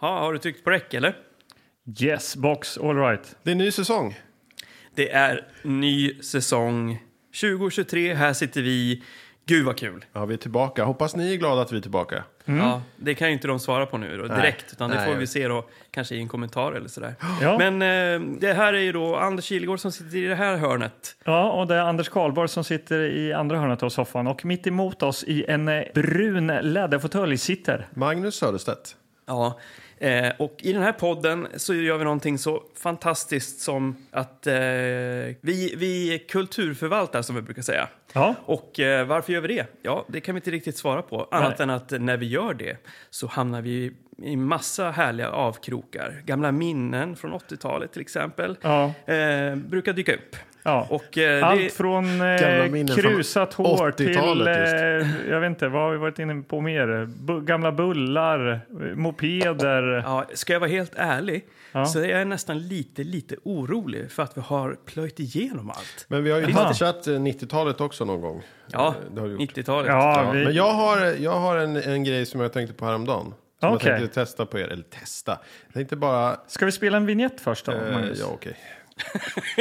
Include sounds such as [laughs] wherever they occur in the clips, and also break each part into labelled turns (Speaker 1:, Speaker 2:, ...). Speaker 1: Ha, har du tryckt på räck eller?
Speaker 2: Yes, box, all right.
Speaker 3: Det är ny säsong.
Speaker 1: Det är ny säsong 2023. Här sitter vi. Gud vad kul!
Speaker 3: Ja, vi är tillbaka. Hoppas ni är glada att vi är tillbaka.
Speaker 1: Ja, det kan ju inte de svara på nu då, direkt, utan det
Speaker 3: Mm. Nej,
Speaker 1: får
Speaker 3: jag
Speaker 1: vi
Speaker 3: vet.
Speaker 1: se då, kanske i en kommentar eller sådär.
Speaker 2: Ja.
Speaker 1: Men eh, det här är ju då Anders Kilegård som sitter i det här hörnet.
Speaker 2: Ja, och det är Anders Karlborg som sitter i andra hörnet av soffan och mitt emot oss i en eh, brun läderfåtölj sitter.
Speaker 3: Magnus Söderstedt.
Speaker 1: Ja, eh, och i den här podden så gör vi någonting så fantastiskt som att eh, vi, vi kulturförvaltar, som vi brukar säga.
Speaker 2: Ja,
Speaker 1: Och eh, varför gör vi det? Ja, det kan vi inte riktigt svara på. Annat
Speaker 2: Nej.
Speaker 1: än att när vi gör det så hamnar vi i massa härliga avkrokar. Gamla minnen från 80-talet till exempel
Speaker 2: ja,
Speaker 1: eh, brukar dyka upp.
Speaker 2: ja.
Speaker 1: Och, eh,
Speaker 2: Allt
Speaker 1: det,
Speaker 2: från
Speaker 3: Gamla
Speaker 2: eh,
Speaker 3: minnen från
Speaker 2: krusat hår till,
Speaker 3: 80-talet just.
Speaker 2: eh, jag vet inte, vad har vi varit inne på mer? Bu gamla bullar, eh, mopeder.
Speaker 1: ja, ska jag vara helt ärlig
Speaker 2: Ja.
Speaker 1: så är jag nästan lite, lite orolig för att vi har plöjt igenom allt.
Speaker 3: Men vi har ju
Speaker 2: Jaha.
Speaker 3: touchat eh, 90-talet också någon gång.
Speaker 1: Ja,
Speaker 3: Eh, Det har vi gjort.
Speaker 1: 90-talet.
Speaker 2: Ja,
Speaker 3: Ja,
Speaker 2: vi,
Speaker 3: Men jag har, jag har en, en grej som jag tänkte på häromdagen. Som
Speaker 2: Okej.
Speaker 3: jag tänkte testa på er. Eller testa. Jag tänkte bara...
Speaker 2: Ska vi spela en vignett först då,
Speaker 3: eh,
Speaker 2: Magnus?
Speaker 3: ja, okej. [laughs]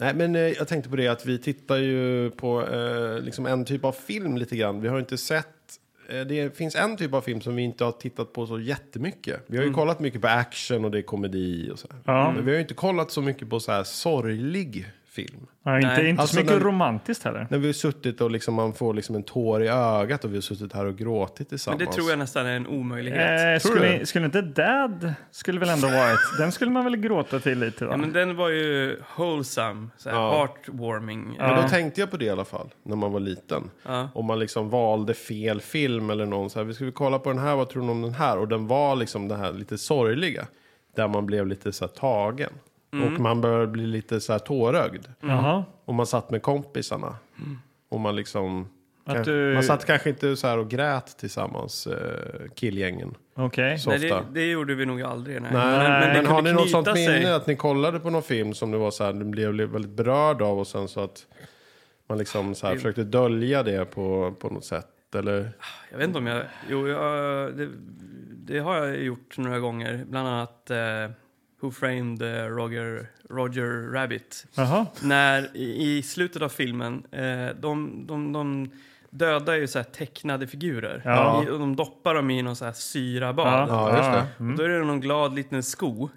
Speaker 3: Nej, men eh, jag tänkte på det att vi tittar ju på eh, liksom en typ av film lite grann. Vi har inte sett... eh, Det finns en typ av film som vi inte har tittat på så jättemycket. Vi har ju kollat mycket på action och det är komedi och så här.
Speaker 2: Ja.
Speaker 3: Men vi har ju inte kollat så mycket på så här sorglig film.
Speaker 2: Ja, inte
Speaker 1: Nej.
Speaker 2: inte
Speaker 3: Alltså,
Speaker 2: så mycket
Speaker 3: den-
Speaker 2: romantiskt heller.
Speaker 3: När vi har suttit och liksom man får liksom en tår i ögat och vi har suttit här och gråtit
Speaker 1: Men
Speaker 3: tillsammans.
Speaker 1: det tror jag nästan är en omöjlighet.
Speaker 2: Eh,
Speaker 3: Tror
Speaker 2: skulle,
Speaker 3: du?
Speaker 2: skulle inte Dad skulle väl ändå varit? Den skulle man väl gråta till lite? Då?
Speaker 1: Ja, men den var ju wholesome, så här,
Speaker 3: Ja.
Speaker 1: heartwarming.
Speaker 3: Men då tänkte jag på det i alla fall, när man var liten.
Speaker 1: Ja.
Speaker 3: Om man liksom valde fel film eller någon så här, vi skulle kolla på den här, vad tror du om den här? Och den var liksom den här lite sorgliga. Där man blev lite så här tagen.
Speaker 1: Mm.
Speaker 3: Och man började bli lite så här tårögd.
Speaker 2: Jaha.
Speaker 3: Och man satt med kompisarna.
Speaker 1: Mm.
Speaker 3: Och man liksom...
Speaker 2: Att
Speaker 3: kan-
Speaker 2: du-
Speaker 3: Man satt kanske inte så här och grät tillsammans, eh, killgängen.
Speaker 2: Okej.
Speaker 3: Så
Speaker 1: Nej,
Speaker 3: ofta.
Speaker 1: det, det gjorde vi nog aldrig. Nej.
Speaker 3: Nej, men,
Speaker 1: det kunde
Speaker 3: har ni något
Speaker 1: knyta
Speaker 3: sånt minne att ni kollade på någon film som du var så här, du blev blev väldigt berörd av och sen så att man liksom så här
Speaker 1: Det-
Speaker 3: försökte dölja det på, på något sätt? Eller?
Speaker 1: Jag vet inte om jag... Jo, jag, det, det har jag gjort några gånger. Bland annat eh, Who Framed eh, Roger, Roger Rabbit.
Speaker 2: Jaha.
Speaker 1: När i, i slutet av filmen, eh, de, de, de dödar ju så här tecknade figurer.
Speaker 2: Ja.
Speaker 1: I, och de doppar dem i någon så här syrabad.
Speaker 2: Ja, Mm.
Speaker 3: Ja, just det.
Speaker 1: Då är det någon glad liten sko.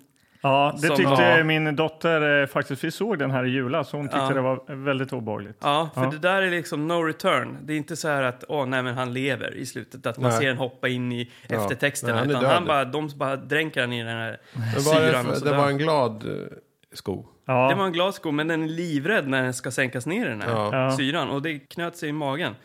Speaker 2: Ja, det
Speaker 1: Som-
Speaker 2: tyckte
Speaker 1: ja.
Speaker 2: min dotter eh, faktiskt. Vi såg den här i julas. Hon tyckte
Speaker 1: Ja.
Speaker 2: det var väldigt obehagligt.
Speaker 1: Ja, för
Speaker 2: Ja.
Speaker 1: det där är liksom no return. Det är inte så här att åh, nej men han lever i slutet, att man
Speaker 3: Nej.
Speaker 1: ser den hoppa in i
Speaker 3: Ja.
Speaker 1: eftertexterna.
Speaker 3: Nej, han är
Speaker 1: utan
Speaker 3: död.
Speaker 1: han bara, de bara dränker han i den här
Speaker 3: Men var
Speaker 1: syran och
Speaker 3: det,
Speaker 1: så
Speaker 3: det
Speaker 1: dör
Speaker 3: var
Speaker 1: han.
Speaker 3: en glad eh, sko.
Speaker 2: Ja.
Speaker 1: Det var en glassko, men den är livrädd när den ska sänkas ner i den här
Speaker 3: Ja.
Speaker 2: Ja.
Speaker 1: syran. Och det knöt sig i magen.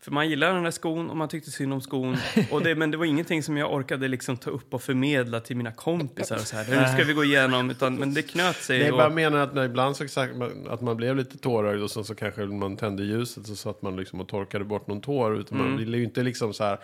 Speaker 1: För man gillade den där skon och man tyckte synd om
Speaker 3: [laughs]
Speaker 1: skon. Och det, men det var ingenting som jag orkade liksom ta upp och förmedla till mina kompisar. Och så här. Nu ska vi gå igenom, utan, men det knöt sig.
Speaker 3: Jag
Speaker 1: och,
Speaker 3: bara menar att när ibland så exakt, att man blev lite tårögd och sen så kanske man tände ljuset så satt man liksom och torkade bort någon tår. Utan man ville ju inte liksom så här,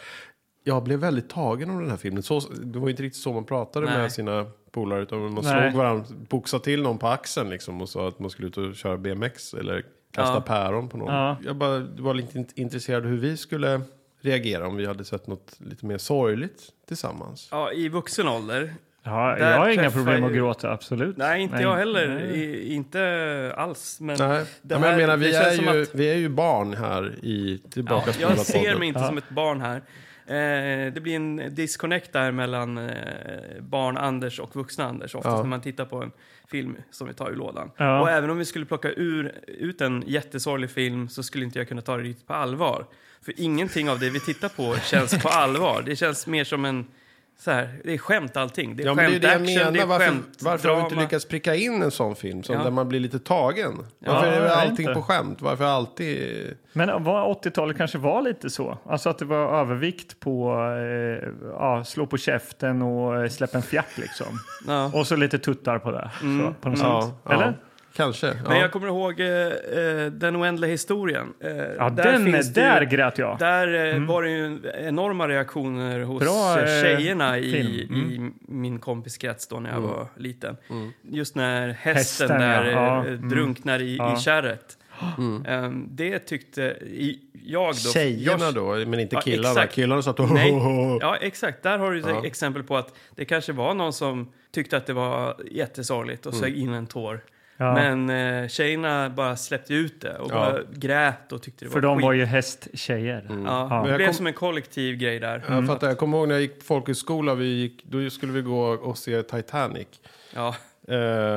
Speaker 3: jag blev väldigt tagen av den här filmen. Så, det var ju inte riktigt så man pratade
Speaker 1: Nej.
Speaker 3: med sina polare utan man
Speaker 2: Nej.
Speaker 3: slog varandra, boxade till någon på axeln liksom och sa att man skulle ut och köra BMX eller kasta
Speaker 1: Ja.
Speaker 3: päron på någon.
Speaker 2: Ja.
Speaker 3: Jag bara var lite int- intresserad hur vi skulle reagera om vi hade sett något lite mer sorgligt tillsammans.
Speaker 1: ja, I vuxen ålder,
Speaker 2: Ja,
Speaker 1: Där
Speaker 2: jag har inga
Speaker 1: träffar
Speaker 2: problem att
Speaker 1: ju-
Speaker 2: gråta, absolut.
Speaker 1: Nej, inte jag heller.
Speaker 2: nej.
Speaker 1: I, inte alls. Men
Speaker 3: Nej,
Speaker 1: det
Speaker 3: ja, men jag
Speaker 1: här-
Speaker 3: menar
Speaker 1: det
Speaker 3: vi
Speaker 1: känns
Speaker 3: är,
Speaker 1: som
Speaker 3: ju,
Speaker 1: att-
Speaker 3: vi är ju barn här i Tillbaka
Speaker 1: ja,
Speaker 3: till
Speaker 1: jag
Speaker 3: Skolan
Speaker 1: ser
Speaker 3: podden.
Speaker 1: mig inte som ett barn här. Eh, det blir en disconnect där mellan eh, barn-Anders och vuxna-Anders oftast
Speaker 3: Ja.
Speaker 1: när man tittar på en film som vi tar ur lådan.
Speaker 2: Ja.
Speaker 1: Och även om vi skulle plocka ur, ut en jättesorglig film så skulle inte jag kunna ta det riktigt på allvar. För ingenting av det vi tittar
Speaker 3: [laughs]
Speaker 1: på känns på allvar. Det känns mer som en... Så här, det är skämt allting. Det är
Speaker 3: Ja, men
Speaker 1: skämt
Speaker 3: det är ju det jag
Speaker 1: action, det
Speaker 3: menar.
Speaker 1: är
Speaker 3: Varför,
Speaker 1: skämt
Speaker 3: varför har vi inte
Speaker 1: drama.
Speaker 3: lyckats pricka in en sån film som
Speaker 1: Ja.
Speaker 3: där man blir lite tagen? Varför är
Speaker 2: jag vet
Speaker 3: det allting
Speaker 2: inte.
Speaker 3: på skämt? Varför
Speaker 1: Mm.
Speaker 3: alltid...
Speaker 2: Men var 80-talet kanske var lite så? Alltså att det var övervikt på eh, ja, slå på käften och eh, släpp en fjärt liksom.
Speaker 1: Ja. Mm.
Speaker 2: Och så lite tuttar på det. Så, på något
Speaker 3: Ja,
Speaker 2: sätt.
Speaker 3: ja.
Speaker 2: Eller?
Speaker 3: Kanske.
Speaker 1: Men
Speaker 3: ja.
Speaker 1: jag kommer ihåg eh, eh, Den oändliga historien. Eh,
Speaker 2: Ja, den,
Speaker 1: finns det ju-
Speaker 2: där grät jag.
Speaker 1: Där eh, var det ju en- enorma reaktioner hos
Speaker 2: Mm. Bra,
Speaker 1: eh,
Speaker 2: eh,
Speaker 1: tjejerna i,
Speaker 2: film. Mm.
Speaker 1: i min kompiskrets då när jag var liten. Just när hästen,
Speaker 2: Hästen,
Speaker 1: där
Speaker 2: ja.
Speaker 1: eh,
Speaker 2: Ja.
Speaker 1: eh,
Speaker 2: Mm.
Speaker 1: drunknar i, i
Speaker 2: Ja. Mm.
Speaker 1: kärret. Ehm, det tyckte i, jag då...
Speaker 3: Tjejerna
Speaker 1: jag-
Speaker 3: då, men inte
Speaker 1: Ja,
Speaker 3: killarna.
Speaker 1: exakt.
Speaker 3: killarna satt och...
Speaker 1: Nej,
Speaker 2: [laughs]
Speaker 3: [laughs] Ja.
Speaker 1: ja, exakt. Där har du ett
Speaker 3: Ja.
Speaker 1: exempel på att det kanske var någon som tyckte att det var jättesorgligt och sög in en tår.
Speaker 2: Mm. Ja.
Speaker 1: Men eh, tjejerna bara släppte ut det och
Speaker 3: Ja.
Speaker 1: bara grät och tyckte det
Speaker 2: För
Speaker 1: var
Speaker 2: de
Speaker 1: skit. Mm.
Speaker 2: var ju hästtjejer.
Speaker 1: Ja,
Speaker 2: Ja. Mm.
Speaker 1: Det
Speaker 2: Men
Speaker 3: jag
Speaker 1: blev
Speaker 3: kom-
Speaker 1: som en kollektiv grej där.
Speaker 3: Jag fattar, jag kommer ihåg när jag gick på folkhögskola, vi gick, då skulle vi gå och se Titanic.
Speaker 1: Ja.
Speaker 3: Eh,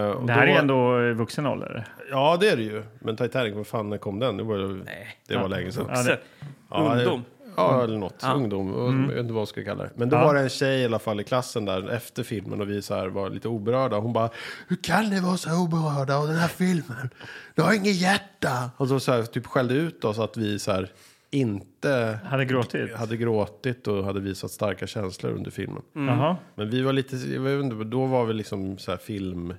Speaker 3: och
Speaker 2: Det här
Speaker 3: då,
Speaker 2: är ändå eh, vuxen ålder.
Speaker 3: Ja, det är det ju. Men Titanic, vad fan, när kom den? Det var,
Speaker 1: Nej.
Speaker 3: det var länge sedan.
Speaker 2: Ja, det-
Speaker 3: Ja, det-
Speaker 1: Ungdom.
Speaker 3: Ja, eller något.
Speaker 1: Ja.
Speaker 3: Ungdom. Jag vet inte vad jag ska kalla det. Men då
Speaker 2: Mm. Ja.
Speaker 3: var det en tjej i alla fall i klassen där efter filmen och vi så här var lite oberörda. Hon bara, hur kan ni vara så oberörda av den här filmen? Du har inget hjärta. Och så, så här, typ skällde ut oss att vi så här inte
Speaker 2: Hade gråtit.
Speaker 3: hade gråtit och hade visat starka känslor under filmen.
Speaker 1: Mm.
Speaker 2: Jaha.
Speaker 3: Men vi var lite, jag vet inte, då var vi liksom så här film,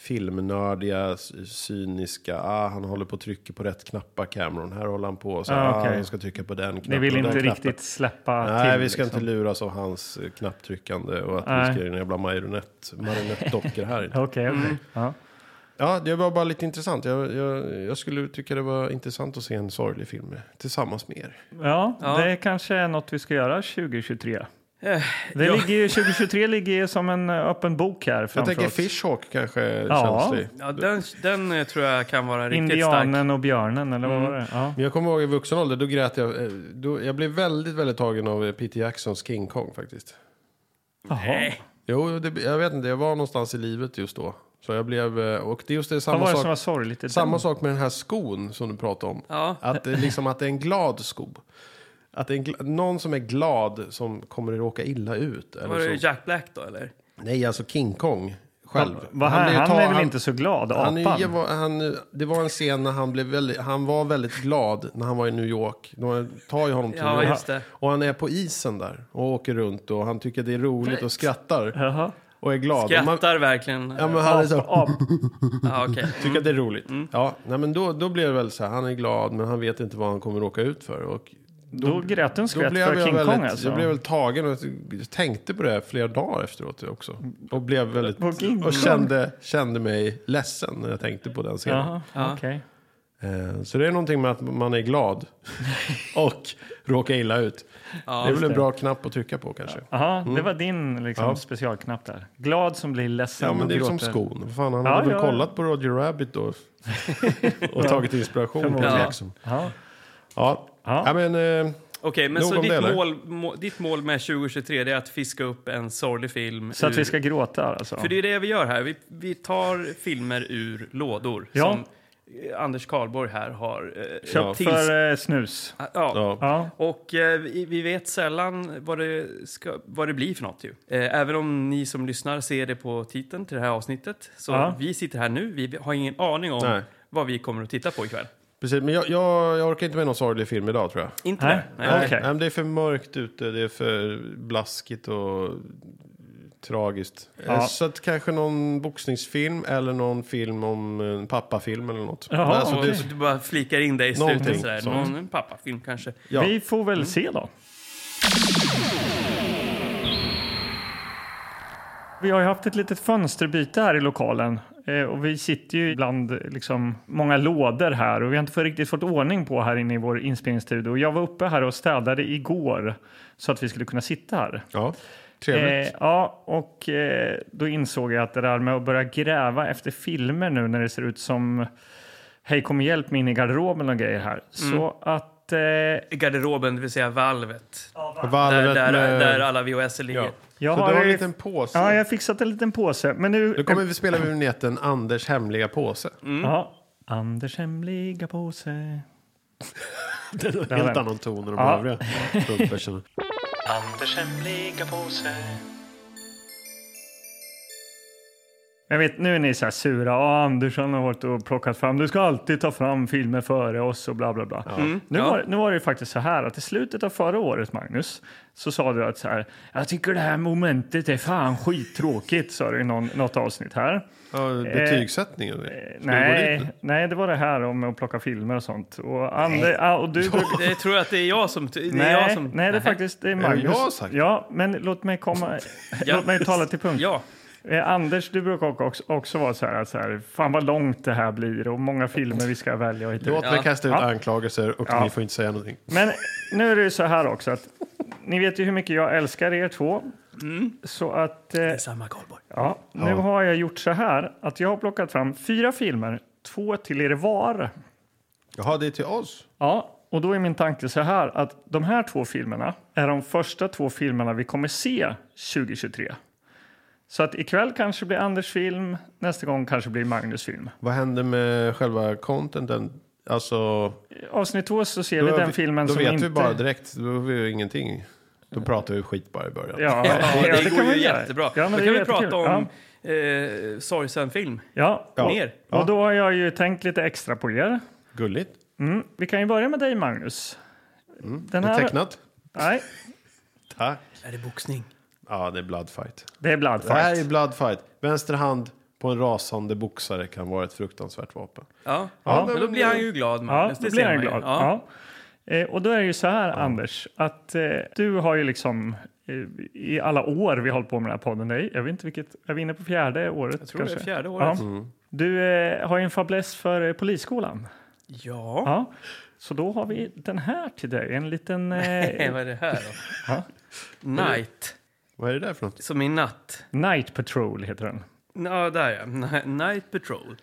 Speaker 3: filmnördiga, sy- cyniska. Ah, han håller på och trycker på rätt knappar Cameron. Här håller han på. Så,
Speaker 2: Ah,
Speaker 3: ah,
Speaker 2: okej.
Speaker 3: Han ska trycka på den knappen.
Speaker 2: Ni vill
Speaker 3: och den
Speaker 2: inte
Speaker 3: knappen.
Speaker 2: riktigt släppa
Speaker 3: Nej,
Speaker 2: till.
Speaker 3: vi ska
Speaker 2: liksom.
Speaker 3: inte luras av hans eh, knapptryckande och att
Speaker 2: Nej.
Speaker 3: vi ska göra en jävla marionett, marionettdockor här inne.
Speaker 2: Okej, liksom? okej.
Speaker 1: Mm.
Speaker 2: Ja.
Speaker 3: Ja, det var bara lite intressant. Jag, jag, jag skulle tycka det var intressant att se en sorglig film tillsammans med er.
Speaker 2: Ja,
Speaker 1: Ja.
Speaker 2: det kanske är något vi ska göra 2023.
Speaker 1: Eh,
Speaker 2: Det
Speaker 1: ja.
Speaker 2: ligger ju, 2023 ligger ju som en eh, öppen bok här
Speaker 3: Jag
Speaker 2: framför
Speaker 3: tänker
Speaker 2: oss.
Speaker 3: Fishhawk kanske är
Speaker 2: Ja.
Speaker 3: känslig.
Speaker 1: Ja, den, den eh, tror jag kan vara riktigt stark. Mm.
Speaker 2: Indianen och björnen, eller vad var det? Ja.
Speaker 3: Men jag kommer ihåg i vuxen ålder, då grät jag. eh, Då, jag blev väldigt, väldigt tagen av eh, Peter Jacksons King Kong faktiskt.
Speaker 2: Jaha.
Speaker 1: Nej.
Speaker 3: Jo, det, jag vet inte, jag var någonstans i livet just då. Så jag blev, eh, och det är just det,
Speaker 2: Vad
Speaker 3: samma,
Speaker 2: var det
Speaker 3: sak,
Speaker 2: som var sorgligt? i den?
Speaker 3: samma sak med den här skon som du pratade om.
Speaker 1: Ja.
Speaker 3: Att det, liksom, att det är en glad sko. Att det är en gla- någon som är glad som kommer att råka illa ut.
Speaker 1: Var
Speaker 3: Eller
Speaker 1: det
Speaker 3: så.
Speaker 1: Jack Black då, eller?
Speaker 3: Nej, alltså King Kong själv.
Speaker 2: Vad han,
Speaker 3: blev
Speaker 2: han,
Speaker 3: ta-
Speaker 2: är väl inte så glad,
Speaker 3: han, är ju-
Speaker 2: apan?
Speaker 3: var- han, det var en scen när han, blev väldigt, han var väldigt glad när han var i New York. De tar ju honom till New
Speaker 1: Ja,
Speaker 3: York.
Speaker 1: just det.
Speaker 3: Och han är på isen där och åker runt och han tycker det är roligt och skrattar
Speaker 2: Jaha.
Speaker 3: och är glad. Och man,
Speaker 1: Skrattar verkligen.
Speaker 3: ja,
Speaker 1: Ja,
Speaker 3: men han är så,
Speaker 2: Ap,
Speaker 1: okej.
Speaker 3: tycker att det är roligt.
Speaker 2: Mm.
Speaker 3: Ja, nej, men då, då blir det väl så här, han är glad men han vet inte vad han kommer råka ut för. Och
Speaker 2: då grät du en
Speaker 3: [laughs] då
Speaker 2: skvätt
Speaker 3: blev jag,
Speaker 2: för King
Speaker 3: väldigt,
Speaker 2: Kong alltså?
Speaker 3: jag blev väl tagen och tänkte på det flera dagar efteråt också. Och blev väldigt,
Speaker 2: På King Kong?
Speaker 3: och kände, kände mig ledsen när jag tänkte på den scenen.
Speaker 2: Jaha,
Speaker 1: Ja.
Speaker 2: okej.
Speaker 3: Eh, Så det är någonting med att man
Speaker 2: [laughs]
Speaker 3: är glad och råkar illa ut.
Speaker 1: Ja,
Speaker 3: det är väl en
Speaker 2: det.
Speaker 3: bra knapp att trycka på kanske.
Speaker 2: Jaha, det var din liksom,
Speaker 3: Mm. Ja.
Speaker 2: specialknapp där. Glad som blir ledsen
Speaker 3: Ja men
Speaker 2: och
Speaker 3: det är som
Speaker 2: gråter.
Speaker 3: skon. Vad Fan, han
Speaker 2: Ja,
Speaker 3: hade väl
Speaker 2: ja.
Speaker 3: kollat på Roger
Speaker 2: [laughs]
Speaker 3: Rabbit då. och tagit inspiration på
Speaker 2: Förmodligen.
Speaker 3: Jackson.
Speaker 2: Ja.
Speaker 3: Ja.
Speaker 2: Ja.
Speaker 3: Ja. men, eh,
Speaker 1: Okej, men
Speaker 3: Nog
Speaker 1: så
Speaker 3: om det,
Speaker 1: ditt
Speaker 3: eller?
Speaker 1: mål, må, ditt mål med 2023 det är att fiska upp en sorglig film.
Speaker 2: Så att
Speaker 1: ur,
Speaker 2: vi ska gråta alltså?
Speaker 1: För det är det vi gör här. Vi, vi tar filmer ur lådor
Speaker 2: Ja.
Speaker 1: som eh, Anders Karlborg här har eh,
Speaker 2: Köpt
Speaker 1: tills-
Speaker 2: för eh, snus.
Speaker 1: Ja. Ja.
Speaker 3: ja.
Speaker 2: Ja.
Speaker 1: Och eh, vi vi vet sällan vad det, ska, vad det blir för något. Ju. Eh, även om ni som lyssnar ser det på titeln till det här avsnittet. Så
Speaker 2: Ja.
Speaker 1: vi sitter här nu, vi har ingen aning om
Speaker 3: Nej.
Speaker 1: vad vi kommer att titta på ikväll.
Speaker 3: Precis, men jag, jag, jag orkar inte med någon sorglig film idag tror jag.
Speaker 1: Inte
Speaker 2: Nej.
Speaker 1: det?
Speaker 2: Okej.
Speaker 3: Nej, men det är för mörkt ute, det är för blaskigt och tragiskt. Eh,
Speaker 2: Ja.
Speaker 3: Så att kanske någon boxningsfilm eller någon film om en pappafilm eller något.
Speaker 2: Jaha,
Speaker 3: alltså,
Speaker 1: Och
Speaker 3: det,
Speaker 1: Du bara flikar in det i
Speaker 3: Någonting
Speaker 1: slutet sådär.
Speaker 3: sånt.
Speaker 1: Någon en pappafilm kanske.
Speaker 3: ja. Mm.
Speaker 2: Vi får väl se då. Vi har ju haft ett litet fönsterbyte här i lokalen. Eh, Och vi sitter ju bland liksom, många lådor här och vi har inte fått- riktigt fått ordning på här inne i vår inspelningsstudio. Och Jag var uppe här och städade igår så att vi skulle kunna sitta här.
Speaker 3: ja. Trevligt.
Speaker 2: Eh, ja, och eh, då insåg jag att det där med att börja gräva efter filmer nu när det ser ut som Hej kom och hjälp mig in i garderoben och grejer
Speaker 3: Mm.
Speaker 2: här. Så att... Eh,
Speaker 1: I garderoben, det vill säga valvet. Där,
Speaker 3: Valvet
Speaker 1: där,
Speaker 3: med...
Speaker 1: där alla VHS ligger.
Speaker 3: ja.
Speaker 2: jag
Speaker 3: Så
Speaker 2: har
Speaker 3: du har en
Speaker 2: ju-
Speaker 3: liten påse.
Speaker 2: Ja, jag har fixat en liten påse. Men nu... Mm.
Speaker 3: Nu kommer Mm. vi spela med vignetten Anders hemliga påse.
Speaker 2: ja, Anders hemliga påse.
Speaker 3: Helt
Speaker 2: Jajamän.
Speaker 3: annan ton än de
Speaker 2: Ja.
Speaker 3: övriga
Speaker 2: [laughs]
Speaker 3: trumpersarna.
Speaker 2: Anders hemliga påse. Jag vet, nu är ni så här sura. Ah, Andersson har varit och plockat fram. Du ska alltid ta fram filmer före oss och bla bla bla. Nu,
Speaker 1: Mm. Ja.
Speaker 2: var, nu var det ju faktiskt så här att i slutet av förra året, Magnus, så sa du att så här, jag tycker det här momentet är fan skittråkigt, sa du i någon, något avsnitt här.
Speaker 3: Ja, betygssättningen. Ska vi gå dit
Speaker 2: Eh, Nej,
Speaker 3: nu?
Speaker 2: nej, det var det här om att plocka filmer och sånt. Och, Ander, ah, och du, du,
Speaker 1: Jag tror att [laughs] det är jag som... Det är jag
Speaker 2: Nej,
Speaker 1: som
Speaker 2: nej, det är faktiskt det är
Speaker 3: det
Speaker 2: Magnus.
Speaker 3: jag har sagt?
Speaker 2: Ja, men låt mig komma.
Speaker 1: Ja.
Speaker 2: [laughs] Låt mig tala till punkt.
Speaker 1: Ja.
Speaker 2: Eh, Anders, du brukar också, också vara så här, att så här, fan vad långt det här blir och många filmer vi ska välja och hit.
Speaker 3: Låt mig
Speaker 1: Ja.
Speaker 3: kasta ut
Speaker 2: Ja.
Speaker 3: anklagelser och
Speaker 2: Ja.
Speaker 3: ni får inte säga någonting.
Speaker 2: Men nu är det ju så här också att ni vet ju hur mycket jag älskar er två. Så att, eh,
Speaker 1: Samma Karlborg.
Speaker 2: ja, nu
Speaker 3: Ja.
Speaker 2: har jag gjort så här att jag har plockat fram fyra filmer, två till er var.
Speaker 3: Jaha, det är till oss?
Speaker 2: Ja, och då är min tanke så här att de här två filmerna är de första två filmerna vi kommer se 2023. Så att ikväll kanske blir Anders film, nästa gång kanske blir Magnus film.
Speaker 3: Vad händer med själva contenten? Alltså,
Speaker 2: Avsnitt två så ser
Speaker 3: då
Speaker 2: vi
Speaker 3: är
Speaker 2: den
Speaker 3: vi-
Speaker 2: filmen
Speaker 3: då
Speaker 2: som
Speaker 3: vet
Speaker 2: inte...
Speaker 3: vi bara direkt, då vet vi ju ingenting. Då pratar vi skit bara i början.
Speaker 2: Ja,
Speaker 1: Ja,
Speaker 2: ja,
Speaker 1: det, går
Speaker 2: kan
Speaker 1: ju
Speaker 2: vi göra.
Speaker 1: jättebra.
Speaker 2: Ja, men
Speaker 1: Då
Speaker 2: det
Speaker 1: kan
Speaker 2: är
Speaker 1: vi
Speaker 2: jättekul.
Speaker 1: prata om eh, sorgsen film.
Speaker 2: Ja. Ja.
Speaker 3: Ja.
Speaker 1: Mer.
Speaker 2: Och då har jag ju tänkt lite extra på er.
Speaker 3: Gulligt.
Speaker 2: Mm. Vi kan ju börja med dig, Magnus. Den
Speaker 3: Det är tecknat.
Speaker 2: Nej,
Speaker 3: Tack.
Speaker 1: Är det boxning?
Speaker 3: Ja, det är bloodfight.
Speaker 2: det är
Speaker 3: Det här är
Speaker 2: Bloodfight.
Speaker 3: bloodfight. Vänster hand på en rasande boxare kan vara ett fruktansvärt vapen.
Speaker 1: Ja.
Speaker 3: Ja,
Speaker 1: Men då blir han ju glad,
Speaker 2: Ja,
Speaker 1: Magnus.
Speaker 2: då
Speaker 1: det
Speaker 2: blir
Speaker 1: ser
Speaker 2: han
Speaker 1: man ju.
Speaker 2: glad.
Speaker 1: Ja.
Speaker 2: Ja. Eh, och då är det ju så här, Anders, att eh, du har ju liksom eh, i alla år vi har hållit på med den här podden, nej, jag vet inte vilket, är vi inne på fjärde året?
Speaker 1: Jag tror det är
Speaker 2: kanske?
Speaker 1: fjärde året.
Speaker 2: Ja.
Speaker 3: Mm.
Speaker 2: Du eh, har ju en fäbless för eh, polisskolan.
Speaker 1: Ja.
Speaker 2: Ja. Så då har vi den här till dig,
Speaker 1: [laughs]
Speaker 2: en liten...
Speaker 1: Eh,
Speaker 2: Eh,
Speaker 1: vad är det här då?
Speaker 2: ja.
Speaker 1: Night.
Speaker 3: Vad är det där för något?
Speaker 1: Som i natt.
Speaker 2: Night Patrol heter den.
Speaker 1: Ja, där ja. Ni- Night Patrol.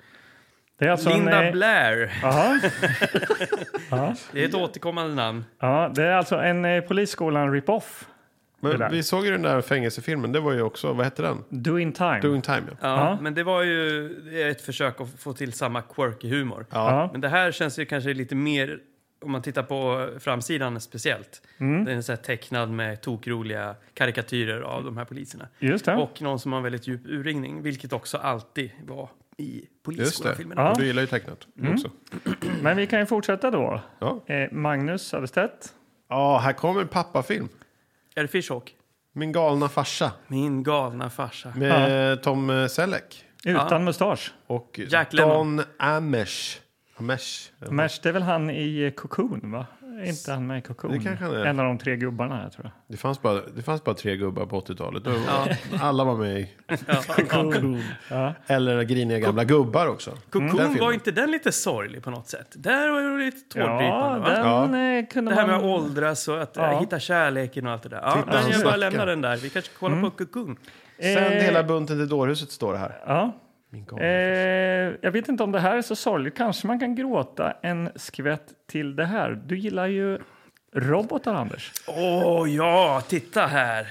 Speaker 2: Det är alltså
Speaker 1: Linda
Speaker 2: en, eh,
Speaker 1: Blair.
Speaker 2: [laughs] Aha.
Speaker 1: Det är ett återkommande namn.
Speaker 2: Ja, det är alltså en eh, polisskolan rip-off, Det där.
Speaker 3: Men vi såg ju den där fängelsefilmen, det var ju också, vad hette den?
Speaker 2: Doing Time.
Speaker 3: Doing time ja.
Speaker 1: Ja,
Speaker 2: Ja.
Speaker 1: Men det var ju det är ett försök att få till samma quirky humor.
Speaker 2: Ja.
Speaker 1: Men det här känns ju kanske lite mer, om man tittar på framsidan speciellt.
Speaker 2: Mm.
Speaker 1: Den är så här tecknad med tokroliga karikatyrer av de här poliserna.
Speaker 2: Just det.
Speaker 3: Oh.
Speaker 1: Och någon som har en väldigt djup urringning, vilket också alltid var i
Speaker 3: Just det.
Speaker 1: polisskolan-filmerna.
Speaker 2: Ja. Mm.
Speaker 3: Och Du gillar ju tecknat också.
Speaker 2: Men vi kan ju fortsätta då.
Speaker 3: Ja,
Speaker 2: Eh, Magnus Söderstedt.
Speaker 3: Ja, här kommer en pappafilm.
Speaker 1: Är det Fishhawk?
Speaker 3: Min galna farsa
Speaker 1: Min galna farsa.
Speaker 3: Mm. med Tom eh, Selleck
Speaker 2: Utan mustasch.
Speaker 3: och
Speaker 1: Jack
Speaker 3: Don Amesh. Amesh.
Speaker 2: Mesh, det är väl han i eh, Cocoon, va? Är inte han med i Cocoon?
Speaker 3: Det kanske han är.
Speaker 2: En av de tre gubbarna, här, tror jag.
Speaker 3: Det fanns bara, det fanns bara tre gubbar på 80-talet. Då- Alla var med i. Eller griniga gamla gubbar också. Den
Speaker 1: Cocoon,
Speaker 3: filmen.
Speaker 1: var inte den lite sorglig på något sätt? Där var det lite tårdrypande, va?
Speaker 2: Ja, den eh, kunde
Speaker 1: Det här med
Speaker 2: man...
Speaker 1: att åldras och att eh,
Speaker 2: Ja.
Speaker 1: hitta kärleken och allt det där. Ja,
Speaker 3: Titta,
Speaker 1: men
Speaker 3: han
Speaker 1: jag bara
Speaker 3: snackar.
Speaker 1: lämnar den där. Vi kanske kollar
Speaker 2: Mm.
Speaker 1: på Cocoon.
Speaker 3: Sänd
Speaker 2: Eh.
Speaker 3: hela bunten till dårhuset står det här.
Speaker 2: Ja.
Speaker 3: Min
Speaker 2: Eh,
Speaker 3: galna farsa.
Speaker 2: jag vet inte om det här är så sorgligt. Kanske man kan gråta en skvätt till det här. Du gillar ju robotar, Anders.
Speaker 1: Åh ja, titta här!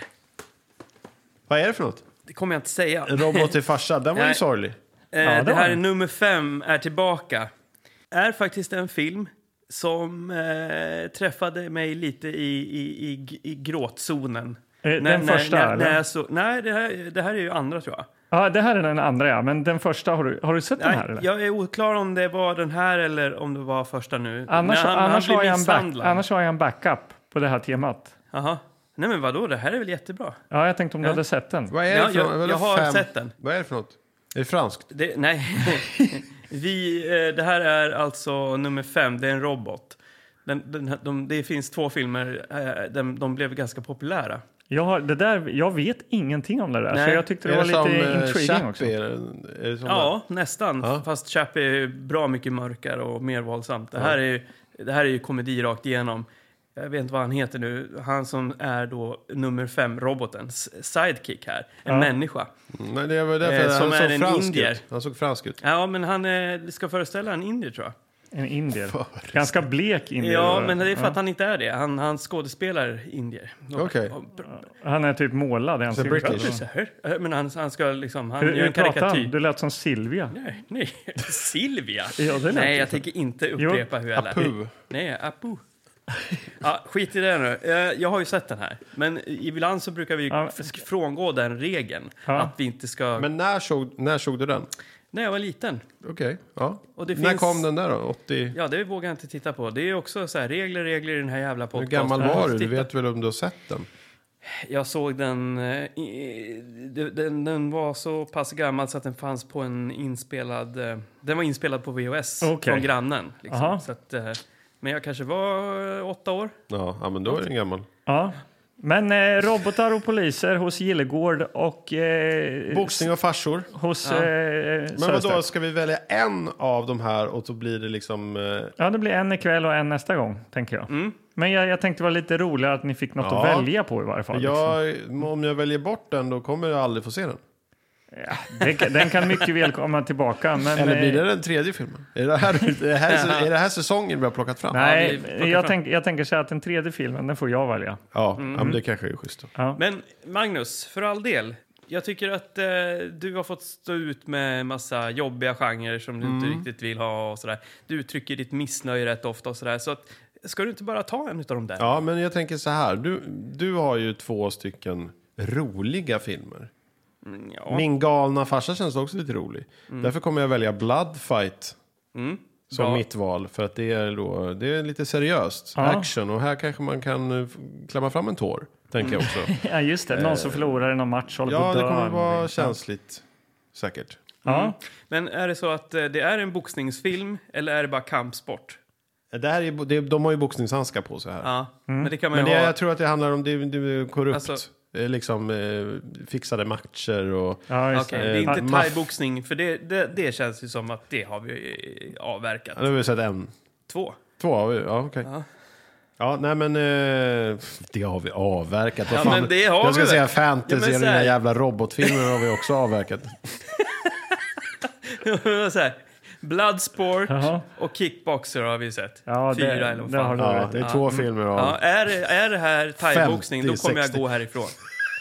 Speaker 3: Vad är det för något?
Speaker 1: Det kommer jag inte säga.
Speaker 3: En robot till farsa, den var ju
Speaker 1: Nej.
Speaker 3: sorglig.
Speaker 1: Eh,
Speaker 2: Ja, det
Speaker 1: det
Speaker 2: var
Speaker 1: här är
Speaker 2: den.
Speaker 1: nummer fem, är tillbaka. Är faktiskt en film som eh, träffade mig lite i, i, i, i gråtzonen.
Speaker 2: Eh, den första,
Speaker 1: när,
Speaker 2: eller?
Speaker 1: när jag så, Nej, det här, det här är ju andra tror jag.
Speaker 2: Ja, det här är den andra, ja. Men den första, har du, har du sett den här?
Speaker 1: Nej,
Speaker 2: Eller?
Speaker 1: jag är oklar om det var den här eller om det var första nu.
Speaker 2: Annars,
Speaker 1: Men
Speaker 2: annars,
Speaker 1: blir
Speaker 2: har jag en back,
Speaker 1: misshandlad.
Speaker 2: annars har jag en backup på det här temat.
Speaker 1: Jaha. Nej men vadå, det här är väl jättebra?
Speaker 2: Ja, jag tänkte om du hade sett den.
Speaker 3: Vad är
Speaker 1: Ja,
Speaker 3: det för
Speaker 1: jag-
Speaker 3: något? Vadå
Speaker 1: jag har sett den.
Speaker 3: Vad är det för något? Är det franskt?
Speaker 1: Det, nej. Vi, eh, det här är alltså nummer fem, det är en robot. Den, den, här- de, det finns två filmer, eh, de, de blev ganska populära.
Speaker 2: Jag, har, det där, jag vet ingenting om det där,
Speaker 1: Nej.
Speaker 2: så jag tyckte det
Speaker 3: är
Speaker 2: var
Speaker 3: det som
Speaker 2: lite
Speaker 3: eh,
Speaker 2: intriguing också.
Speaker 3: Chappie? Är det, är det som
Speaker 1: Ja, nästan.
Speaker 3: Ja.
Speaker 1: Fast Chappie är ju bra mycket mörkare och mer våldsamt. Det här, är ju, det här är ju komedi rakt igenom. Jag vet inte vad han heter nu. Han som är då nummer fem, robotens sidekick här. En
Speaker 2: Ja.
Speaker 1: människa.
Speaker 3: Nej, det var därför
Speaker 1: Eh,
Speaker 3: han
Speaker 1: som
Speaker 3: såg
Speaker 1: är en
Speaker 3: fransk
Speaker 1: indier.
Speaker 3: ut. Han såg fransk ut.
Speaker 1: Ja, men han eh, ska föreställa en indier tror jag.
Speaker 2: En indier.
Speaker 3: För-
Speaker 2: Ganska blek indier.
Speaker 1: Ja, men det är för att han inte är det. Han, han skådespelar indier.
Speaker 3: Okej.
Speaker 1: Och-
Speaker 2: Han är typ målad i ansiktet. Alltså.
Speaker 3: British.
Speaker 1: Så här. Eh, Men han, han ska liksom, han
Speaker 2: Hur,
Speaker 1: gör
Speaker 2: hur
Speaker 1: en
Speaker 2: pratar
Speaker 1: karikatyr.
Speaker 2: han? Du lät som Silvia.
Speaker 1: Nej, nej. [laughs] Silvia?
Speaker 2: Ja, det lät
Speaker 1: nej,
Speaker 2: ju
Speaker 1: jag
Speaker 2: så.
Speaker 1: tänker inte upprepa hur jag lät.
Speaker 3: Apu.
Speaker 1: Nej, Apu. Ja, skit i det nu. Eh, Jag har ju sett den här. Men ibland så brukar vi ju
Speaker 2: Ja.
Speaker 1: sk- frångå den regeln.
Speaker 2: Ja.
Speaker 1: Att vi inte ska...
Speaker 3: Men när såg, när såg du den?
Speaker 1: När jag var liten.
Speaker 3: Okej, ja.
Speaker 1: Och det
Speaker 3: när
Speaker 1: finns-
Speaker 3: kom den där då? 80?
Speaker 1: Ja, det vågar jag inte titta på. Det är också så här, regler, regler i den här jävla
Speaker 3: Hur
Speaker 1: podcasten.
Speaker 3: gammal var du? Du
Speaker 1: Titta-
Speaker 3: vet väl om du har sett den?
Speaker 1: Jag såg den, eh, i- den... Den var så pass gammal så att den fanns på en inspelad... eh, Den var inspelad på VHS
Speaker 2: Okej.
Speaker 1: från grannen.
Speaker 2: Aha.
Speaker 1: Liksom. Så att, eh, men jag kanske var eh, åtta år.
Speaker 3: Ja, ja men då är den gammal.
Speaker 2: Ja. Men eh, robotar och poliser hos Gillegård och eh,
Speaker 3: Boxning och farsor.
Speaker 2: hos
Speaker 1: Ja.
Speaker 2: eh,
Speaker 3: Men vadå,
Speaker 2: Sörstedt.
Speaker 3: ska vi välja en av de här och så blir det liksom... eh,
Speaker 2: Ja, det blir en ikväll och en nästa gång, tänker jag. Men jag, jag tänkte det var lite roligare att ni fick något
Speaker 3: Mm. Ja.
Speaker 2: att välja på i varje fall. liksom.
Speaker 3: jag, om jag väljer bort den då kommer jag aldrig få se den.
Speaker 2: Det, den kan mycket väl komma tillbaka. Men,
Speaker 3: Eller blir
Speaker 2: eh,
Speaker 3: det den tredje filmen? Är det här, är
Speaker 2: [laughs]
Speaker 3: det här, är det här säsongen vi har plockat fram?
Speaker 1: Ja,
Speaker 2: Nej,
Speaker 1: vi plockar
Speaker 2: jag,
Speaker 1: fram.
Speaker 2: tänk, jag tänker så här att den tredje filmen, den får jag välja.
Speaker 3: Ja, ja men det kanske är schysst. då. [laughs]
Speaker 1: Men Magnus, för all del. Jag tycker att eh, du har fått stå ut med massa jobbiga genrer som du inte riktigt vill ha och sådär. Du uttrycker ditt missnöje rätt ofta och sådär. Så att, ska du inte bara ta en av de där?
Speaker 3: Ja, men jag tänker så här. Du, du har ju två stycken roliga filmer.
Speaker 1: Mm, ja.
Speaker 3: Min galna farsa känns också lite rolig.
Speaker 2: Mm.
Speaker 3: Därför kommer jag välja Bloodfight
Speaker 1: Mm.
Speaker 3: som
Speaker 1: Bra.
Speaker 3: mitt val. För att det är, då, det är lite seriöst.
Speaker 2: Ja.
Speaker 3: Action. Och här kanske man kan eh, f- klämma fram en tår. Tänker jag också.
Speaker 2: Ja, just det. Någon som förlorar i någon match håller på
Speaker 3: Eh, ja,
Speaker 2: att
Speaker 3: det
Speaker 2: dö
Speaker 3: kommer
Speaker 2: eller
Speaker 3: vara
Speaker 2: någonting.
Speaker 3: känsligt. Säkert.
Speaker 2: Ja.
Speaker 1: Mm. Men är det så att eh, det är en boxningsfilm eller är det bara kampsport?
Speaker 3: Det här är, bo- det, de har ju boxningshandskar på sig här.
Speaker 1: Ja,
Speaker 2: Mm.
Speaker 1: men det kan man
Speaker 3: Men
Speaker 1: ju
Speaker 3: det,
Speaker 1: ha.
Speaker 3: jag tror att det handlar om det, det är korrupt.
Speaker 1: Alltså-
Speaker 3: Eh, liksom eh, fixade matcher och...
Speaker 2: Ja, just
Speaker 1: Okej, det
Speaker 2: det.
Speaker 1: är
Speaker 3: Eh,
Speaker 1: inte
Speaker 3: maff-
Speaker 1: thaiboxning, för det, det, det känns ju som att det har vi eh, avverkat.
Speaker 3: Ja, nu har vi sett en.
Speaker 1: Två. [laughs]
Speaker 3: Två har vi, ja okej.
Speaker 1: Ja.
Speaker 3: Ja. nej men eh, det har vi avverkat. Vad
Speaker 1: Ja,
Speaker 3: fan?
Speaker 1: men det har
Speaker 3: jag ska
Speaker 1: vi väl.
Speaker 3: säga
Speaker 1: Ja,
Speaker 3: fantasy
Speaker 1: men
Speaker 3: och
Speaker 1: så
Speaker 3: dina
Speaker 1: här-
Speaker 3: jävla robotfilmer har vi
Speaker 1: [laughs]
Speaker 3: också avverkat.
Speaker 1: så här, Bloodsport
Speaker 2: Jaha.
Speaker 1: och Kickboxer har vi sett.
Speaker 2: Ja, det-
Speaker 1: Fyra eller vad
Speaker 2: det
Speaker 1: fan.
Speaker 2: har du.
Speaker 3: Ja, det är två filmer av.
Speaker 1: Ja, är, det- är det här thaiboxning, då
Speaker 3: 50,
Speaker 1: kommer jag
Speaker 3: 60.
Speaker 1: gå härifrån.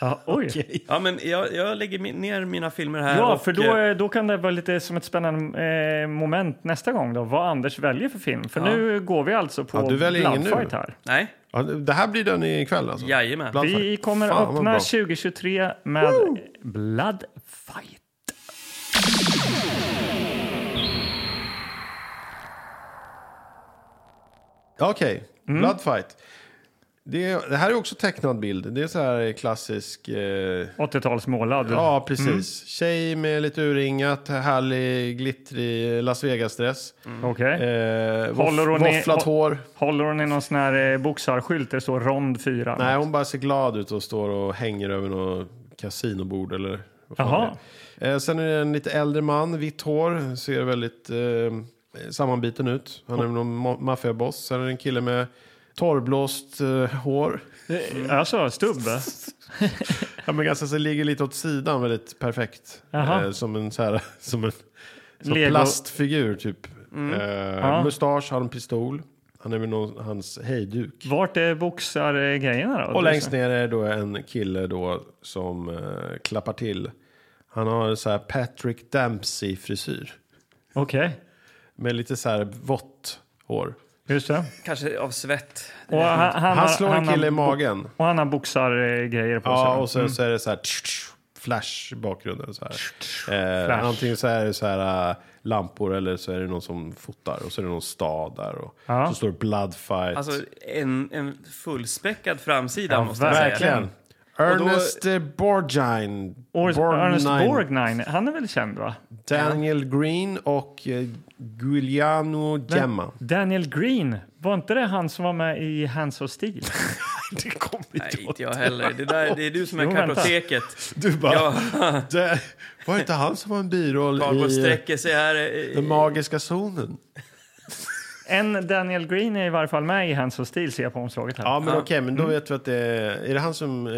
Speaker 2: Ja, oj.
Speaker 1: Ja, men jag, jag lägger mi- ner mina filmer här.
Speaker 2: Ja,
Speaker 1: och,
Speaker 2: för
Speaker 1: eh,
Speaker 2: då, då kan det vara lite som ett spännande eh, moment nästa gång då, vad Anders väljer för film. För nu går vi alltså på
Speaker 3: Ja, du väljer ingen
Speaker 2: Bloodfight
Speaker 3: nu.
Speaker 2: här.
Speaker 1: Nej,
Speaker 3: Ja, det här blir den ikväll alltså?
Speaker 1: Jajamän.
Speaker 3: Bloodfight.
Speaker 2: Vi kommer
Speaker 3: Fan, vad
Speaker 2: öppna
Speaker 3: bra.
Speaker 2: 2023 med Bloodfight.
Speaker 3: Okej,
Speaker 2: Mm.
Speaker 3: Bloodfight. Det, är- det här är också tecknad bild. Det är så här klassisk... Eh,
Speaker 2: 80-talsmålad.
Speaker 3: ja, precis.
Speaker 2: Mm.
Speaker 3: Tjej med lite urringat, härlig, glittrig Las Vegas-dress.
Speaker 2: Okej.
Speaker 3: Eh,
Speaker 2: Håller hon
Speaker 3: våff,
Speaker 2: i-
Speaker 3: våfflat
Speaker 2: hå-
Speaker 3: hår.
Speaker 2: Håller hon i någon sån här eh, boxarskylt där det står rond 4?
Speaker 3: Nej, hon bara ser glad ut och står och hänger över något kasinobord eller vad fan
Speaker 2: Jaha.
Speaker 3: det är. Eh, sen är det en lite äldre man, vitt hår, ser väldigt eh, sammanbiten ut. Han är någon ma- maffiaboss. Sen är det en kille med torrblåst eh, hår.
Speaker 2: Alltså, stubbe?
Speaker 3: Han är ganska så ligger lite åt sidan, väldigt perfekt.
Speaker 2: Jaha.
Speaker 3: Eh, som en så här, [laughs] som en som
Speaker 2: Lego. Mm.
Speaker 3: plastfigur typ. Eh,
Speaker 2: Ja.
Speaker 3: Mustasch, har en pistol. Han är med någon, hans hejduk.
Speaker 2: Vart är boxargrejerna då?
Speaker 3: Och längst ner är då en kille då som eh, klappar till. Han har en så här Patrick Dempsey-frisyr.
Speaker 2: Okej,
Speaker 3: Med lite så här vått hår.
Speaker 2: just det.
Speaker 1: kanske av svett.
Speaker 2: Och han, han,
Speaker 3: Han
Speaker 2: har-
Speaker 3: slår en
Speaker 2: har
Speaker 3: kille i
Speaker 2: bo-
Speaker 3: magen.
Speaker 2: Och han har boxargrejer på
Speaker 3: Ja,
Speaker 2: sig.
Speaker 3: och sen så är det så här tsch, tsch, flash i bakgrunden. Så här. Eh,
Speaker 2: flash.
Speaker 3: Antingen så är det så här eh, lampor eller så är det någon som fotar. Och så är det någon stad där. Och
Speaker 2: Ja.
Speaker 3: så står det Bloodfight.
Speaker 1: Alltså en, en fullspäckad framsida
Speaker 2: Ja,
Speaker 1: måste jag säga.
Speaker 3: Verkligen.
Speaker 1: då-
Speaker 3: Ernest eh, Borgnine.
Speaker 2: Or- Ernest
Speaker 3: Borgnine.
Speaker 2: Borgnine, han är väl känd va?
Speaker 3: Daniel Green och eh, Giuliano
Speaker 2: [laughs]
Speaker 3: Gemma.
Speaker 2: Daniel Green, var inte det han som var med i Hands of Steel?
Speaker 3: Det kommer
Speaker 1: Nej, inte jag heller. Det, där, det är du som är
Speaker 2: Jo, vänta.
Speaker 1: kartoteket.
Speaker 3: Du bara...
Speaker 1: Ja,
Speaker 3: Det, var det inte han som var en biroll
Speaker 1: Karlbo
Speaker 3: [laughs] i eh,
Speaker 1: sträcker sig här. eh,
Speaker 3: Den magiska zonen?
Speaker 2: en Daniel Green är i varje fall med i Hands of Steel ser jag på omslaget här.
Speaker 3: Ja, men okej, men då vet vi att det är... Är det han som... Eh,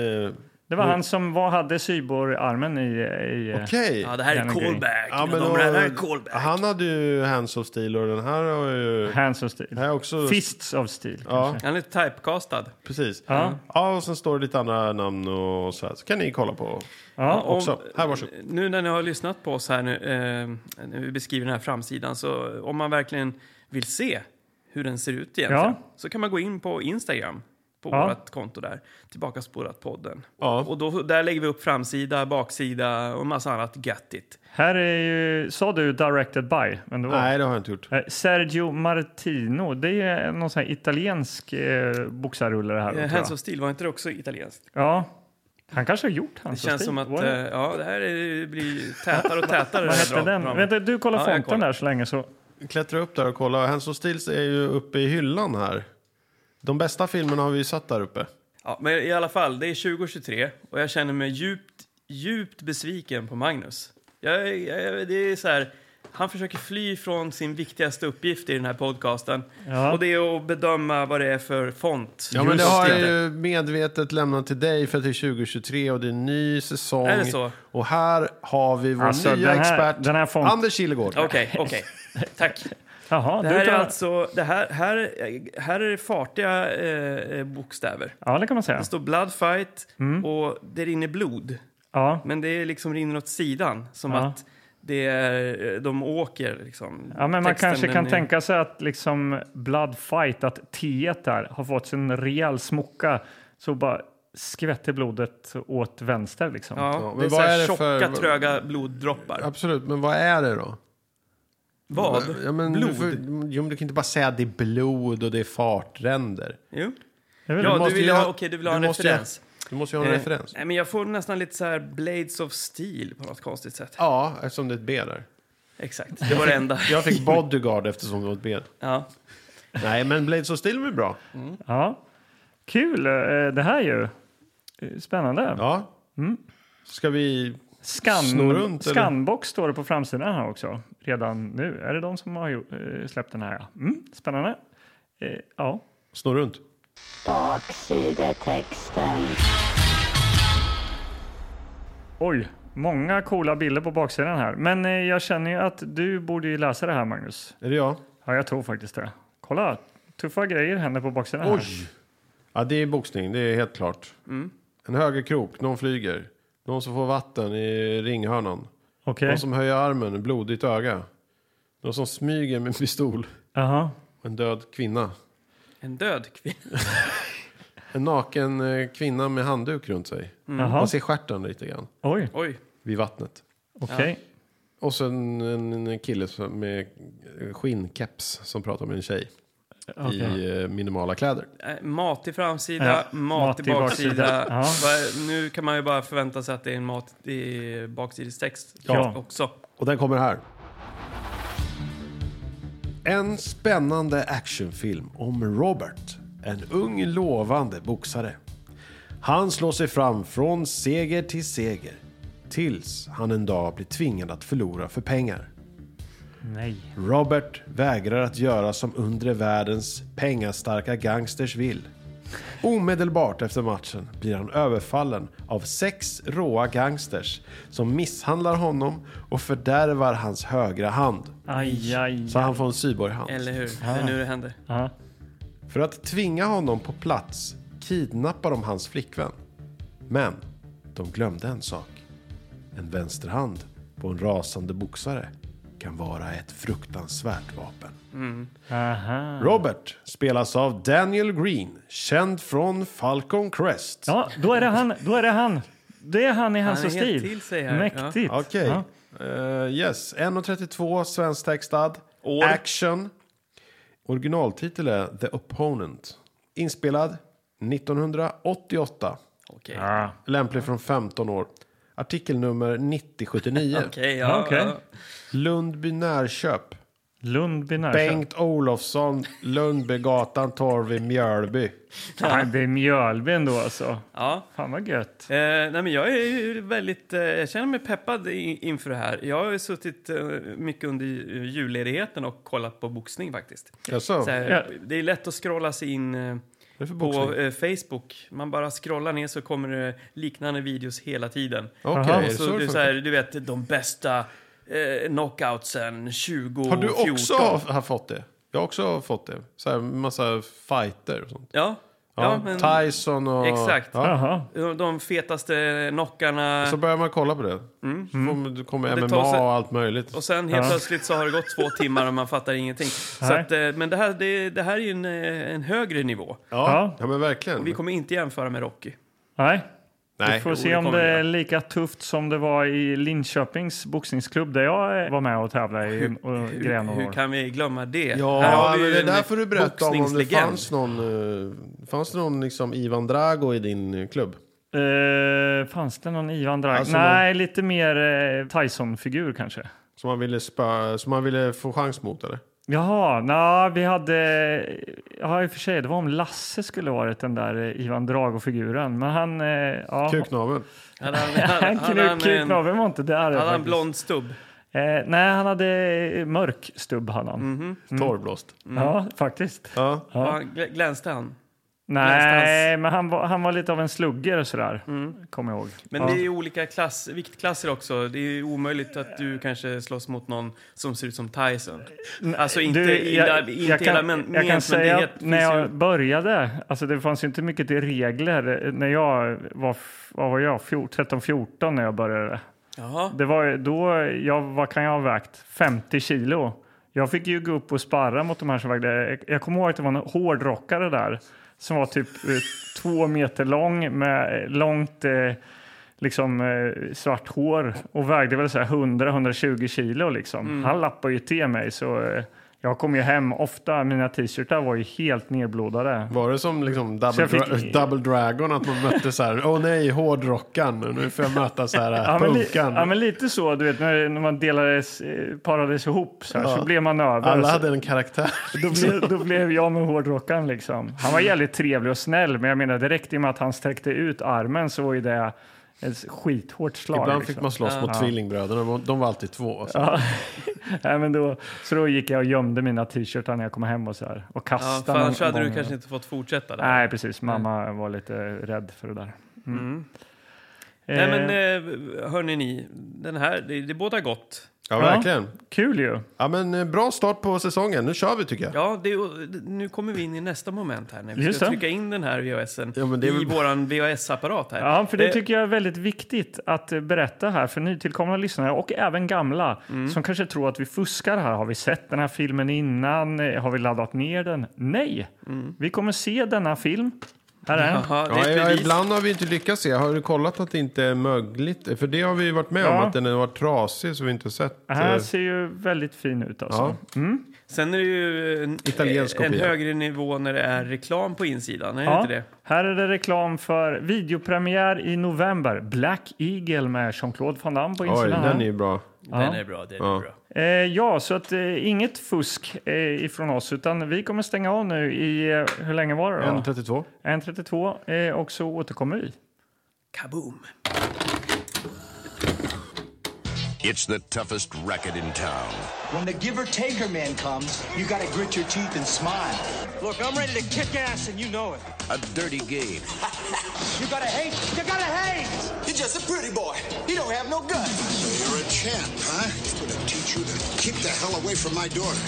Speaker 3: Okej.
Speaker 2: Det var han som var, hade cyborgarmen i... i eh,
Speaker 1: Ja, det här är
Speaker 2: Den är grym.
Speaker 1: callback.
Speaker 3: Ja, men
Speaker 1: de,
Speaker 3: då-
Speaker 1: det här är callback.
Speaker 3: han hade ju Hands of Steel och den här har ju...
Speaker 2: Hands of Steel.
Speaker 3: Den här är också...
Speaker 2: Fists of Steel.
Speaker 3: Ja,
Speaker 1: Han är typecastad.
Speaker 3: precis.
Speaker 2: Ja.
Speaker 3: Ja, och sen står det lite andra namn och så här. Så kan ni kolla på
Speaker 2: Ja,
Speaker 1: Om-
Speaker 3: också. Här, varsågod.
Speaker 1: Nu när ni har lyssnat på oss här nu, eh, när vi beskriver den här framsidan, så om man verkligen vill se hur den ser ut egentligen.
Speaker 2: Ja.
Speaker 1: Så kan man gå in på Instagram, på
Speaker 2: Ja.
Speaker 1: vårt konto där, Tillbaka spårat podden.
Speaker 3: Ja.
Speaker 1: Och då, där lägger vi upp framsida, baksida och en massa annat göttigt.
Speaker 2: Här är ju, sa du directed by? Men det var.
Speaker 3: Nej, det har jag inte gjort.
Speaker 2: Eh, Sergio Martino, det är någon sån här italiensk eh, boxarrulle det här. då,
Speaker 1: Eh,
Speaker 2: tror
Speaker 1: Hands
Speaker 2: jag.
Speaker 1: of Steel, var inte det också italienskt?
Speaker 2: Ja, han kanske har gjort hans
Speaker 1: Det känns som att eh, ja, det här är, blir tätare och tätare.
Speaker 2: [laughs] Vad
Speaker 1: det här
Speaker 2: hette
Speaker 1: dra-
Speaker 2: den?
Speaker 1: dramat.
Speaker 2: Vänta, du kollar
Speaker 1: Ja, jag
Speaker 2: fonten
Speaker 1: kollar.
Speaker 2: där så länge så.
Speaker 3: Klättra upp där och kolla. Hands of Steels är ju uppe i hyllan här. De bästa filmerna har vi ju satt där uppe.
Speaker 1: Ja, men i alla fall, det är 2023 och jag känner mig djupt, djupt besviken på Magnus. Jag, jag, det är så här, han försöker fly från sin viktigaste uppgift i den här podcasten
Speaker 2: Ja.
Speaker 1: och det är att bedöma vad det är för font.
Speaker 3: Ja, men det har jag
Speaker 1: det.
Speaker 3: ju medvetet lämnat till dig för att det är 2023 och det är en ny säsong.
Speaker 1: Är det så?
Speaker 3: Och här har vi vår
Speaker 2: Alltså,
Speaker 3: nya
Speaker 2: den här-
Speaker 3: expert,
Speaker 2: den här font-
Speaker 3: Anders Kilegård.
Speaker 1: Okej, okej. Tack.
Speaker 2: Jaha,
Speaker 1: Det
Speaker 2: du
Speaker 1: här är
Speaker 2: tar...
Speaker 1: alltså, det här, här, här är det fartiga eh, bokstäver.
Speaker 2: Ja, det kan man säga.
Speaker 1: Det står bloodfight
Speaker 2: Mm.
Speaker 1: och det rinner blod.
Speaker 2: Ja.
Speaker 1: Men det är liksom rinner åt sidan, som
Speaker 2: Ja.
Speaker 1: att det är, de åker. Liksom.
Speaker 2: Ja, men man
Speaker 1: Texten,
Speaker 2: kanske
Speaker 1: den
Speaker 2: kan
Speaker 1: är-
Speaker 2: tänka sig att liksom Blood Fight, att T där har fått sin rejäl smocka så bara skvätter blodet åt vänster liksom.
Speaker 1: Ja,
Speaker 3: men
Speaker 1: det är,
Speaker 3: vad
Speaker 1: så här
Speaker 3: är det
Speaker 1: tjocka,
Speaker 3: för-
Speaker 1: tröga bloddroppar.
Speaker 3: Absolut, men vad är det då?
Speaker 1: Vad?
Speaker 3: Ja, men
Speaker 1: Blod?
Speaker 3: Du, får, jo, men du kan inte bara säga att det är blod och det är fartränder.
Speaker 1: Jo.
Speaker 2: Det är väl-
Speaker 1: Ja,
Speaker 3: måste
Speaker 1: du vill
Speaker 3: ju
Speaker 1: ha,
Speaker 3: ha-
Speaker 1: okej, du vill ha
Speaker 3: du
Speaker 1: en
Speaker 3: måste ju ha-
Speaker 1: referens.
Speaker 3: Du måste ju ha en
Speaker 1: Eh,
Speaker 3: referens.
Speaker 1: Nej, men jag får nästan lite så här Blades of Steel på något konstigt sätt.
Speaker 3: Ja, eftersom det är ett B där.
Speaker 1: Exakt, det var det enda.
Speaker 3: Jag fick bodyguard eftersom det var ett B.
Speaker 1: ja.
Speaker 3: Nej, men Blades of Steel är bra.
Speaker 2: Ja. Kul, eh, det här ju. Eh, Spännande.
Speaker 3: Ja. Mm. Ska vi...
Speaker 2: Scan,
Speaker 3: Snor runt, eller?
Speaker 2: Scanbox står det på framsidan här också, redan nu. Är det de som har gjort, eh, släppt den här? ja? Mm, spännande. Eh, ja.
Speaker 3: Snå runt.
Speaker 4: Baksidetexten.
Speaker 2: Oj, många coola bilder på baksidan här. Men eh, jag känner ju att du borde ju läsa det här, Magnus.
Speaker 3: Är det jag?
Speaker 2: Ja, jag tror faktiskt det. Kolla, tuffa grejer händer på baksidan här.
Speaker 3: Oj! Ja, det är boxning, det är helt klart. En högerkrok, någon flyger. Någon som får vatten i ringhörnan.
Speaker 2: Okej.
Speaker 3: Någon som höjer armen, blodigt öga. Någon som smyger med pistol.
Speaker 2: Jaha.
Speaker 3: Och En död kvinna.
Speaker 1: En död kvinna.
Speaker 3: En naken eh, kvinna med handduk runt sig.
Speaker 1: Mm,
Speaker 2: Jaha.
Speaker 3: Man ser stjärten lite grann
Speaker 2: Oj,
Speaker 1: Oj.
Speaker 3: vid vattnet.
Speaker 2: okej.
Speaker 3: Och sen en, en kille som- med eh, skinnkeps som pratar med en tjej
Speaker 2: Okej.
Speaker 3: i eh, minimala kläder.
Speaker 1: Eh, Mat i framsida,
Speaker 2: Ja,
Speaker 1: mat, i baksida.
Speaker 2: Ja.
Speaker 1: Vad- Nu kan man ju bara förvänta sig att det är en mat i baksidestext
Speaker 2: Ja.
Speaker 1: också.
Speaker 3: Och den kommer här. En spännande actionfilm om Robert, en ung lovande boxare. Han slår sig fram från seger till seger. Tills han en dag blir tvingad att förlora för pengar.
Speaker 2: Nej.
Speaker 3: Robert vägrar att göra som undre världens pengastarka gangsters vill. Omedelbart efter matchen blir han överfallen av sex råa gangsters som misshandlar honom och fördärvar hans högra hand.
Speaker 2: Aj, aj.
Speaker 3: Så han får en cyborghand.
Speaker 1: Eller hur? Det är nu det händer.
Speaker 2: Ja.
Speaker 3: För att tvinga honom på plats kidnappar de hans flickvän. Men de glömde en sak. En vänsterhand på en rasande boxare kan vara ett fruktansvärt vapen.
Speaker 2: Aha.
Speaker 3: Robert spelas av Daniel Green, känd från Falcon Crest.
Speaker 2: Ja, då är det han. Då är det han. Det är han i hans
Speaker 1: Han är helt
Speaker 2: stil.
Speaker 1: till sig här, ja.
Speaker 2: Mäktigt.
Speaker 3: Okej.
Speaker 2: Ja.
Speaker 3: Eh, yes, 1.32, svensktextad.
Speaker 1: År.
Speaker 3: Action. Originaltitel är The Opponent. Inspelad 1988.
Speaker 1: Okej.
Speaker 2: Ja.
Speaker 3: Lämplig från 15 år. Artikelnummer 9079.
Speaker 1: [laughs] Okej, ja,
Speaker 2: Okej.
Speaker 1: ja.
Speaker 3: Lundby Närköp.
Speaker 2: Lundby Närköp.
Speaker 3: Bengt Olofsson, Lundbygatan, Torv i Mjölby.
Speaker 2: Ja, det är Mjölby ändå alltså.
Speaker 1: ja.
Speaker 2: Fan vad gött.
Speaker 1: Eh, nej men jag är ju väldigt, eh, jag känner mig peppad i, inför det här. Jag har ju suttit eh, mycket under ju- julledigheten och kollat på boxning faktiskt.
Speaker 3: Jaså?
Speaker 1: Så
Speaker 3: Vad
Speaker 1: här,
Speaker 2: Ja.
Speaker 1: Det är lätt att scrolla sig in eh,
Speaker 3: är det för boxning?
Speaker 1: på eh, Facebook. Man bara scrollar ner så kommer det liknande videos hela tiden.
Speaker 3: Okej,
Speaker 2: Aha.
Speaker 3: är det
Speaker 1: Så,
Speaker 3: så det
Speaker 1: du, så
Speaker 3: funkar?
Speaker 1: här, du vet, de bästa eh, knockoutsen 2014.
Speaker 3: Har du också har fått det? Jag har också fått det. Så här massa fighter och sånt.
Speaker 1: Ja. Ja, men-
Speaker 3: Tyson och...
Speaker 1: Exakt.
Speaker 3: Ja.
Speaker 2: Jaha.
Speaker 1: De- De fetaste knockarna.
Speaker 3: Så börjar man kolla på det. Så får- då kommer
Speaker 1: Mm. det tar
Speaker 3: MMA
Speaker 1: sig-
Speaker 3: och allt möjligt.
Speaker 1: Och sen helt
Speaker 2: Ja.
Speaker 1: plötsligt så har det gått två timmar och man fattar ingenting. Så
Speaker 2: Nej.
Speaker 1: att, eh, men det här, det, det här är ju en, eh, en högre nivå.
Speaker 2: Ja.
Speaker 3: Ja, ja men verkligen.
Speaker 1: Vi kommer inte jämföra med Rocky.
Speaker 2: Nej, vi
Speaker 3: Nej.
Speaker 2: får se
Speaker 1: det
Speaker 2: om
Speaker 1: kommer
Speaker 2: det
Speaker 1: jag.
Speaker 2: är lika tufft som det var i Linköpings boxningsklubb där jag eh, var med och tävlade i och gren och
Speaker 1: Hur
Speaker 2: år.
Speaker 1: kan vi glömma det? Här
Speaker 3: Ja,
Speaker 1: har vi
Speaker 3: men
Speaker 1: ju
Speaker 3: det är
Speaker 1: en
Speaker 3: därför du berättar om om det
Speaker 1: boxningslegend.
Speaker 3: fanns någon, eh, fanns det någon liksom Ivan Drago i din eh, klubb.
Speaker 2: Eh, fanns det någon Ivan Drag?
Speaker 3: Alltså
Speaker 2: Nej, lite mer eh, Tyson-figur kanske.
Speaker 3: Som man ville, spö, som man ville få chans mot eller?
Speaker 2: Jaha, na, vi hade... Ja, i och för sig, det var om Lasse skulle varit den där eh, Ivan Drago-figuren. Men han... Eh, ja,
Speaker 3: Kuknaveln.
Speaker 1: Hade han, hade,
Speaker 2: [laughs] han
Speaker 1: hade han, en, hade
Speaker 2: Kuknaven var inte där.
Speaker 1: han
Speaker 2: faktiskt.
Speaker 1: blond stubb?
Speaker 2: Eh, nej, han hade eh, mörk stubb. hade Han.
Speaker 1: Mhm,
Speaker 3: Torrblåst.
Speaker 2: Ja, faktiskt.
Speaker 3: Ja.
Speaker 1: Ja. han- glä- Glänste han?
Speaker 2: Nej, men han var, han var lite av en slugger sådär, kommer jag ihåg.
Speaker 1: Mm. Men
Speaker 2: ja.
Speaker 1: det är ju olika klass, viktklasser också. Det är ju omöjligt att du kanske slåss mot någon som ser ut som Tyson. Alltså inte illa, inte illa men,
Speaker 2: jag kan
Speaker 1: ment, men det
Speaker 2: säga
Speaker 1: är-
Speaker 2: att
Speaker 1: finns
Speaker 2: när
Speaker 1: ju-
Speaker 2: jag började, alltså det fanns ju inte mycket till regler eh, när jag var, f- vad var jag, 13-14 när jag började.
Speaker 1: Jaha.
Speaker 2: Det var ju då, jag, vad kan jag ha vägt? 50 kilo. Jag fick ju gå upp och sparra mot de här som vägde. Jag kommer ihåg att det var en hårdrockare där som var typ eh, två meter lång med eh, långt eh, liksom, eh, svart hår och vägde väl så här 100-120 kilo. Liksom.
Speaker 3: Mm.
Speaker 2: Han lappade ju till mig så eh, jag kom ju hem ofta. Mina t-shirtar var ju helt nedblodade.
Speaker 3: Var det som liksom
Speaker 2: Så
Speaker 3: double,
Speaker 2: jag fick-
Speaker 3: dra- double Dragon att man mötte så här, åh nej, hårdrockaren, nu får jag möta så här eh,
Speaker 2: [laughs] Ja men, li,
Speaker 3: punkan.
Speaker 2: ja men lite så, du vet när, när man delades, eh, parades ihop så, här,
Speaker 3: Ja.
Speaker 2: så blev man över.
Speaker 3: Alla
Speaker 2: Så-
Speaker 3: hade
Speaker 2: [laughs]
Speaker 3: en karaktär.
Speaker 2: Då blev, då blev jag med hårdrockaren liksom. Han var jävligt trevlig och snäll, men jag menar direkt i och med att han sträckte ut armen så var ju det ett skithårt slag.
Speaker 3: Ibland
Speaker 2: liksom.
Speaker 3: fick man slåss mot tvillingbröderna, de- de var alltid två. alltså. Så.
Speaker 2: Ja. [laughs] Nej, men då, så då gick jag och gömde mina t-shirtar när jag kom hem och så här. Och
Speaker 1: Ja,
Speaker 2: kastade
Speaker 1: för
Speaker 2: någon
Speaker 1: annars hade du
Speaker 2: gång.
Speaker 1: kanske inte fått fortsätta där.
Speaker 2: Nej, precis. Mamma var lite rädd för det där. Mm.
Speaker 1: Nej,
Speaker 2: Eh,
Speaker 1: men eh, hörni ni, den här, det, det båda gott.
Speaker 3: Ja,
Speaker 2: Ja.
Speaker 3: verkligen.
Speaker 2: Kul ju.
Speaker 3: Ja, men eh, bra start på säsongen. Nu kör vi tycker jag.
Speaker 1: Ja, det, nu kommer vi in i nästa moment här när vi
Speaker 2: Just
Speaker 1: ska
Speaker 2: det.
Speaker 1: trycka in den här VHSen
Speaker 3: Ja, men det är
Speaker 1: i
Speaker 3: väl-
Speaker 1: våran VHS-apparat här.
Speaker 2: Ja, för det
Speaker 1: Eh,
Speaker 2: tycker jag är väldigt viktigt att eh, berätta här för nytillkomna lyssnare och även gamla
Speaker 3: Mm.
Speaker 2: som kanske tror att vi fuskar här. Har vi sett den här filmen innan? Eh, Har vi laddat ner den? Nej, vi kommer se denna film. Här är den.
Speaker 1: Jaha, det
Speaker 3: Mm. Ja,
Speaker 1: är
Speaker 3: ja,
Speaker 1: ett bevis.
Speaker 3: ibland har vi inte lyckats se. Har du kollat att det inte är mögligt? För det har vi ju varit med om,
Speaker 2: Ja.
Speaker 3: att den har varit trasig så vi inte har sett.
Speaker 2: Det här
Speaker 3: eh,
Speaker 2: ser ju väldigt fin ut alltså.
Speaker 3: Ja.
Speaker 1: Sen är det ju en,
Speaker 3: Italiensk
Speaker 1: en
Speaker 3: kopia.
Speaker 1: högre nivå när det är reklam på insidan, är det
Speaker 2: Ja,
Speaker 1: inte det?
Speaker 2: Här är det reklam för videopremiär i november. Black Eagle med Jean-Claude Van Damme på
Speaker 3: Oj,
Speaker 2: insidan. här.
Speaker 3: den är ju bra.
Speaker 1: Den är bra, den är
Speaker 3: Ja.
Speaker 1: bra.
Speaker 2: Eh, ja, så att eh, inget fusk eh, ifrån oss utan vi kommer stänga av nu i, eh, hur länge var det då?
Speaker 3: 1.32.
Speaker 2: 1.32 eh, och så återkommer vi.
Speaker 1: Kaboom!
Speaker 4: It's the toughest racket in town.
Speaker 5: When the giver taker man comes, you gotta grit your teeth and smile.
Speaker 6: Look, I'm ready to kick ass, and you know it.
Speaker 4: A dirty game.
Speaker 5: You gotta hate, you gotta hate! You're just a pretty boy. You don't have no guts.
Speaker 7: You're a champ, huh? I'm gonna teach you to keep the hell away from my daughter.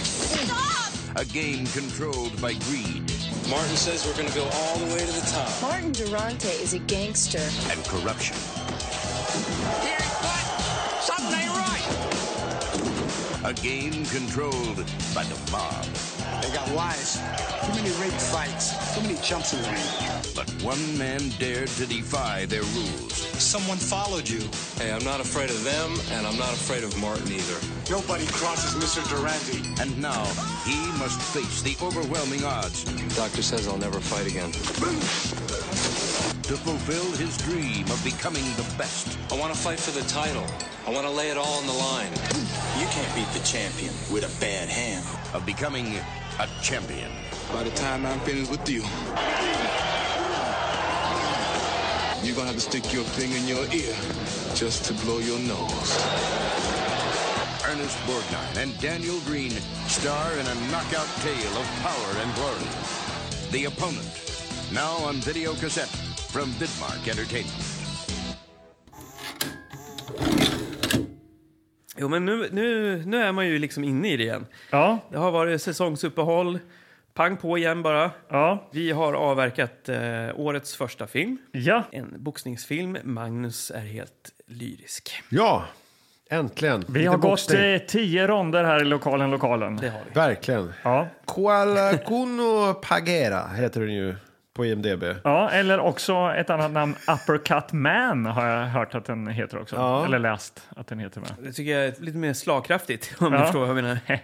Speaker 4: A game controlled by greed
Speaker 6: Martin says we're going to go all the way to the top.
Speaker 8: Martin Durante is a gangster.
Speaker 4: and corruption.
Speaker 6: Here's what? Something ain't right.
Speaker 4: A game controlled by the mob.
Speaker 5: They got wives. Too many rape fights. Too many chumps in the ring.
Speaker 4: But one man dared to defy their rules.
Speaker 5: Someone followed you.
Speaker 6: Hey, I'm not afraid of them, and I'm not afraid of Martin either.
Speaker 7: Nobody crosses Mr. Durante.
Speaker 4: And now he must face the overwhelming odds
Speaker 6: Doctor says I'll never fight again.
Speaker 4: to fulfill his dream of becoming the best.
Speaker 6: I want to fight for the title. I want to lay it all on the line.
Speaker 5: You can't beat the champion with a bad hand.
Speaker 4: Of becoming a champion.
Speaker 9: By the time I'm finished with you, you're gonna have to stick your thing in your ear just to blow your nose.
Speaker 4: Ernest Borgnine and Daniel Green star in a knockout tale of power and glory. The Opponent, now on video cassette from Vidmark Entertainment.
Speaker 1: Jo, men nu, nu, nu är man ju liksom inne i det igen.
Speaker 2: Ja,
Speaker 1: Det har varit säsongsuppehåll, Pang på igen bara.
Speaker 2: Ja,
Speaker 1: Vi har avverkat eh, årets första film.
Speaker 2: ja.
Speaker 1: En boxningsfilm. Magnus är helt lyrisk.
Speaker 3: Ja, äntligen.
Speaker 2: vi
Speaker 3: Lite
Speaker 2: har gått
Speaker 3: boxning.
Speaker 2: eh, tio ronder här i lokalen, lokalen.
Speaker 1: Det har vi.
Speaker 3: Verkligen.
Speaker 2: Ja.
Speaker 3: Kuala Kuno Pagera heter den ju på IMDB.
Speaker 2: ja, eller också ett annat namn, Uppercut Man har jag hört att den heter också.
Speaker 3: Ja.
Speaker 2: Eller läst att den heter med.
Speaker 1: Det tycker jag är lite mer slagkraftigt, [laughs] om
Speaker 2: Ja.
Speaker 1: du förstår vad jag menar.
Speaker 2: [laughs]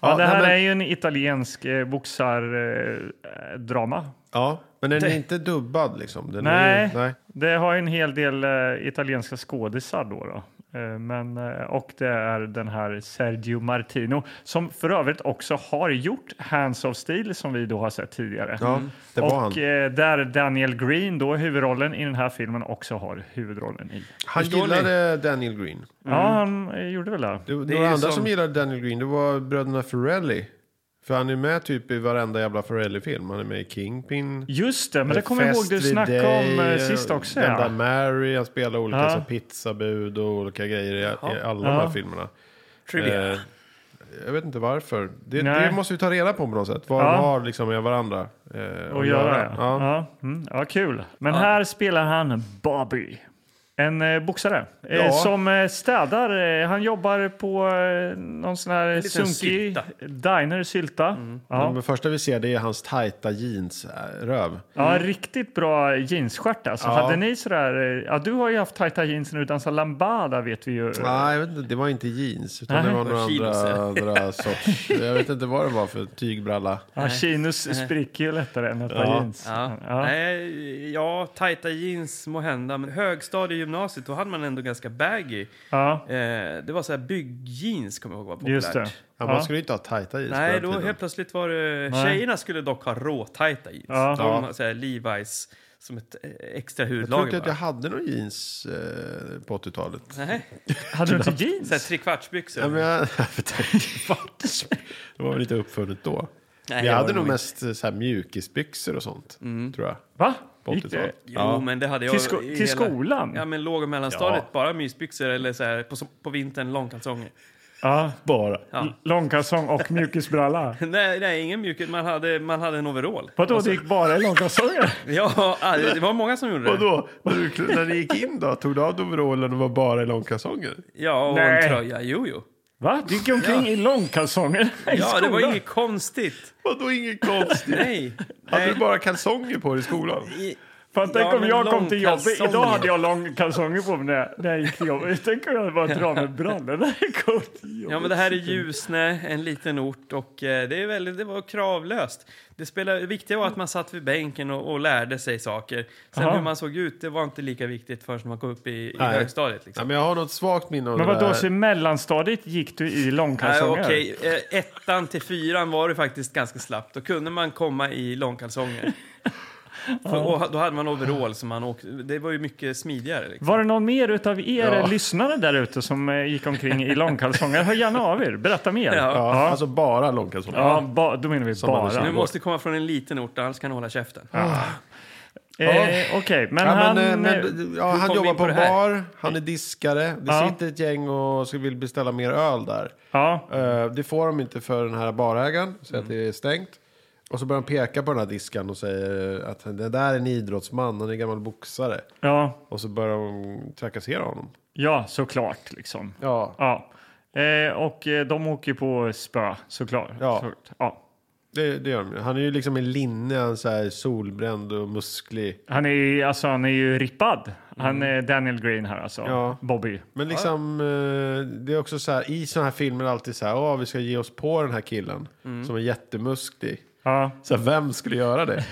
Speaker 2: Ja, det
Speaker 3: nej,
Speaker 2: här
Speaker 3: men-
Speaker 2: är ju en italiensk eh, boxardrama. Eh, drama.
Speaker 3: Ja, men den är inte dubbad liksom. Den Är
Speaker 2: Nej,
Speaker 3: ju, nej.
Speaker 2: det har ju en hel del eh, italienska skådisar då. då. Eh, Men, eh, och det är den här Sergio Martino som för övrigt också har gjort Hands of Steel som vi då har sett tidigare.
Speaker 3: Ja,
Speaker 1: Mm.
Speaker 3: det var
Speaker 2: och
Speaker 3: han.
Speaker 2: eh, där Daniel Green då huvudrollen i den här filmen också har huvudrollen i.
Speaker 3: Han
Speaker 1: Förstår ni?
Speaker 3: gillade Daniel Green.
Speaker 2: Ja,
Speaker 3: Mm.
Speaker 2: han eh, gjorde väl det.
Speaker 3: Det, det,
Speaker 1: Det är
Speaker 3: var
Speaker 1: ju
Speaker 3: andra som...
Speaker 1: som-
Speaker 3: gillade Daniel Green, det var bröderna Ferrelli. För han är med typ i varenda jävla Ferrelli-film. Han är med i Kingpin.
Speaker 2: Just det, men det kommer jag ihåg
Speaker 3: Fest
Speaker 2: du
Speaker 3: vid
Speaker 2: snackade
Speaker 3: dig,
Speaker 2: om eh, sist också.
Speaker 3: Vända
Speaker 2: Ja.
Speaker 3: Mary, han spelar olika
Speaker 2: Ja.
Speaker 3: så, pizzabud och olika grejer i, i alla de
Speaker 2: Ja.
Speaker 3: här filmerna.
Speaker 1: Trivia.
Speaker 3: Eh, jag vet inte varför. Det,
Speaker 2: Nej.
Speaker 3: det måste vi ta reda på på något sätt. Vad
Speaker 2: Ja.
Speaker 3: de har liksom med varandra eh, att,
Speaker 2: att göra. Ja. Ja. Mm. ja, kul. Men här spelar han Bobby. En eh, boxare eh,
Speaker 3: Ja.
Speaker 2: som eh, städar. Eh, han jobbar på eh, någon sån här
Speaker 1: liten
Speaker 2: sunkig
Speaker 1: sylta. Mm.
Speaker 2: diner, sylta. Ja.
Speaker 3: Men det första vi ser det är hans tajta jeansröv.
Speaker 2: ja, riktigt bra jeansstjärt alltså.
Speaker 3: Mm. Ja.
Speaker 2: Hade ni sådär, eh, ja du har ju haft tajta jeans nu, dansa lambada vet vi ju.
Speaker 3: Nej, jag vet inte, det var inte jeans, utan det var några
Speaker 1: Chinos,
Speaker 3: andra, andra sorts. Jag vet inte vad det var för tygbralla.
Speaker 2: Ja, chinos spricker ju lättare än ett par jeans.
Speaker 1: Ja.
Speaker 2: Ja.
Speaker 1: Nej, ja, tajta jeans må hända, men högstadiegymnasiet, då hade man ändå ganska baggy.
Speaker 2: Ja.
Speaker 1: Eh, det var så här byggjeans, kommer jag ihåg var populärt.
Speaker 2: Just det.
Speaker 3: Ja,
Speaker 2: Ja.
Speaker 3: Man skulle ju inte ha tajta jeans på
Speaker 1: Nej,
Speaker 3: den
Speaker 1: då
Speaker 3: tiden.
Speaker 1: helt plötsligt var det... Tjejerna skulle dock ha råtajta jeans.
Speaker 2: Ja.
Speaker 1: De har så här Levi's som ett eh, extra
Speaker 3: Jag tror inte
Speaker 1: hudlager
Speaker 3: att jag
Speaker 1: bara.
Speaker 3: hade några jeans eh, på 80-talet.
Speaker 1: Nej,
Speaker 2: Hade du inte jeans?
Speaker 1: så här trekvartsbyxor.
Speaker 3: Ja, men jag, [laughs] det var väl lite uppfunnet då.
Speaker 1: Nej,
Speaker 3: Vi
Speaker 1: det var
Speaker 3: hade
Speaker 1: det
Speaker 3: nog
Speaker 1: nog Mm.
Speaker 3: mest eh, så här, mjukisbyxor och sånt, tror jag.
Speaker 2: Va?
Speaker 3: På
Speaker 2: Gick
Speaker 3: 80-talet.
Speaker 2: det?
Speaker 1: Jo, men det hade jag
Speaker 2: Till, sko-
Speaker 1: i
Speaker 2: till skolan?
Speaker 1: Ja, men låg och mellanstadiet, bara mysbyxor eller så här på, på vintern långkalsonger.
Speaker 2: Ja.
Speaker 3: Bara.
Speaker 2: L- Långkalsong och mjukisbralla.
Speaker 1: [laughs] Nej, nej, ingen mjukis. Man hade, man hade en overall.
Speaker 2: Vadå, det gick bara i långkalsonger?
Speaker 1: [laughs] Ja, ah, det var många som gjorde
Speaker 3: Och
Speaker 1: det.
Speaker 3: då, när du, när ni gick in då, tog du av dig overallen och var bara i långkalsonger?
Speaker 1: Ja, och
Speaker 2: Nej.
Speaker 1: en tröja. Jo, jo.
Speaker 2: Va? Du gick omkring i långkalsonger i
Speaker 1: Ja, det var
Speaker 2: skolan?
Speaker 1: inget konstigt.
Speaker 3: Vadå inget konstigt?
Speaker 1: Nej.
Speaker 3: Hade
Speaker 1: nej.
Speaker 3: du bara kalsonger på dig i skolan?
Speaker 1: I-
Speaker 2: Fan, tänk
Speaker 1: Ja,
Speaker 2: om
Speaker 1: men
Speaker 2: jag kom till jobbet.
Speaker 1: långkalsonger.
Speaker 2: Idag hade jag långkalsonger på mig när jag, när jag gick till jobbet. Tänk om jag bara drar med brallorna när jag kom till jobbet.
Speaker 1: Ja, men det här är Ljusne, en liten ort, och eh, det, är väldigt, det var kravlöst. Det, spelade, det viktiga var att man satt vid bänken och, och lärde sig saker. Sen
Speaker 2: Aha.
Speaker 1: hur man såg ut, det var inte lika viktigt förrän man kom upp i, i
Speaker 3: Nej.
Speaker 1: högstadiet.
Speaker 3: Ja,
Speaker 1: Liksom.
Speaker 3: men jag har något svagt minne av
Speaker 2: Men
Speaker 3: det
Speaker 2: vadå,
Speaker 3: där.
Speaker 2: så i mellanstadiet gick du i
Speaker 1: Nej,
Speaker 2: långkalsonger?
Speaker 1: okej. Eh, Ettan till fyran var det faktiskt ganska slappt. Då kunde man komma i
Speaker 2: [laughs]
Speaker 1: långkalsonger. För, och, då hade man overall, som man åkte, det var ju mycket smidigare. Liksom.
Speaker 2: Var det någon mer utav er
Speaker 3: Ja.
Speaker 2: lyssnare där ute som eh, gick omkring i långkalsonger? Hör gärna av er, berätta mer.
Speaker 1: Ja.
Speaker 3: Ja,
Speaker 2: Ja.
Speaker 3: Alltså bara långkalsonger.
Speaker 2: Ja, ba, då menar vi
Speaker 3: hade
Speaker 2: bara.
Speaker 3: känt.
Speaker 1: Du
Speaker 3: Ja.
Speaker 1: måste komma från en liten ort, annars kan du hålla käften.
Speaker 2: Eh, Okej, men
Speaker 3: Ja,
Speaker 2: han...
Speaker 3: men, eh, men, ja, han
Speaker 1: vi in
Speaker 3: jobbar
Speaker 1: på
Speaker 3: på
Speaker 1: det här?
Speaker 3: bar, han är diskare. Det
Speaker 2: Ja.
Speaker 3: sitter ett gäng och ska- vill beställa mer öl där.
Speaker 2: ja.
Speaker 3: Eh, Det får de inte för den här barägaren, så att det är stängt. Och så börjar de peka på den här diskan och säger att det där är en idrottsman, han är gammal boxare.
Speaker 2: Ja,
Speaker 3: Och så börjar de trakassera honom.
Speaker 2: ja såklart. Liksom.
Speaker 3: Ja,
Speaker 2: Ja. Eh, och eh, de åker ju på spö, såklart.
Speaker 3: Ja.
Speaker 2: Såklart. ja.
Speaker 3: det, det gör de ju. Han är ju liksom i linne, han är så här solbränd och musklig.
Speaker 2: Han, är, ju- alltså, han är ju rippad. Han är Daniel Green här alltså.
Speaker 3: Mm. Ja.
Speaker 2: Bobby.
Speaker 3: Men liksom, eh, det är också så här, i sådana här filmer är det alltid så här, åh vi ska ge oss på den här killen som är jättemusklig.
Speaker 2: Ja.
Speaker 3: Så här, vem skulle göra
Speaker 2: [laughs]
Speaker 3: det?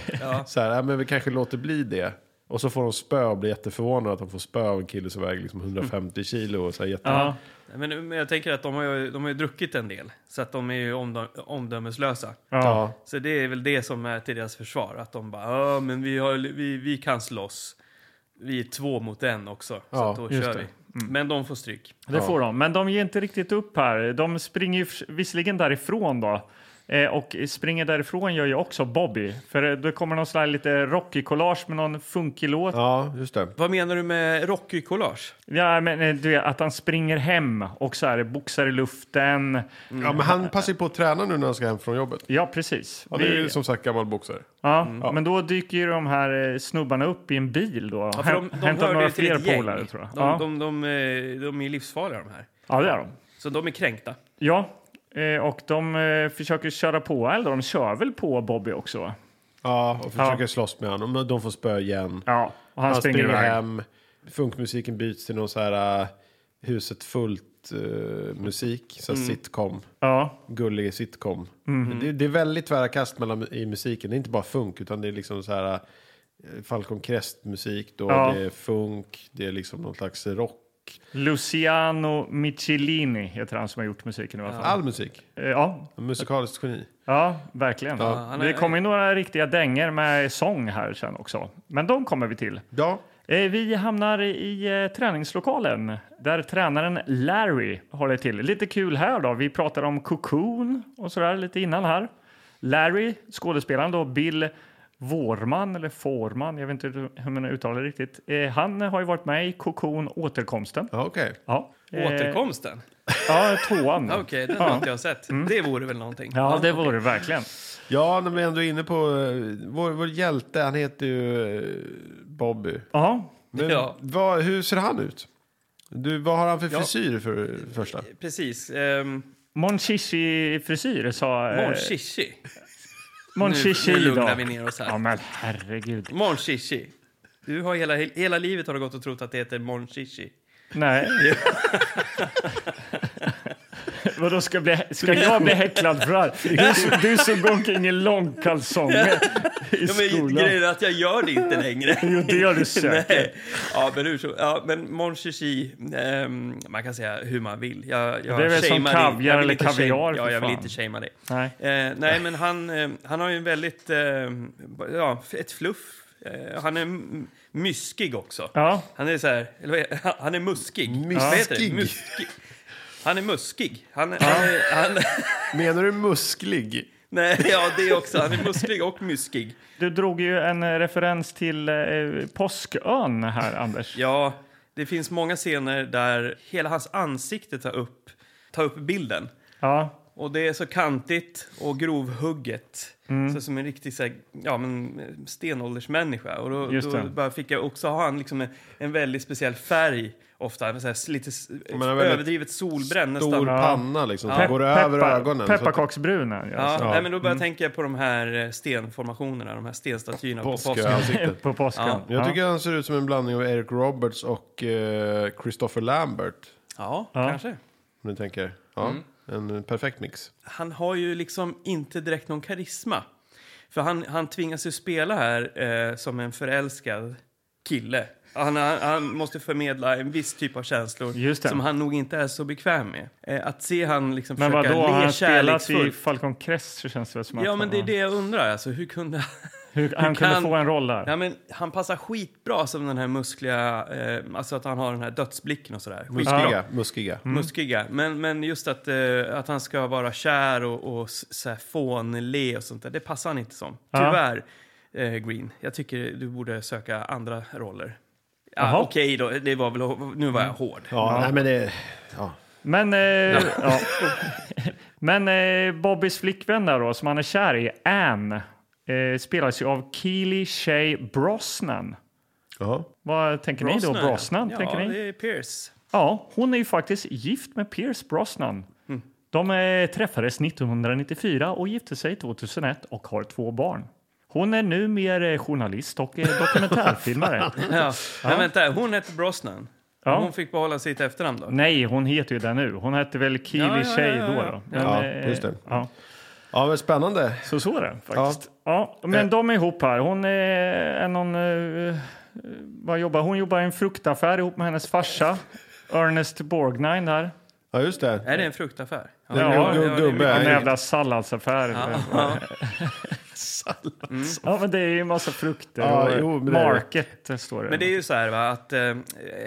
Speaker 3: Så här, ja, men vi kanske låter bli det. Och så får de spö och blir jätteförvånade att de får spö av en kille som väger liksom 150 kilo. Och så här, jätte...
Speaker 2: Ja.
Speaker 1: Men, men jag tänker att de har, ju, de har ju druckit en del, så att de är ju omdö- omdömeslösa.
Speaker 2: Ja.
Speaker 1: Så det är väl det som är till deras försvar, att de bara ja men vi, har, vi, vi kan slåss. Vi är två mot en också, så
Speaker 3: Ja,
Speaker 1: att då
Speaker 2: just
Speaker 1: kör
Speaker 2: det. Mm.
Speaker 1: vi. Men de får stryk.
Speaker 2: Det får de. Men de ger inte riktigt upp här. De springer ju förs- visserligen därifrån då. Eh, och Springer därifrån gör ju också Bobby. För eh, då kommer någon sån här lite rockig collage med någon funkig låt. Ja.
Speaker 3: Ja, just det.
Speaker 2: Mm.
Speaker 1: Vad menar du med rockig collage?
Speaker 2: men eh, du vet, att han springer hem och så här boxar i luften.
Speaker 3: Ja, men han passar ju på att träna nu när han ska hem från jobbet.
Speaker 2: Ja, precis.
Speaker 3: Ja, det är ju som sagt gammal boxare.
Speaker 2: Ja, men då dyker ju de här eh, snubbarna upp i en bil då.
Speaker 1: Ja, för
Speaker 2: Häm- Hämtar några fler polare tror jag.
Speaker 1: De,
Speaker 2: ja.
Speaker 1: de, de, eh, de är livsfarliga de här.
Speaker 2: ja, det är de.
Speaker 1: Så de är kränkta.
Speaker 2: Ja, eh, och de eh, försöker köra på, eller de kör väl på Bobby också?
Speaker 3: Ja, och försöker slåss med honom. Men De får spö igen.
Speaker 2: Ja, och han,
Speaker 3: Han
Speaker 2: springer,
Speaker 3: springer,
Speaker 2: iväg.
Speaker 3: hem. Funkmusiken byts till någon så här äh, huset fullt eh, musik. Så här
Speaker 2: Mm.
Speaker 3: sitcom.
Speaker 2: Ja,
Speaker 3: Gullig sitcom. Men Det, det är väldigt tvära kast mellan, i musiken. Det är inte bara funk utan det är liksom så här äh, Falcon Crest musik då.
Speaker 2: Ja.
Speaker 3: Det är funk. Det är liksom någon slags rock.
Speaker 2: Luciano Michelini heter han som har gjort musiken i alla fall.
Speaker 3: All musik.
Speaker 2: Eh, Ja,
Speaker 3: Musikaliskt geni.
Speaker 2: ja verkligen.
Speaker 1: han är-
Speaker 2: Det kommer ju några riktiga dänger med sång här sen också. Men de kommer vi till.
Speaker 3: Ja.
Speaker 2: Eh, Vi hamnar i eh, träningslokalen där tränaren Larry håller till. Lite kul här då. Vi pratade om Cocoon och sådär lite innan här. Larry, skådespelaren då, Bill Vårman eller Forman, jag vet inte hur man uttalar det riktigt. Eh, Han har ju varit med i Cocoon Återkomsten.
Speaker 3: Ja, okej.
Speaker 2: Ja, eh,
Speaker 1: Återkomsten?
Speaker 2: Ja, tvåan.
Speaker 1: [laughs] Okej, den har inte jag sett. Det vore väl någonting.
Speaker 2: Ja, det vore det verkligen.
Speaker 3: Ja, när vi ändå är inne på eh, vår, vår hjälte. Han heter ju eh, Bobby.
Speaker 2: Ja,
Speaker 3: Men
Speaker 1: Ja.
Speaker 3: vad, hur ser han ut? Du, vad har han för
Speaker 1: Ja.
Speaker 3: frisyr för för första?
Speaker 1: Precis. Um,
Speaker 2: Monchichi-frisyr sa... eh,
Speaker 1: Monchichi.
Speaker 2: Monchichi
Speaker 1: Nu- nu
Speaker 2: då.
Speaker 1: lugnar vi ner oss här.
Speaker 2: Ja, men herregud.
Speaker 1: Monchichi. Du har hela, hela livet har du gått och trott att det heter Monchichi.
Speaker 2: Nej. [laughs] Vadå, ska, jag bli, ska jag bli häcklad för det här? Du, du som går omkring i långkalsonger i
Speaker 1: Ja, men grejen
Speaker 2: skolan.
Speaker 1: är att jag gör det inte längre.
Speaker 2: [laughs] Jo, det gör du säkert.
Speaker 1: [laughs] Nej. Ja, men hur så? Ja, men Monchichi, ehm, man kan säga hur man vill. Jag, jag
Speaker 2: Det är väl som
Speaker 1: shamear
Speaker 2: kaviar
Speaker 1: inte. Jag vill
Speaker 2: eller
Speaker 1: inte shame-
Speaker 2: kaviar,
Speaker 1: Ja,
Speaker 2: för
Speaker 1: jag vill
Speaker 2: fan.
Speaker 1: inte shamea dig.
Speaker 2: Nej.
Speaker 1: Eh, nej, men han, eh, han har ju en väldigt, eh, ja, ett fluff. Eh, han är m- myskig också.
Speaker 2: Ja.
Speaker 1: Han är så här, eller vad är, han är muskig. Vad heter det?
Speaker 3: Myskig.
Speaker 1: muskig. Han är muskig. Han, han, är- [laughs] han,
Speaker 3: Menar du musklig?
Speaker 1: nej, ja, det också. Han är musklig och myskig.
Speaker 2: Du drog ju en eh, referens till eh, Påskön här, Anders.
Speaker 1: Ja, det finns många scener där hela hans ansikte tar upp, tar upp bilden.
Speaker 2: Ja,
Speaker 1: Och det är så kantigt och grovhugget. Så som en riktig så här, ja, men, stenåldersmänniska. Och då,
Speaker 2: Just
Speaker 1: då
Speaker 2: det.
Speaker 1: bara fick jag också ha en, liksom en, en väldigt speciell färg ofta. Så här, lite s-
Speaker 3: men en väldigt
Speaker 1: överdrivet solbränd
Speaker 3: Stor
Speaker 1: nästan. Ja,
Speaker 3: panna liksom, som
Speaker 2: Pe-
Speaker 3: går över
Speaker 2: peppar-
Speaker 3: ögonen. så att-
Speaker 2: Pepparkaksbrun är han ju, alltså.
Speaker 1: Nej, men då började jag tänka på de här eh, stenformationerna, de här stenstatyerna på
Speaker 3: Påsköansiktet.
Speaker 1: påsken.
Speaker 2: På påsken.
Speaker 1: Ja.
Speaker 3: Jag
Speaker 2: Ja.
Speaker 3: tycker han ser ut som en blandning av Eric Roberts och eh, Christopher Lambert.
Speaker 1: Ja,
Speaker 2: Ja.
Speaker 1: kanske.
Speaker 3: Om ni tänker. Ja, En eh, perfekt mix.
Speaker 1: han har ju liksom inte direkt någon karisma. För han, han tvingas ju spela här eh, som en förälskad kille. Han, han, han måste förmedla en viss typ av känslor
Speaker 2: Just det.
Speaker 1: som han nog inte är så bekväm med. Eh, att se han liksom
Speaker 2: Men
Speaker 1: försöka
Speaker 2: vadå,
Speaker 1: le
Speaker 2: har han spelat i
Speaker 1: kärleksfullt-
Speaker 2: Falcon Crest så känns det väl som att
Speaker 1: Ja, men det är det jag undrar. Alltså, [laughs] hur kunde...
Speaker 2: Hur, han kunde
Speaker 1: kan-
Speaker 2: få en roll där.
Speaker 1: Ja, men han passar skitbra som den här muskliga... Eh, alltså att han har den här dödsblicken och sådär. Skitbra.
Speaker 3: Muskiga. muskiga.
Speaker 1: Muskiga. Men, men just att, eh, att han ska vara kär och, och s- så här fånle och sånt där, det passar han inte som.
Speaker 2: Ja.
Speaker 1: Tyvärr, eh, Green. Jag tycker du borde söka andra roller. Ja,
Speaker 2: Jaha. Mm.
Speaker 1: Okej då, det var väl, nu var jag hård.
Speaker 3: Ja, Nej, men det, ja.
Speaker 2: Men, eh, [laughs] ja. men eh, Bobbys flickvän där då, som han är kär i, Anne, eh, spelas ju av Keely Shay Brosnan.
Speaker 3: Jaha.
Speaker 2: Vad tänker ni då? Brosnan,
Speaker 1: ja.
Speaker 2: tänker
Speaker 1: ja,
Speaker 2: ni?
Speaker 1: det är
Speaker 2: [laughs]
Speaker 1: Pierce.
Speaker 2: Ja, hon är ju faktiskt gift med Pierce Brosnan.
Speaker 1: Mm.
Speaker 2: De eh, träffades 1994 och gifte sig 2001 och har två barn. Hon är nu mer eh, journalist och eh, dokumentärfilmare.
Speaker 1: [laughs] Ja. Men vänta, hon hette Brosnan.
Speaker 2: Ja.
Speaker 1: Hon fick behålla sitt efternamn då?
Speaker 2: Nej, hon heter ju det nu. Hon hette väl Keely
Speaker 1: Ja, ja, ja,
Speaker 2: Shay
Speaker 1: ja,
Speaker 2: då.
Speaker 1: ja.
Speaker 2: då. Men,
Speaker 3: Ja,
Speaker 2: eh,
Speaker 3: just det.
Speaker 2: Ja.
Speaker 3: ja, men spännande.
Speaker 2: Så så är det faktiskt. Ja. men
Speaker 1: Eh.
Speaker 2: de är ihop här. Hon är är någon... eh, vad jobbar hon? jobbar i en fruktaffär ihop med hennes
Speaker 1: [laughs]
Speaker 2: farsa. Ernest Borgnine där.
Speaker 3: Ja, just det.
Speaker 1: Är det en fruktaffär? Ja,
Speaker 3: en
Speaker 2: Ja,
Speaker 3: gubbe.
Speaker 1: det är mycket-
Speaker 2: En
Speaker 3: Nej.
Speaker 2: jävla salladsaffär.
Speaker 1: Ja.
Speaker 2: Ja, men det är ju en massa frukter.
Speaker 3: Ja,
Speaker 2: och
Speaker 3: jo, men det är det.
Speaker 2: market det. står det.
Speaker 1: Men det är ju så här va, att eh,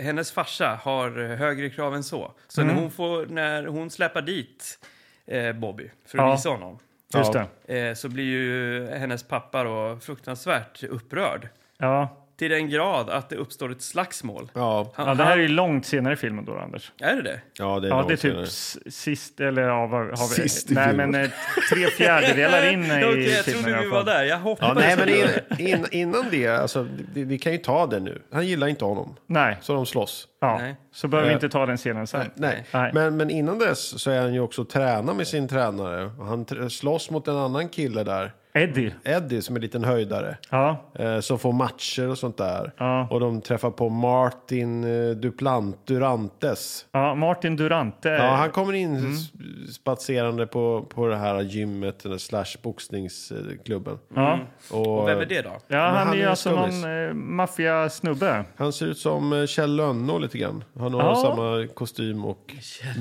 Speaker 1: hennes farsa har eh, högre krav än
Speaker 3: Mm.
Speaker 1: så. Så när, hon får, när hon släpar dit eh, Bobby för att
Speaker 2: Ja.
Speaker 1: visa honom
Speaker 2: Just
Speaker 3: Ja.
Speaker 2: det.
Speaker 1: eh, så blir ju hennes pappa då fruktansvärt upprörd.
Speaker 2: Ja.
Speaker 1: Till den grad att det uppstår ett slagsmål.
Speaker 3: Ja,
Speaker 1: Han,
Speaker 2: ja, det här är ju långt senare i filmen då, Anders.
Speaker 1: han- är det det?
Speaker 3: ja det är,
Speaker 2: Ja,
Speaker 3: långt
Speaker 2: det är typ
Speaker 3: senare.
Speaker 2: s- sist, eller ja, vad har vi?
Speaker 3: Sist i
Speaker 2: Nej,
Speaker 3: filmen.
Speaker 2: men eh, tre fjärdedelar in i
Speaker 1: [laughs] Ja, Okej, jag
Speaker 2: filmen.
Speaker 1: trodde
Speaker 2: i
Speaker 1: vi
Speaker 2: alla
Speaker 1: var
Speaker 2: fall.
Speaker 1: där. Jag
Speaker 3: Ja,
Speaker 1: hoppades.
Speaker 3: nej, men in, in, innan det, alltså, vi, vi kan ju ta det nu. Han gillar inte honom,
Speaker 2: Nej,
Speaker 3: så de slåss.
Speaker 2: ja.
Speaker 1: Nej.
Speaker 2: så behöver vi
Speaker 3: Eh,
Speaker 2: inte ta den scenen sen.
Speaker 3: Nej.
Speaker 2: Nej.
Speaker 3: Men, men innan dess så är han ju också och tränar med sin tränare. Och Han tr- slåss mot en annan kille där,
Speaker 2: Eddie.
Speaker 3: Eddie, som är en liten höjdare.
Speaker 2: Ja,
Speaker 3: eh, Som får matcher och sånt där.
Speaker 2: Ja.
Speaker 3: Och de träffar på Martin eh, Duplant, Durantes.
Speaker 2: ja, Martin Durante.
Speaker 3: Ja, han kommer in
Speaker 2: Mm.
Speaker 3: s- spatserande på, på det här gymmet, eller slash boxningsklubben.
Speaker 2: ja.
Speaker 3: Och,
Speaker 1: Mm. Vem är det då?
Speaker 2: Ja, han,
Speaker 3: han
Speaker 2: är ju
Speaker 3: är
Speaker 2: alltså
Speaker 3: skummis.
Speaker 2: någon eh, maffiasnubbe.
Speaker 3: Han ser ut som eh, Kjell Lönnå lite grann. Han har
Speaker 2: Ja.
Speaker 3: samma kostym och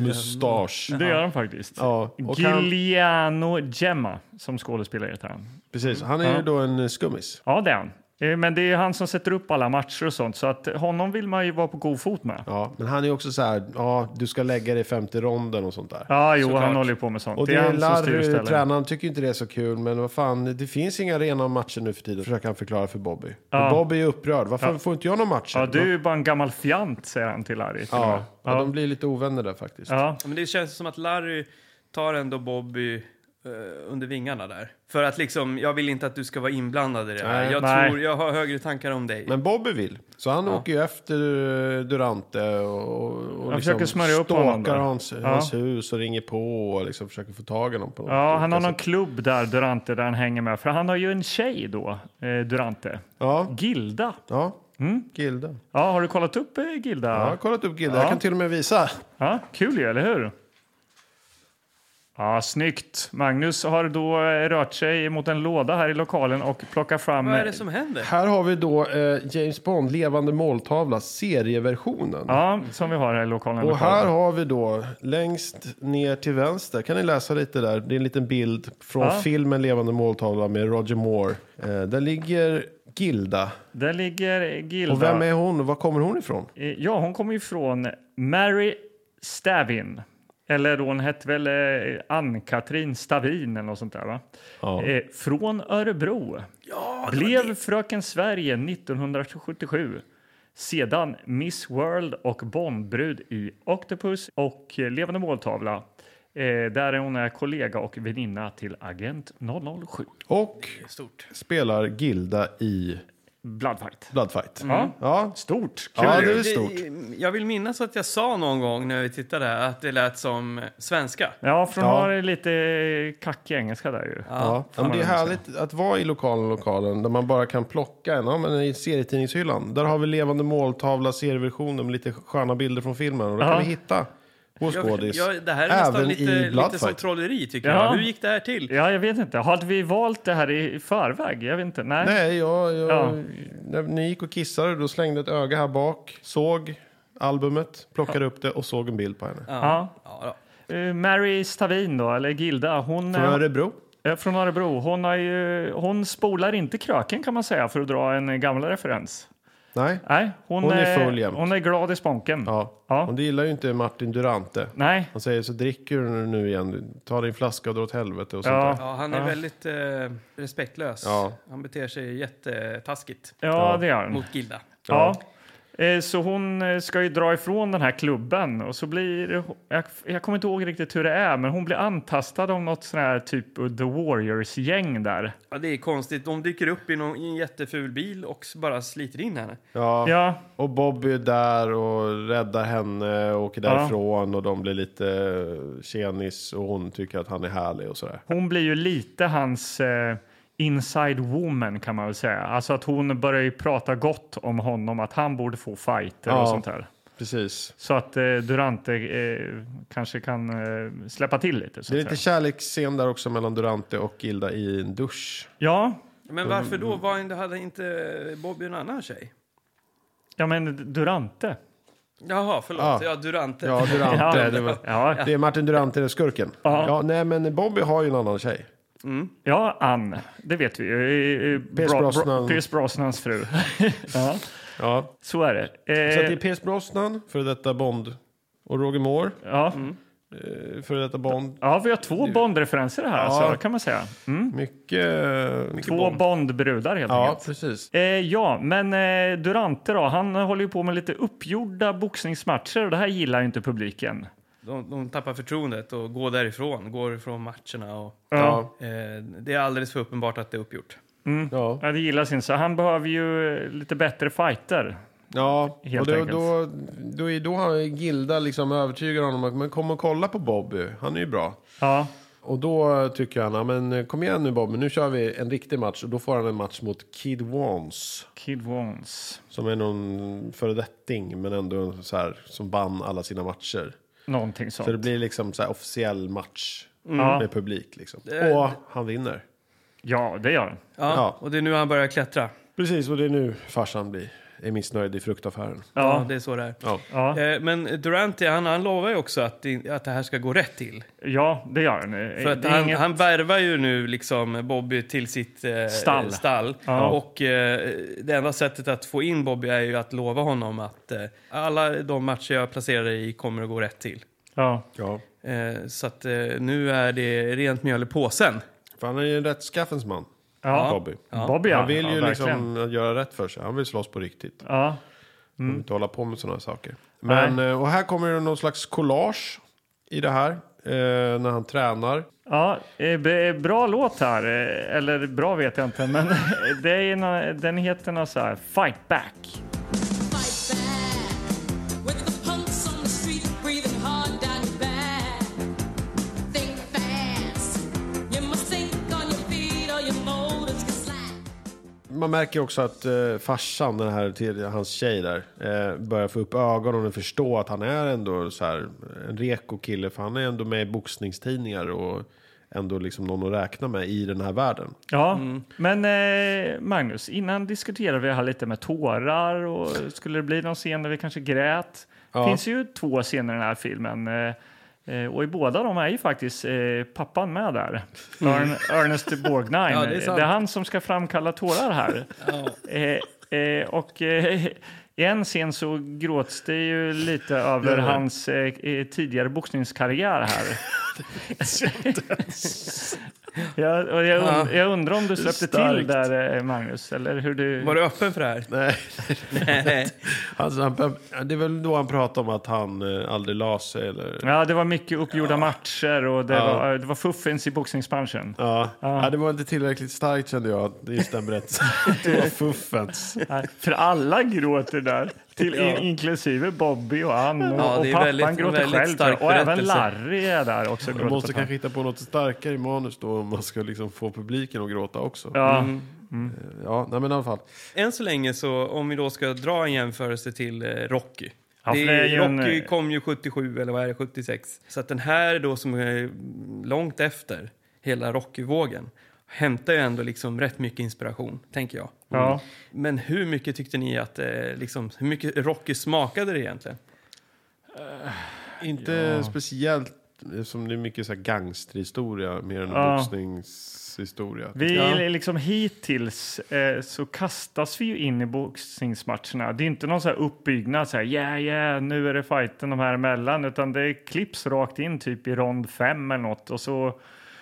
Speaker 3: mustasch.
Speaker 2: Det gör han faktiskt.
Speaker 3: Ja, och han,
Speaker 2: Giuliano Gemma, som skådespelare heter han.
Speaker 3: precis, han är ju då en eh, skummis.
Speaker 2: Ja, det är han. Eh, Men det är han som sätter upp alla matcher och sånt, så att honom vill man ju vara på god fot med. Ja,
Speaker 3: Ja, men han är också så här, ja, du ska lägga dig femte ronden och sånt där.
Speaker 2: jo,
Speaker 1: Såklart.
Speaker 2: han håller ju på med sånt.
Speaker 3: Och
Speaker 2: det är han som styr och
Speaker 3: Larry,
Speaker 2: ställer.
Speaker 3: tränaren, tycker ju inte det är så kul, men vad fan, det finns inga rena matcher nu för tiden, försöker han förklara för Bobby.
Speaker 2: Ja.
Speaker 3: Och Bobby är upprörd, varför får inte jag några matcher?
Speaker 2: Ja, du är ju bara en gammal fjant, säger han till Larry. till och med.
Speaker 3: Ja, ja. de blir lite ovänner där faktiskt.
Speaker 2: ja.
Speaker 1: Ja, Men det känns som att Larry tar ändå Bobby eh, under vingarna där. För att liksom, jag vill inte att du ska vara inblandad i det här.
Speaker 3: Nej.
Speaker 1: Jag,
Speaker 2: Nej.
Speaker 1: tror, jag har högre tankar om dig.
Speaker 3: Men Bobby vill, så han åker ju efter eh, Durante och, och
Speaker 2: Han försöker smörja upp honom
Speaker 3: stalkar
Speaker 2: där.
Speaker 3: hans, hans hus och ringer på och liksom försöker få tag i honom. På något
Speaker 2: Ja,
Speaker 3: sätt.
Speaker 2: han har någon klubb där, Durante, där han hänger med. För han har ju en tjej då, eh, Durante.
Speaker 3: Ja,
Speaker 2: Gilda.
Speaker 3: ja. Gilda.
Speaker 2: Mm. Ja, har du kollat upp eh, Gilda?
Speaker 3: Ja, jag har kollat upp Gilda, jag kan till och med visa.
Speaker 2: Ja, kul ju, eller hur? Ja, snyggt. Magnus har då eh, rört sig mot en låda här i lokalen och plockar fram...
Speaker 1: Vad är det som händer?
Speaker 3: Här har vi då eh, James Bond, levande måltavla, serieversionen.
Speaker 2: Ja, som vi har här i lokalen.
Speaker 3: Och
Speaker 2: lokalen.
Speaker 3: här har vi då längst ner till vänster, kan ni läsa lite där? Det är en liten bild från
Speaker 2: Ja.
Speaker 3: filmen Levande måltavla med Roger Moore. Eh, där ligger Gilda.
Speaker 2: Där ligger eh, Gilda.
Speaker 3: Och vem är hon och var kommer hon ifrån?
Speaker 2: Eh, Ja, hon kommer ju från Mary Stavin. Eller hon hette väl eh, Ann-Katrin Stavin eller något sånt där va? Eh, Från Örebro. Blev Fröken Sverige 1977. Sedan Miss World och Bondbrud i Octopus och eh, Levande måltavla. Eh, där hon är kollega och väninna till Agent 007.
Speaker 3: Och spelar Gilda i
Speaker 2: Bloodfight.
Speaker 3: Bloodfight.
Speaker 2: Ja,
Speaker 3: Ja,
Speaker 2: stort. Kul
Speaker 3: ja,
Speaker 2: ju.
Speaker 3: det är väl stort.
Speaker 1: Jag vill minnas att jag sa någon gång när vi tittade här att det lät som svenska.
Speaker 2: Ja, för hon
Speaker 3: Ja.
Speaker 2: har lite kackig engelska där ju.
Speaker 3: Ja. Ja, men det är härligt att vara i lokalen, lokalen där man bara kan plocka en. Ja, men I serietidningshyllan. Där har vi levande måltavla, serieversionen med lite sköna bilder från filmen. Och då
Speaker 2: Ja.
Speaker 3: kan vi hitta vår
Speaker 1: Jag,
Speaker 3: skådis.
Speaker 1: jag, det här är nästan
Speaker 3: Även
Speaker 1: lite,
Speaker 3: i
Speaker 1: lite som
Speaker 3: Bloodfight.
Speaker 1: trolleri tycker
Speaker 2: Ja.
Speaker 1: jag. Hur gick det här till?
Speaker 2: Ja, jag vet inte. Hade vi valt det här i förväg? Jag vet inte. Nej.
Speaker 3: Nej, jag, jag,
Speaker 2: Ja.
Speaker 3: när ni gick och kissade då slängde jag ett öga här bak. Såg albumet, plockade upp det och såg en bild på henne.
Speaker 2: Ja.
Speaker 1: Ja, då.
Speaker 2: Eh, Mary Stavin då, eller Gilda, hon
Speaker 3: Från
Speaker 2: är
Speaker 3: Örebro.
Speaker 2: eh, från Örebro. Hon, har ju, hon spolar inte kröken kan man säga för att dra en eh, gammal referens.
Speaker 3: Nej.
Speaker 2: Nej, hon,
Speaker 3: Hon är full jämt.
Speaker 2: Hon är glad i sponken.
Speaker 3: Ja.
Speaker 2: Ja.
Speaker 3: Och det gillar ju inte Martin Durante.
Speaker 2: Nej.
Speaker 3: Han säger så dricker du nu igen, ta din flaska och dra åt helvete och sånt
Speaker 2: Ja.
Speaker 3: där.
Speaker 1: Ja, han är väldigt eh, respektlös.
Speaker 3: Ja.
Speaker 1: Han beter sig jättetaskigt
Speaker 2: ja, det gör hon.
Speaker 1: mot Gilda.
Speaker 2: Ja. Eh, Så hon eh, ska ju dra ifrån den här klubben och så blir, jag, jag kommer inte ihåg riktigt hur det är, men hon blir antastad av något sån här typ The Warriors-gäng där.
Speaker 1: Ja, det är konstigt. De dyker upp i, någon, i en jätteful bil och s- bara sliter in henne.
Speaker 3: Ja.
Speaker 2: Ja,
Speaker 3: Och Bobby är där och räddar henne och åker därifrån och de blir lite eh, tjenis och hon tycker att han är härlig och sådär.
Speaker 2: Hon blir ju lite hans eh, inside woman kan man väl säga. Alltså att hon börjar ju prata gott om honom, att han borde få fighter
Speaker 3: Ja.
Speaker 2: och sånt där.
Speaker 3: Precis.
Speaker 2: Så att eh, Durante eh, kanske kan eh, släppa till lite. Så
Speaker 3: Det är
Speaker 2: att
Speaker 3: lite
Speaker 2: säga.
Speaker 3: kärleksscen där också mellan Durante och Gilda i en dusch.
Speaker 2: Ja,
Speaker 1: Men varför
Speaker 3: Mm.
Speaker 1: då? Var inte, hade inte Bobby en annan tjej?
Speaker 2: ja, men Durante.
Speaker 1: Jaha, förlåt.
Speaker 3: Ja.
Speaker 1: Ja, Durante.
Speaker 3: [laughs] Ja, Durante.
Speaker 2: Ja,
Speaker 3: det, var,
Speaker 2: ja,
Speaker 3: det är Martin Durante, den skurken.
Speaker 2: Ja.
Speaker 3: Ja, nej, men Bobby har ju en annan tjej.
Speaker 2: ja, Ann. Det vet vi ju. Eh,
Speaker 3: Pierce
Speaker 2: Bra- Bra-
Speaker 3: Brosnan.
Speaker 2: Pierce Brosnans fru. ja,
Speaker 3: Ja.
Speaker 2: så är det. Eh,
Speaker 3: Så att det är Pierce Brosnan, för detta Bond, och Roger Moore.
Speaker 2: ja.
Speaker 3: eh, före detta Bond.
Speaker 2: Ja, vi har två Bond-referenser här,
Speaker 3: Ja.
Speaker 2: så kan man säga. Mm.
Speaker 3: Mycket, mycket
Speaker 2: Två Bond-brudar helt
Speaker 3: Ja,
Speaker 2: enkelt.
Speaker 3: precis.
Speaker 2: Eh, ja, men eh, Durante då, han håller ju på med lite uppgjorda boxningsmatcher och det här gillar ju inte publiken.
Speaker 1: De, de tappar förtroendet och går därifrån, går ifrån matcherna. Och,
Speaker 3: Ja.
Speaker 1: eh, det är alldeles för uppenbart att det är uppgjort.
Speaker 3: Ja.
Speaker 2: Ja, det gillas inte, så han behöver ju eh, lite bättre fighter.
Speaker 3: Ja,
Speaker 2: Helt
Speaker 3: och då,
Speaker 2: enkelt.
Speaker 3: då, då är då har Gilda liksom övertygar honom att men kom och kolla på Bobby, han är ju bra.
Speaker 2: Ja,
Speaker 3: Och då tycker han, "Ja, men eh, kom igen nu Bobby, nu kör vi en riktig match. Och då får han en match mot Kid Wans,
Speaker 2: Kid Wons.
Speaker 3: som är någon föredetting, men ändå så här, som vann alla sina matcher.
Speaker 2: Någonting sånt.
Speaker 3: Så det blir liksom så här officiell match
Speaker 2: Ja,
Speaker 3: med publik liksom.
Speaker 1: Det-
Speaker 3: Och han vinner.
Speaker 2: ja, det gör han.
Speaker 1: Ja,
Speaker 3: Ja.
Speaker 1: Och det är nu han börjar klättra.
Speaker 3: Precis, och det är nu farsan blir är missnöjd i fruktaffären.
Speaker 1: Ja.
Speaker 2: Ja,
Speaker 1: det är så det är.
Speaker 3: Ja.
Speaker 2: ja,
Speaker 1: Eh, Men Durante, han, han lovar ju också att, det- att det här ska gå rätt till.
Speaker 2: ja det gör han. Eh,
Speaker 1: För att
Speaker 2: det är
Speaker 1: han,
Speaker 2: inget-
Speaker 1: han värvar ju nu liksom Bobby till sitt eh,
Speaker 2: Stall.
Speaker 1: stall.
Speaker 2: Ja.
Speaker 1: Och eh, det enda sättet att få in Bobby är ju att lova honom att eh, alla de matcher jag placerar dig i kommer att gå rätt till.
Speaker 2: Ja,
Speaker 3: ja.
Speaker 1: Eh, så att eh, nu är det rent mjöl i påsen.
Speaker 3: För han är ju en rättskaffens man,
Speaker 2: ja.
Speaker 3: Bobby.
Speaker 2: Bobby ja.
Speaker 3: Han vill ju
Speaker 2: ja, verkligen.
Speaker 3: liksom göra rätt för sig. Han vill slåss på riktigt.
Speaker 2: Ja,
Speaker 3: Han vill inte hålla på med sådana saker. Men, eh, och här kommer det någon slags collage i det här. Eh, när han tränar.
Speaker 2: Ja, eh, b- bra låt här. eh, Eller bra vet jag inte, men [laughs] det är nå- den heter något så här, Fight Back.
Speaker 10: Fight back. Whether the punks on the street breathing hard down your back. Think fast. You must think on your feet or your motives can slack.
Speaker 3: Man märker också att eh, farsan, den här, till, hans tjej där, eh, börjar få upp ögonen och förstå att han är ändå så här, en reko kille. För han är ändå med i boxningstidningar och ändå liksom någon att räkna med i den här världen.
Speaker 2: Ja,
Speaker 1: Mm.
Speaker 2: men eh, Magnus, innan diskuterade vi här lite med tårar och skulle det bli någon scen där vi kanske grät? Det finns ju två scener i den här filmen. eh, eh, Och i båda de är ju faktiskt eh, pappan med där. Ern, Ernest Borgnine.
Speaker 1: Mm. [laughs] Ja, det är
Speaker 2: det,
Speaker 1: sant.
Speaker 2: är han som ska framkalla tårar här. eh, eh, och eh, i en scen så gråts det ju lite över hans eh, eh, tidigare boxningskarriär här. Jag, och jag, und, jag undrar om du släppte till
Speaker 3: Starkt.
Speaker 2: där, eh, Magnus? Eller hur du...
Speaker 1: Var du öppen för det [laughs] här?
Speaker 3: Nej,
Speaker 1: Nej.
Speaker 3: [laughs] alltså, han, det är väl då han pratar om att han eh, aldrig la sig. Eller,
Speaker 2: Ja, det var mycket uppgjorda matcher och det, var, det var fuffens i boxningsbranschen.
Speaker 3: Ja. Ja. det var inte tillräckligt starkt kände jag, just
Speaker 2: [laughs]
Speaker 3: den berättelsen. det var fuffens.
Speaker 2: Nej, För alla gråter där, till, in, inklusive Bobby och Ann och,
Speaker 1: Ja,
Speaker 2: och
Speaker 1: det är
Speaker 2: pappan
Speaker 1: väldigt-
Speaker 2: gråter
Speaker 1: väldigt
Speaker 2: själv. tror jag.
Speaker 1: stark
Speaker 2: Och även
Speaker 1: berättelse.
Speaker 2: Larry är där också.
Speaker 3: Man måste
Speaker 2: gråter på ett
Speaker 3: kanske hitta på något starkare i manus då om man ska liksom få publiken att gråta också.
Speaker 2: tag. Ja,
Speaker 1: Mm.
Speaker 3: Ja, nej, men i alla fall.
Speaker 1: Än så länge, så, om vi då ska dra en jämförelse till eh, Rocky.
Speaker 2: Ja,
Speaker 1: det
Speaker 2: för det är
Speaker 1: är,
Speaker 2: ju en- eh,
Speaker 1: Rocky kom ju 77, eller vad är det, 76. Så att den här då som är långt efter hela Rocky-vågen hämtar ju ändå liksom rätt mycket inspiration, tänker jag. Mm.
Speaker 2: ja.
Speaker 1: Men hur mycket tyckte ni att eh, liksom, hur mycket Rocky smakade det egentligen?
Speaker 3: Inte speciellt eh, som det är mycket så här gangsterhistoria mer än
Speaker 2: Ja.
Speaker 3: boxningshistoria.
Speaker 2: Vi
Speaker 1: Ja.
Speaker 2: liksom hittills eh, så kastas vi ju in i boxningsmatcherna. Det är inte någon så här uppbyggnad så här yeah yeah nu är det fighten de här emellan utan det klipps rakt in typ i rond fem eller något och så,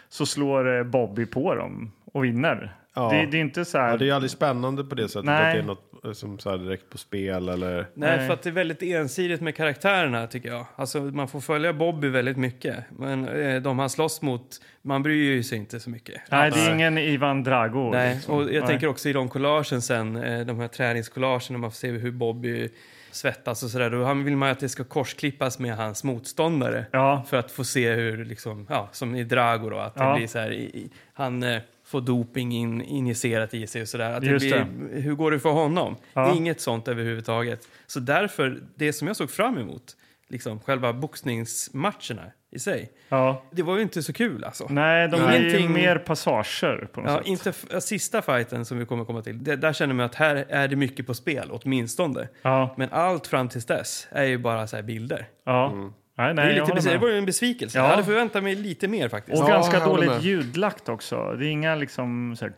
Speaker 2: så slår eh, Bobby på dem och vinner.
Speaker 3: Ja.
Speaker 2: Det, det är inte så här.
Speaker 3: Ja, det är ju aldrig spännande på det sättet
Speaker 2: Nej.
Speaker 3: att det är något eh, som så här direkt på spel eller...
Speaker 1: Nej,
Speaker 2: Nej.
Speaker 1: för att det är väldigt ensidigt med karaktärerna tycker jag. Alltså, man får följa Bobby väldigt mycket, men eh, de han slåss mot, man bryr ju sig inte så mycket.
Speaker 2: nej, det är ingen Ivan Drago.
Speaker 1: Nej,
Speaker 2: liksom.
Speaker 1: och jag
Speaker 2: Nej.
Speaker 1: tänker också i de collagen sen, eh, de här träningscollagen, när man får se hur Bobby svettas och sådär. Då han- vill man ju att det ska korsklippas med hans motståndare.
Speaker 2: Ja.
Speaker 1: För att få se hur, liksom, ja, som i Drago då, att
Speaker 2: Ja.
Speaker 1: det blir så här, i, i, han eh, får doping in, injicerat i sig och sådär. Att det
Speaker 2: Just
Speaker 1: blir, Hur går det för honom?
Speaker 2: Ja.
Speaker 1: Inget sånt överhuvudtaget. Så därför, det som jag såg fram emot, liksom själva boxningsmatcherna i sig,
Speaker 2: Ja.
Speaker 1: det var ju inte så kul alltså.
Speaker 2: Nej, de blir ju
Speaker 1: Ingenting-
Speaker 2: mer passager på något
Speaker 1: Ja,
Speaker 2: sätt.
Speaker 1: inte f- sista fighten som vi kommer komma till. Det, där känner man att här är det mycket på spel, åtminstone.
Speaker 2: Ja,
Speaker 1: Men allt fram tills dess är ju bara så här bilder.
Speaker 2: ja.
Speaker 3: Mm.
Speaker 2: Nej, nej,
Speaker 1: det, är
Speaker 2: jag
Speaker 1: lite,
Speaker 2: håller
Speaker 1: bes- det
Speaker 2: med.
Speaker 1: var ju en besvikelse.
Speaker 2: Ja.
Speaker 1: Jag hade förväntat mig lite mer faktiskt.
Speaker 2: Och
Speaker 3: Ja,
Speaker 2: ganska
Speaker 3: jag håller
Speaker 2: dåligt
Speaker 3: med.
Speaker 2: ljudlagt också. Det är inga liksom så här,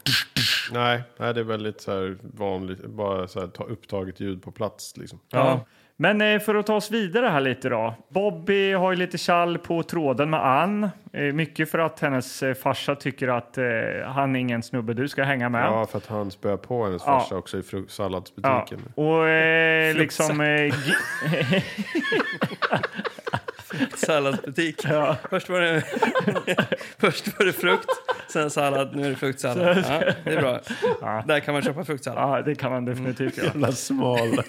Speaker 3: Nej, nej, det är väldigt så här vanligt, bara så här, ta upptaget ljud på plats liksom.
Speaker 2: Ja. Men eh, för att ta oss vidare här lite då. Bobby har ju lite tjall på tråden med Ann. Eh, mycket för att hennes eh, farsa tycker att eh, han är ingen snubbe du ska hänga med.
Speaker 3: Ja, för att han spöar på hennes
Speaker 2: Ja.
Speaker 3: farsa också i fru-
Speaker 2: Ja,
Speaker 3: salladsbutiken.
Speaker 2: och eh,
Speaker 1: Fluxa.
Speaker 2: liksom... Eh, gi- [laughs]
Speaker 1: Salladsbutik. Först, var det, [laughs] först var det frukt, sen sallad, nu är det fruktsallad.
Speaker 2: [laughs]
Speaker 1: Ja, det är bra. Där kan man köpa fruktsallad.
Speaker 2: ja, det kan man definitivt
Speaker 3: [laughs]
Speaker 2: göra. [laughs]
Speaker 3: Jävla smal.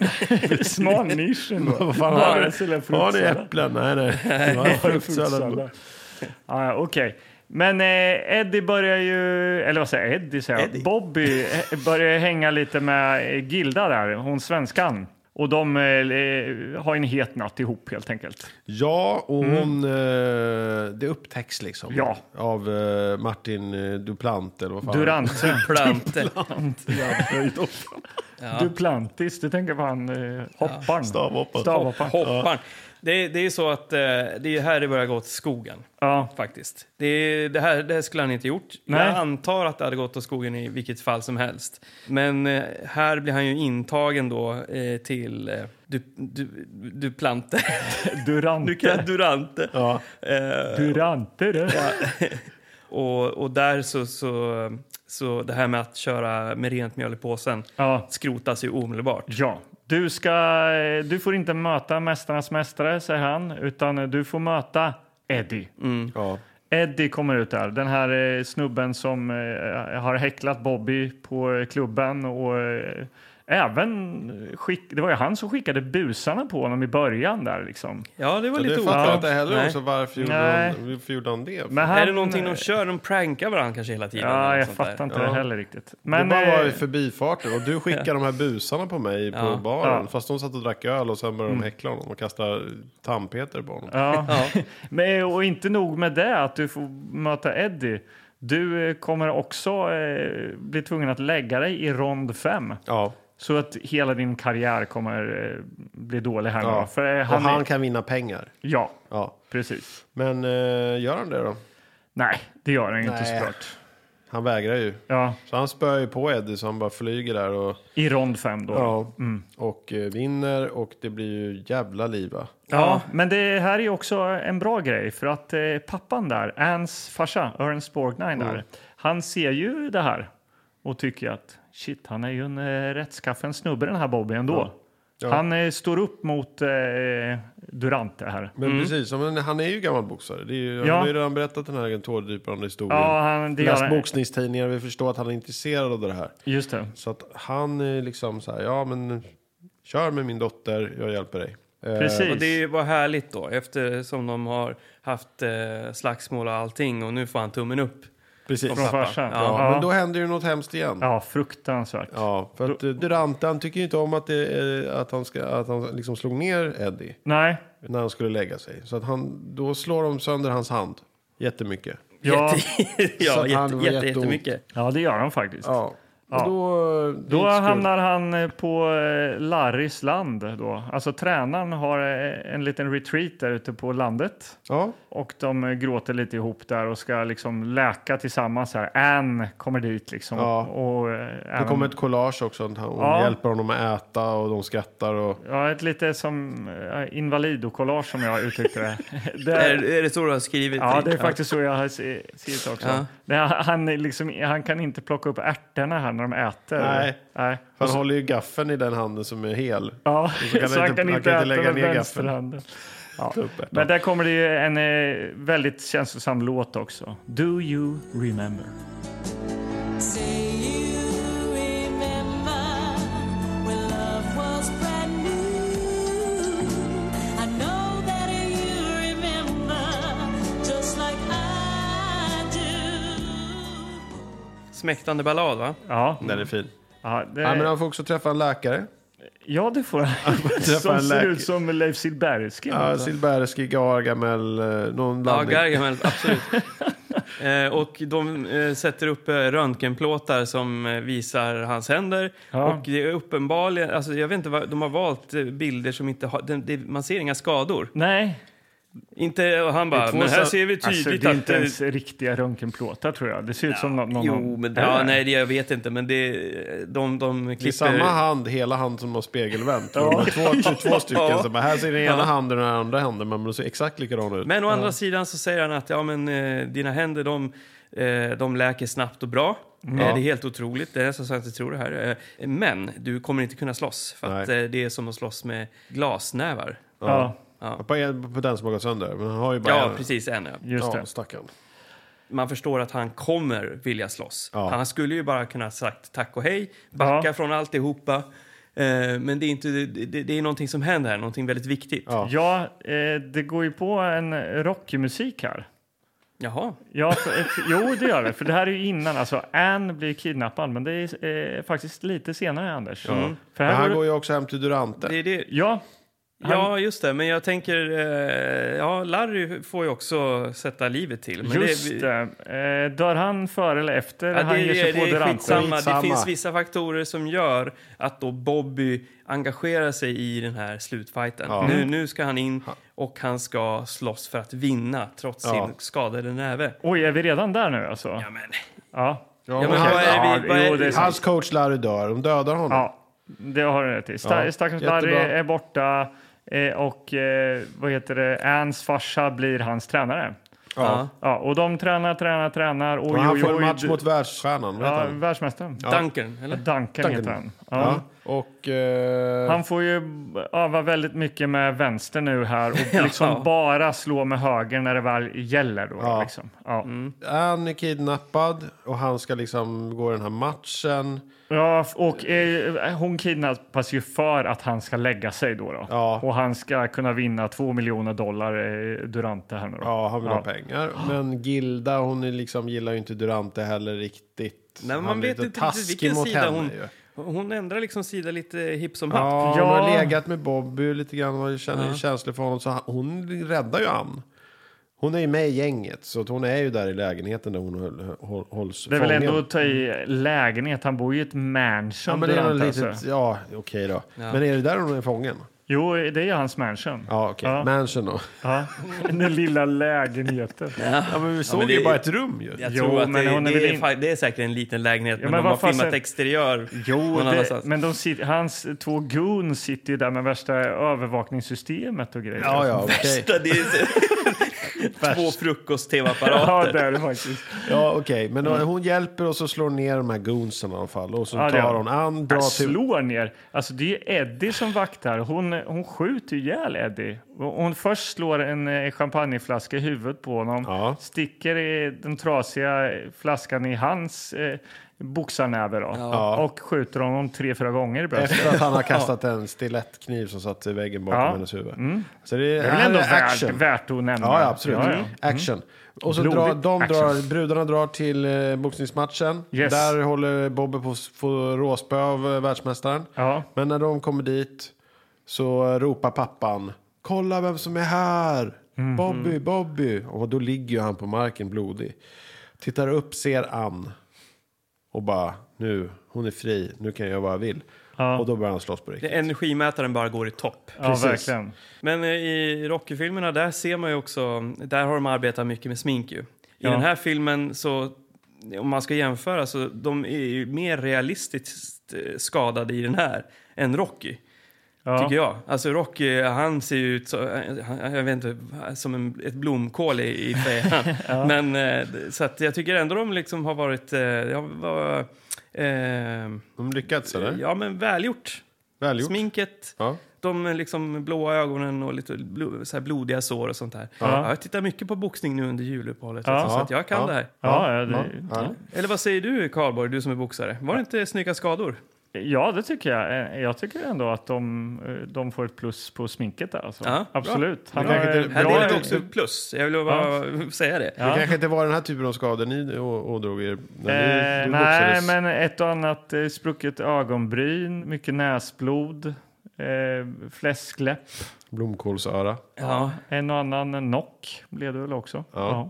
Speaker 2: Smal nisch ändå.
Speaker 3: Mm. [laughs] Vad fan
Speaker 2: Ja,
Speaker 3: har
Speaker 2: jag skulle
Speaker 3: du?
Speaker 2: fruktsallad.
Speaker 3: Har ni äpplen? Nej,
Speaker 2: [laughs]
Speaker 3: nej. Vad har du fruktsallad?
Speaker 2: Fruktsallad. Ja, ja, okej. Men eh, Eddie börjar ju, eller vad säger jag, Eddie säger jag.
Speaker 1: Eddie.
Speaker 2: Bobby eh, börjar ju hänga lite med eh, Gilda där, hon svenskan. Och de eh, har en het natt ihop helt enkelt.
Speaker 3: Ja, och hon, eh, det upptäcks liksom
Speaker 2: Mm. Ja.
Speaker 3: av eh, Martin eh, Duplant eller vad fan
Speaker 2: Durante. [laughs]
Speaker 1: Planter.
Speaker 2: Duplantis, du tänker på han eh, hopparen.
Speaker 3: Stavhopparen.
Speaker 2: Stavhopparen.
Speaker 1: Hopparen. Det, det är så att eh, det är här det börjar gå åt skogen.
Speaker 2: Ja.
Speaker 1: faktiskt. Det, det, här, det här skulle han inte gjort.
Speaker 2: Nej.
Speaker 1: Jag antar att det hade gått åt skogen i vilket fall som helst. Men eh, här blir han ju intagen då eh, till eh, du, du, Duplante.
Speaker 2: Durante.
Speaker 1: [laughs] Du kan Durante.
Speaker 3: Ja.
Speaker 1: Eh,
Speaker 2: Durante, du.
Speaker 1: och, och där så, så, så det här med att köra med rent mjöl i påsen
Speaker 2: Ja.
Speaker 1: skrotas ju omedelbart.
Speaker 2: Ja. Du, ska, eh, du får inte möta Mästarnas mästare, säger han, utan eh, du får möta Eddie.
Speaker 3: Mm. Ja.
Speaker 2: Eddie kommer ut där, den här eh, snubben som eh, har häcklat Bobby på eh, klubben och eh, även skick, det var ju han som skickade busarna på honom i början där liksom.
Speaker 1: Ja, det var
Speaker 3: Det
Speaker 1: lite
Speaker 3: fattar jag
Speaker 1: oklart.
Speaker 3: inte heller
Speaker 1: Nej.
Speaker 3: också. Varför
Speaker 2: Nej.
Speaker 3: gjorde, hon, varför gjorde han det?
Speaker 2: Men han,
Speaker 1: Är det någonting de kör? De prankar varandra kanske hela tiden? eller
Speaker 2: Ja,
Speaker 1: något
Speaker 2: jag
Speaker 1: sånt där.
Speaker 2: fattar inte det
Speaker 3: Ja.
Speaker 2: heller riktigt.
Speaker 3: det
Speaker 2: Men,
Speaker 3: bara var
Speaker 2: eh,
Speaker 3: i förbifarten och
Speaker 2: [laughs]
Speaker 3: du skickade de här busarna på mig på
Speaker 1: Ja.
Speaker 3: baren.
Speaker 2: Ja. Mm.
Speaker 3: Fast de satt och drack öl och sen började de häckla honom och kasta tandpetare på honom. [laughs]
Speaker 2: ja. [laughs]
Speaker 1: Ja.
Speaker 2: Men, och inte nog med det, att du får möta Eddie. Du eh, kommer också eh, bli tvungen att lägga dig i rond fem.
Speaker 3: Ja.
Speaker 2: Så att hela din karriär kommer eh, bli dålig här nu.
Speaker 3: ja.
Speaker 2: då. För eh,
Speaker 3: och
Speaker 2: han,
Speaker 3: han
Speaker 2: är,
Speaker 3: kan vinna pengar.
Speaker 2: Ja,
Speaker 3: Ja.
Speaker 2: precis.
Speaker 3: Men eh, gör han det då?
Speaker 2: Nej, det gör han ju inte
Speaker 3: Nej.
Speaker 2: såklart.
Speaker 3: Han vägrar ju.
Speaker 2: Ja,
Speaker 3: Så han spöar ju på Eddie så han bara flyger där och,
Speaker 2: I rond fem då. Ja.
Speaker 3: och eh, vinner och det blir ju jävla liva.
Speaker 2: men det här är ju också en bra grej för att eh, pappan där, Anns farsa, Ernst Borgnine där,
Speaker 3: Mm.
Speaker 2: han ser ju det här och tycker att shit, han är ju en eh, rättskaffen snubbe den här Bobby ändå.
Speaker 3: Ja.
Speaker 2: Han eh, står upp mot eh, Durante här.
Speaker 3: Men precis, men han är ju gammal boxare. Det är ju,
Speaker 2: Mm. Ja.
Speaker 3: Han har ju redan berättat den här tårdrypande historien.
Speaker 2: Ja, han, det gör
Speaker 3: Läst
Speaker 2: han.
Speaker 3: boxningstidningar, vi förstår att han är intresserad av det här.
Speaker 2: Just det.
Speaker 3: Så att han är liksom så här, ja men kör med min dotter, jag hjälper dig. Eh,
Speaker 2: Precis.
Speaker 1: Och det var härligt då eftersom de har haft eh, slagsmål och allting och nu får han tummen upp.
Speaker 3: precis.
Speaker 2: Från farsan.
Speaker 3: Ja, men då händer ju något hemskt igen. Ja.
Speaker 2: ja, fruktansvärt.
Speaker 3: för att eh, Durante han tycker ju inte om att, det, är- att han, ska, att han liksom slog ner Eddie
Speaker 2: Nej,
Speaker 3: när han skulle lägga sig. Så att han, då slår de sönder hans hand jättemycket.
Speaker 2: ja,
Speaker 1: Jätte, [laughs]
Speaker 3: Så
Speaker 1: ja
Speaker 3: att han
Speaker 1: jätte,
Speaker 3: var
Speaker 1: jätte,
Speaker 3: jätteont.
Speaker 1: jättemycket.
Speaker 2: ja det gör han faktiskt.
Speaker 3: Ja.
Speaker 2: Ja.
Speaker 3: Och då, eh,
Speaker 2: Då hamnar han eh, på eh, Larrys land. Då. Alltså tränaren har eh, en liten retreat där ute på landet.
Speaker 3: Ja,
Speaker 2: Och de eh, gråter lite ihop där och ska liksom läka tillsammans. Här. Ann kommer dit liksom.
Speaker 3: Ja.
Speaker 2: Och, eh,
Speaker 3: det
Speaker 2: även,
Speaker 3: kommer ett collage också. Hon
Speaker 2: Ja.
Speaker 3: hjälper honom att äta och de skrattar. Och,
Speaker 2: ja, ett lite som eh, invalidokollage som jag uttryckte det. det
Speaker 1: Är, är det så du har skrivit?
Speaker 2: Ja, det är
Speaker 1: Rickard?
Speaker 2: faktiskt så jag har se- sett också.
Speaker 1: Ja.
Speaker 2: Det, han, är liksom, han kan inte plocka upp ärtorna här när de äter.
Speaker 3: Nej.
Speaker 2: Nej.
Speaker 3: han håller ju gaffeln i den handen som är hel.
Speaker 2: Ja,
Speaker 3: så kan
Speaker 2: så han kan inte äta
Speaker 3: lägga
Speaker 2: med
Speaker 3: ner gaffeln.
Speaker 2: vänsterhanden. Ja.
Speaker 3: Tuppen.
Speaker 2: Men där kommer det ju en eh, väldigt känslosam låt också. Do you remember?
Speaker 10: Say you remember when love was brand new. I know that you remember just like I do.
Speaker 1: Smäktande ballad, va?
Speaker 2: Ja,
Speaker 3: Den är fin.
Speaker 2: ja, det,
Speaker 3: Ja, men han får också träffa en läkare.
Speaker 2: ja det
Speaker 3: [laughs]
Speaker 2: får han.
Speaker 3: träffar
Speaker 2: som
Speaker 3: en
Speaker 2: ser
Speaker 3: läkare.
Speaker 2: ut som Leif alltså. Silbersky.
Speaker 3: Ja, Silberski, Gargamel, eh, någon
Speaker 1: Ja,
Speaker 3: blandning.
Speaker 1: Gargamel,
Speaker 2: [laughs]
Speaker 1: absolut. Eh, och de eh, sätter upp eh, röntgenplåtar som eh, visar hans händer.
Speaker 2: Ja.
Speaker 1: Och det är uppenbarligen, alltså, jag vet inte vad, de har valt eh, bilder som inte har, den- det, man ser inga skador.
Speaker 2: Nej,
Speaker 1: Inte, och han
Speaker 3: Det är
Speaker 1: bara,
Speaker 3: två
Speaker 1: men här
Speaker 3: så-
Speaker 1: ser vi
Speaker 2: Alltså,
Speaker 1: tydligt
Speaker 2: det är
Speaker 1: att... eh,
Speaker 2: inte ens riktiga röntgenplåtar tror jag. Det ser ut som någon... någon
Speaker 1: Jo, men
Speaker 2: Eller?
Speaker 1: ja, nej, det, jag vet inte, men det, de, de klipper...
Speaker 3: Det är samma hand, hela hand som har spegelvänt.
Speaker 2: Ja.
Speaker 3: Två, [laughs] två stycken. Så bara, här ser den ena
Speaker 1: Ja.
Speaker 3: handen och den andra handen, men de ser exakt likadana ut.
Speaker 1: Men å andra sidan så säger han att ja, men, eh, dina händer de, eh, de läker snabbt och bra. Eh, det är helt otroligt. Det är nästan så att jag tror det här. Eh, men du kommer inte kunna slåss för att eh,
Speaker 3: Nej.
Speaker 1: det är som att slåss med glasnävar.
Speaker 2: Ja,
Speaker 3: På, på den som har gått sönder. Men han har ju bara
Speaker 1: Ja,
Speaker 3: en-
Speaker 1: precis. En, ja.
Speaker 2: just
Speaker 3: ja,
Speaker 2: det.
Speaker 3: stackarn.
Speaker 1: Man förstår att han kommer vilja slåss.
Speaker 3: Ja.
Speaker 1: Han skulle ju bara kunna ha sagt tack och hej, backa
Speaker 2: Ja.
Speaker 1: från alltihopa. Eh, men det är, inte, det, det- det är någonting som händer här, någonting väldigt viktigt.
Speaker 3: Ja.
Speaker 2: Ja, eh, det går ju på en rockmusik här.
Speaker 1: Jaha.
Speaker 2: Ja, för, eh, för- jo, det gör det. För det här är ju innan. Alltså, Anne blir kidnappad, men det är eh, faktiskt lite senare, Anders. Mm. För
Speaker 3: Men
Speaker 2: här
Speaker 3: han
Speaker 2: går...
Speaker 3: går ju också hem till Durante.
Speaker 1: Det är det.
Speaker 2: Ja,
Speaker 1: Ja, just det. Men jag tänker... Eh, ja, Larry får ju också sätta livet till. Men
Speaker 2: just
Speaker 1: det.
Speaker 2: det. Eh, dör han före eller efter
Speaker 1: Ja,
Speaker 2: han
Speaker 1: det,
Speaker 2: ger sig
Speaker 1: är,
Speaker 2: på
Speaker 1: det är
Speaker 2: Durante?
Speaker 1: skitsamma.
Speaker 3: Skitsamma.
Speaker 1: Det finns vissa faktorer som gör att då Bobby engagerar sig i den här slutfighten.
Speaker 3: Ja.
Speaker 1: Nu, nu ska han in och han ska slåss för att vinna trots
Speaker 3: Ja.
Speaker 1: sin skadade näve.
Speaker 2: Oj, är vi redan där nu alltså?
Speaker 1: Ja, men,
Speaker 2: Ja.
Speaker 3: Ja,
Speaker 1: ja, men
Speaker 3: okej.
Speaker 1: vad är vi... Vad
Speaker 2: jo,
Speaker 1: är
Speaker 2: det är sant.
Speaker 3: Hans coach Larry dör. De dödar honom.
Speaker 2: Ja, det har du rätt i. Sta-
Speaker 3: Ja,
Speaker 2: Stackars
Speaker 3: jättebra.
Speaker 2: Larry är borta eh, och eh, vad heter det? Anns farsa blir hans tränare.
Speaker 1: Ja.
Speaker 2: Ja, och de tränar, tränar, tränar. Oj,
Speaker 3: Och han
Speaker 2: oj,
Speaker 3: får
Speaker 2: oj,
Speaker 3: en match
Speaker 2: du-
Speaker 3: mot världsstjärnan. Vad heter
Speaker 2: ja,
Speaker 3: han?
Speaker 2: världsmästaren.
Speaker 1: Duncan, eller?
Speaker 2: Duncan, heter han. Ja.
Speaker 3: Ja. Och... eh,
Speaker 2: Han får ju öva väldigt mycket med vänster nu här
Speaker 3: [laughs]
Speaker 2: och liksom
Speaker 1: Ja.
Speaker 2: bara slå med höger när det väl gäller. Då,
Speaker 3: Ja. Mm.
Speaker 2: liksom. ja.
Speaker 3: Han är kidnappad och han ska liksom gå den här matchen.
Speaker 2: Ja, och eh, hon kidnappas ju för att han ska lägga sig då. då.
Speaker 3: Ja.
Speaker 2: Och han ska kunna vinna två miljoner dollar eh, Durante här nu då.
Speaker 3: Ja, han vill ha pengar. Men Gilda, hon är liksom, gillar ju inte Durante heller riktigt.
Speaker 1: Nej, men
Speaker 3: Han
Speaker 1: man
Speaker 3: blir
Speaker 1: vet
Speaker 3: lite
Speaker 1: inte riktigt
Speaker 3: taskig
Speaker 1: vilken
Speaker 3: mot
Speaker 1: sida
Speaker 3: henne
Speaker 1: hon...
Speaker 3: ju.
Speaker 1: Hon ändrar liksom sida lite hipp som happ.
Speaker 3: Ja,
Speaker 2: Ja.
Speaker 3: hon har legat med Bobby lite grann och känner känslor för honom. Så han- hon räddar ju Ann. Hon är ju med i gänget, så att hon är ju där i lägenheten där hon håll, håll, hålls
Speaker 2: Det är väl
Speaker 3: fången.
Speaker 2: ändå att ta i lägenhet. Han bor ju i ett mansion.
Speaker 3: Ja, men det är något
Speaker 2: Durante, alltså.
Speaker 3: litet... Ja, okej då. Men är det där hon är fången?
Speaker 2: Jo, det är ju hans mansion.
Speaker 3: Ja, okej.
Speaker 2: Ja.
Speaker 3: Mansion då.
Speaker 2: Ja. [laughs] Den lilla lägenheten.
Speaker 3: Ja, men vi såg
Speaker 1: men det
Speaker 3: ju
Speaker 1: är-
Speaker 3: bara ett rum ju.
Speaker 1: Jag
Speaker 2: Jo,
Speaker 1: tror att
Speaker 2: men
Speaker 1: det,
Speaker 2: hon är
Speaker 1: det,
Speaker 2: väl
Speaker 1: är,
Speaker 2: in-
Speaker 1: fa- det är säkert en liten lägenhet, men,
Speaker 2: men
Speaker 1: de har
Speaker 2: vad fasen-
Speaker 1: filmat exteriör
Speaker 2: Jo,
Speaker 1: någon
Speaker 2: det,
Speaker 1: annanstans.
Speaker 2: men de sitter, hans två goons sitter ju där med värsta övervakningssystemet och grejer.
Speaker 3: Ja, ja, okej.
Speaker 1: Det är [laughs] två
Speaker 2: ja det
Speaker 1: frukost-tv-apparater.
Speaker 2: är det faktiskt.
Speaker 3: Ja, okej. Men då- hon hjälper och så slår ner de här goonsen i alla fall. Och så
Speaker 2: Ja, det gör
Speaker 3: tar
Speaker 2: hon. Äh,
Speaker 3: hon an,
Speaker 2: Han
Speaker 3: drar till...
Speaker 2: slår ner. Alltså, det är ju Eddie som vaktar. Hon, hon skjuter ihjäl Eddie. Och Hon först slår en eh, champagneflaska i huvudet på honom.
Speaker 3: Ja.
Speaker 2: Sticker i den trasiga flaskan i hans eh, boxarnäve då. och skjuter honom tre, fyra gånger i bröstet.
Speaker 3: Efter att han har
Speaker 2: [laughs]
Speaker 3: kastat en stilettkniv som satt i väggen bakom
Speaker 2: Ja. Mm.
Speaker 3: hennes huvud. Så det är,
Speaker 2: Det är
Speaker 3: här
Speaker 2: väl ändå
Speaker 3: är
Speaker 2: värt, värt att nämna.
Speaker 3: Ja, ja absolut. Mm.
Speaker 2: Ja, ja.
Speaker 3: Action. Och så
Speaker 2: Blodigt
Speaker 3: drar, de
Speaker 2: action.
Speaker 3: drar, brudarna drar till eh, boxningsmatchen.
Speaker 2: Yes.
Speaker 3: Där håller Bobby på att få råspö av eh, världsmästaren.
Speaker 2: Ja.
Speaker 3: Men när de kommer dit så eh, ropar pappan Kolla vem som är här!
Speaker 2: Mhm.
Speaker 3: Bobby, Bobby! Och då ligger ju han på marken blodig. Tittar upp, ser Ann och bara nu, hon är fri, nu kan jag göra vad jag vill. Och då börjar han slåss på riktigt.
Speaker 1: Energimätaren bara går i topp.
Speaker 2: Ja, verkligen.
Speaker 1: Men eh, i Rocky-filmerna, där ser man ju också, där har de arbetat mycket med smink ju. I den här filmen så, om man ska jämföra, så de är ju mer realistiskt eh, skadade i den här än Rocky. Tycker jag. Alltså Rocky, han ser ju ut så, han, jag vet inte, som en, ett blomkål i, i
Speaker 3: [laughs]
Speaker 1: fejan. Men eh, så att jag tycker ändå de liksom har varit, eh, ja, var, eh,
Speaker 3: De lyckats eller?
Speaker 1: ja men välgjort.
Speaker 3: Välgjort.
Speaker 1: Sminket.
Speaker 3: Ja.
Speaker 1: De eh, liksom blåa ögonen och lite blo- så här blodiga sår och sånt där. Ja, jag tittar mycket på boxning nu under juluppehållet. Alltså, så att jag kan
Speaker 3: Ja.
Speaker 1: det här.
Speaker 2: Ja, ja, det,
Speaker 3: Ja.
Speaker 1: Eller vad säger du Karlborg, du som är boxare? Var det inte snygga skador?
Speaker 2: Ja, det tycker jag. Eh, Jag tycker ändå att de, eh, de får ett plus på sminket där. Alltså.
Speaker 1: Ja,
Speaker 2: Absolut. Han
Speaker 3: Det
Speaker 2: har
Speaker 3: kanske
Speaker 2: eh,
Speaker 3: inte-
Speaker 1: Här
Speaker 2: bra-
Speaker 1: är det också plus. Jag vill bara [laughs] säga det.
Speaker 3: Det kanske inte var den här typen av skador ni å- ådrog er när
Speaker 2: Eh,
Speaker 3: ni, du
Speaker 2: nej,
Speaker 3: boxades.
Speaker 2: men ett och annat eh, sprucket ögonbryn, mycket näsblod, eh, fläskläpp,
Speaker 3: Blomkålsöra.
Speaker 1: Ja.
Speaker 2: en och annan knock blev det väl också. Ja.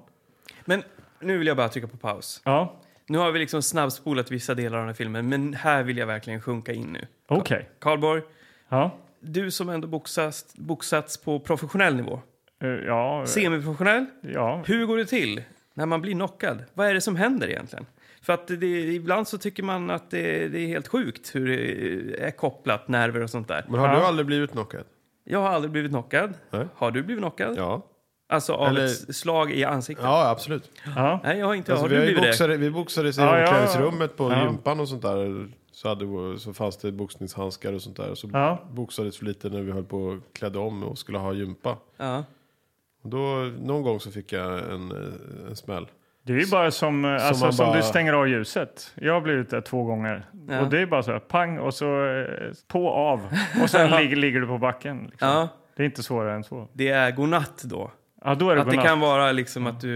Speaker 1: Men nu vill jag bara trycka på paus.
Speaker 2: ja.
Speaker 1: Nu har vi liksom snabbspolat vissa delar av den här filmen, men här vill jag verkligen sjunka in nu.
Speaker 2: Okej.
Speaker 1: Karlborg,
Speaker 2: Ja.
Speaker 1: du som ändå boxas, boxats på professionell nivå.
Speaker 2: Eh, Ja, eh,
Speaker 1: Semiprofessionell?
Speaker 2: ja.
Speaker 1: Hur går det till när man blir knockad? Vad är det som händer egentligen? För att det, ibland så tycker man att det, det är helt sjukt hur det är kopplat, nerver och sånt där.
Speaker 3: Men har du aldrig blivit knockad?
Speaker 1: Jag har aldrig blivit knockad.
Speaker 3: Nej.
Speaker 1: Har du blivit knockad?
Speaker 3: Ja.
Speaker 1: Alltså av
Speaker 3: Eller-
Speaker 1: ett s- slag i ansiktet?
Speaker 3: Ja, absolut.
Speaker 2: Ja.
Speaker 1: Nej, jag har inte.
Speaker 3: Alltså,
Speaker 1: har
Speaker 3: vi,
Speaker 1: du
Speaker 3: har ju
Speaker 1: blivit det?
Speaker 3: boxare, vi boxades i
Speaker 2: Ja, ja,
Speaker 3: omklädningsrummet på
Speaker 2: ja.
Speaker 3: gympan och sånt där. Så, hade, så fanns det boxningshandskar och sånt där. Och så
Speaker 2: Ja.
Speaker 3: boxades vi lite när vi höll på och klädde om och skulle ha gympa.
Speaker 1: Ja.
Speaker 3: Och då, någon gång så fick jag en, eh, en smäll.
Speaker 2: Det är ju bara som, eh, alltså,
Speaker 3: man
Speaker 2: som
Speaker 3: bara-
Speaker 2: du stänger av ljuset. Jag har blivit det två gånger.
Speaker 1: Ja.
Speaker 2: Och det är bara så här, pang och så eh, på av.
Speaker 1: [laughs]
Speaker 2: Och sen ligger, ligger du på backen. Liksom.
Speaker 1: ja,
Speaker 2: Det är inte svårare än så.
Speaker 1: det är godnatt då.
Speaker 2: Ja, då är det
Speaker 1: Att det
Speaker 2: godnatt.
Speaker 1: kan vara liksom att du...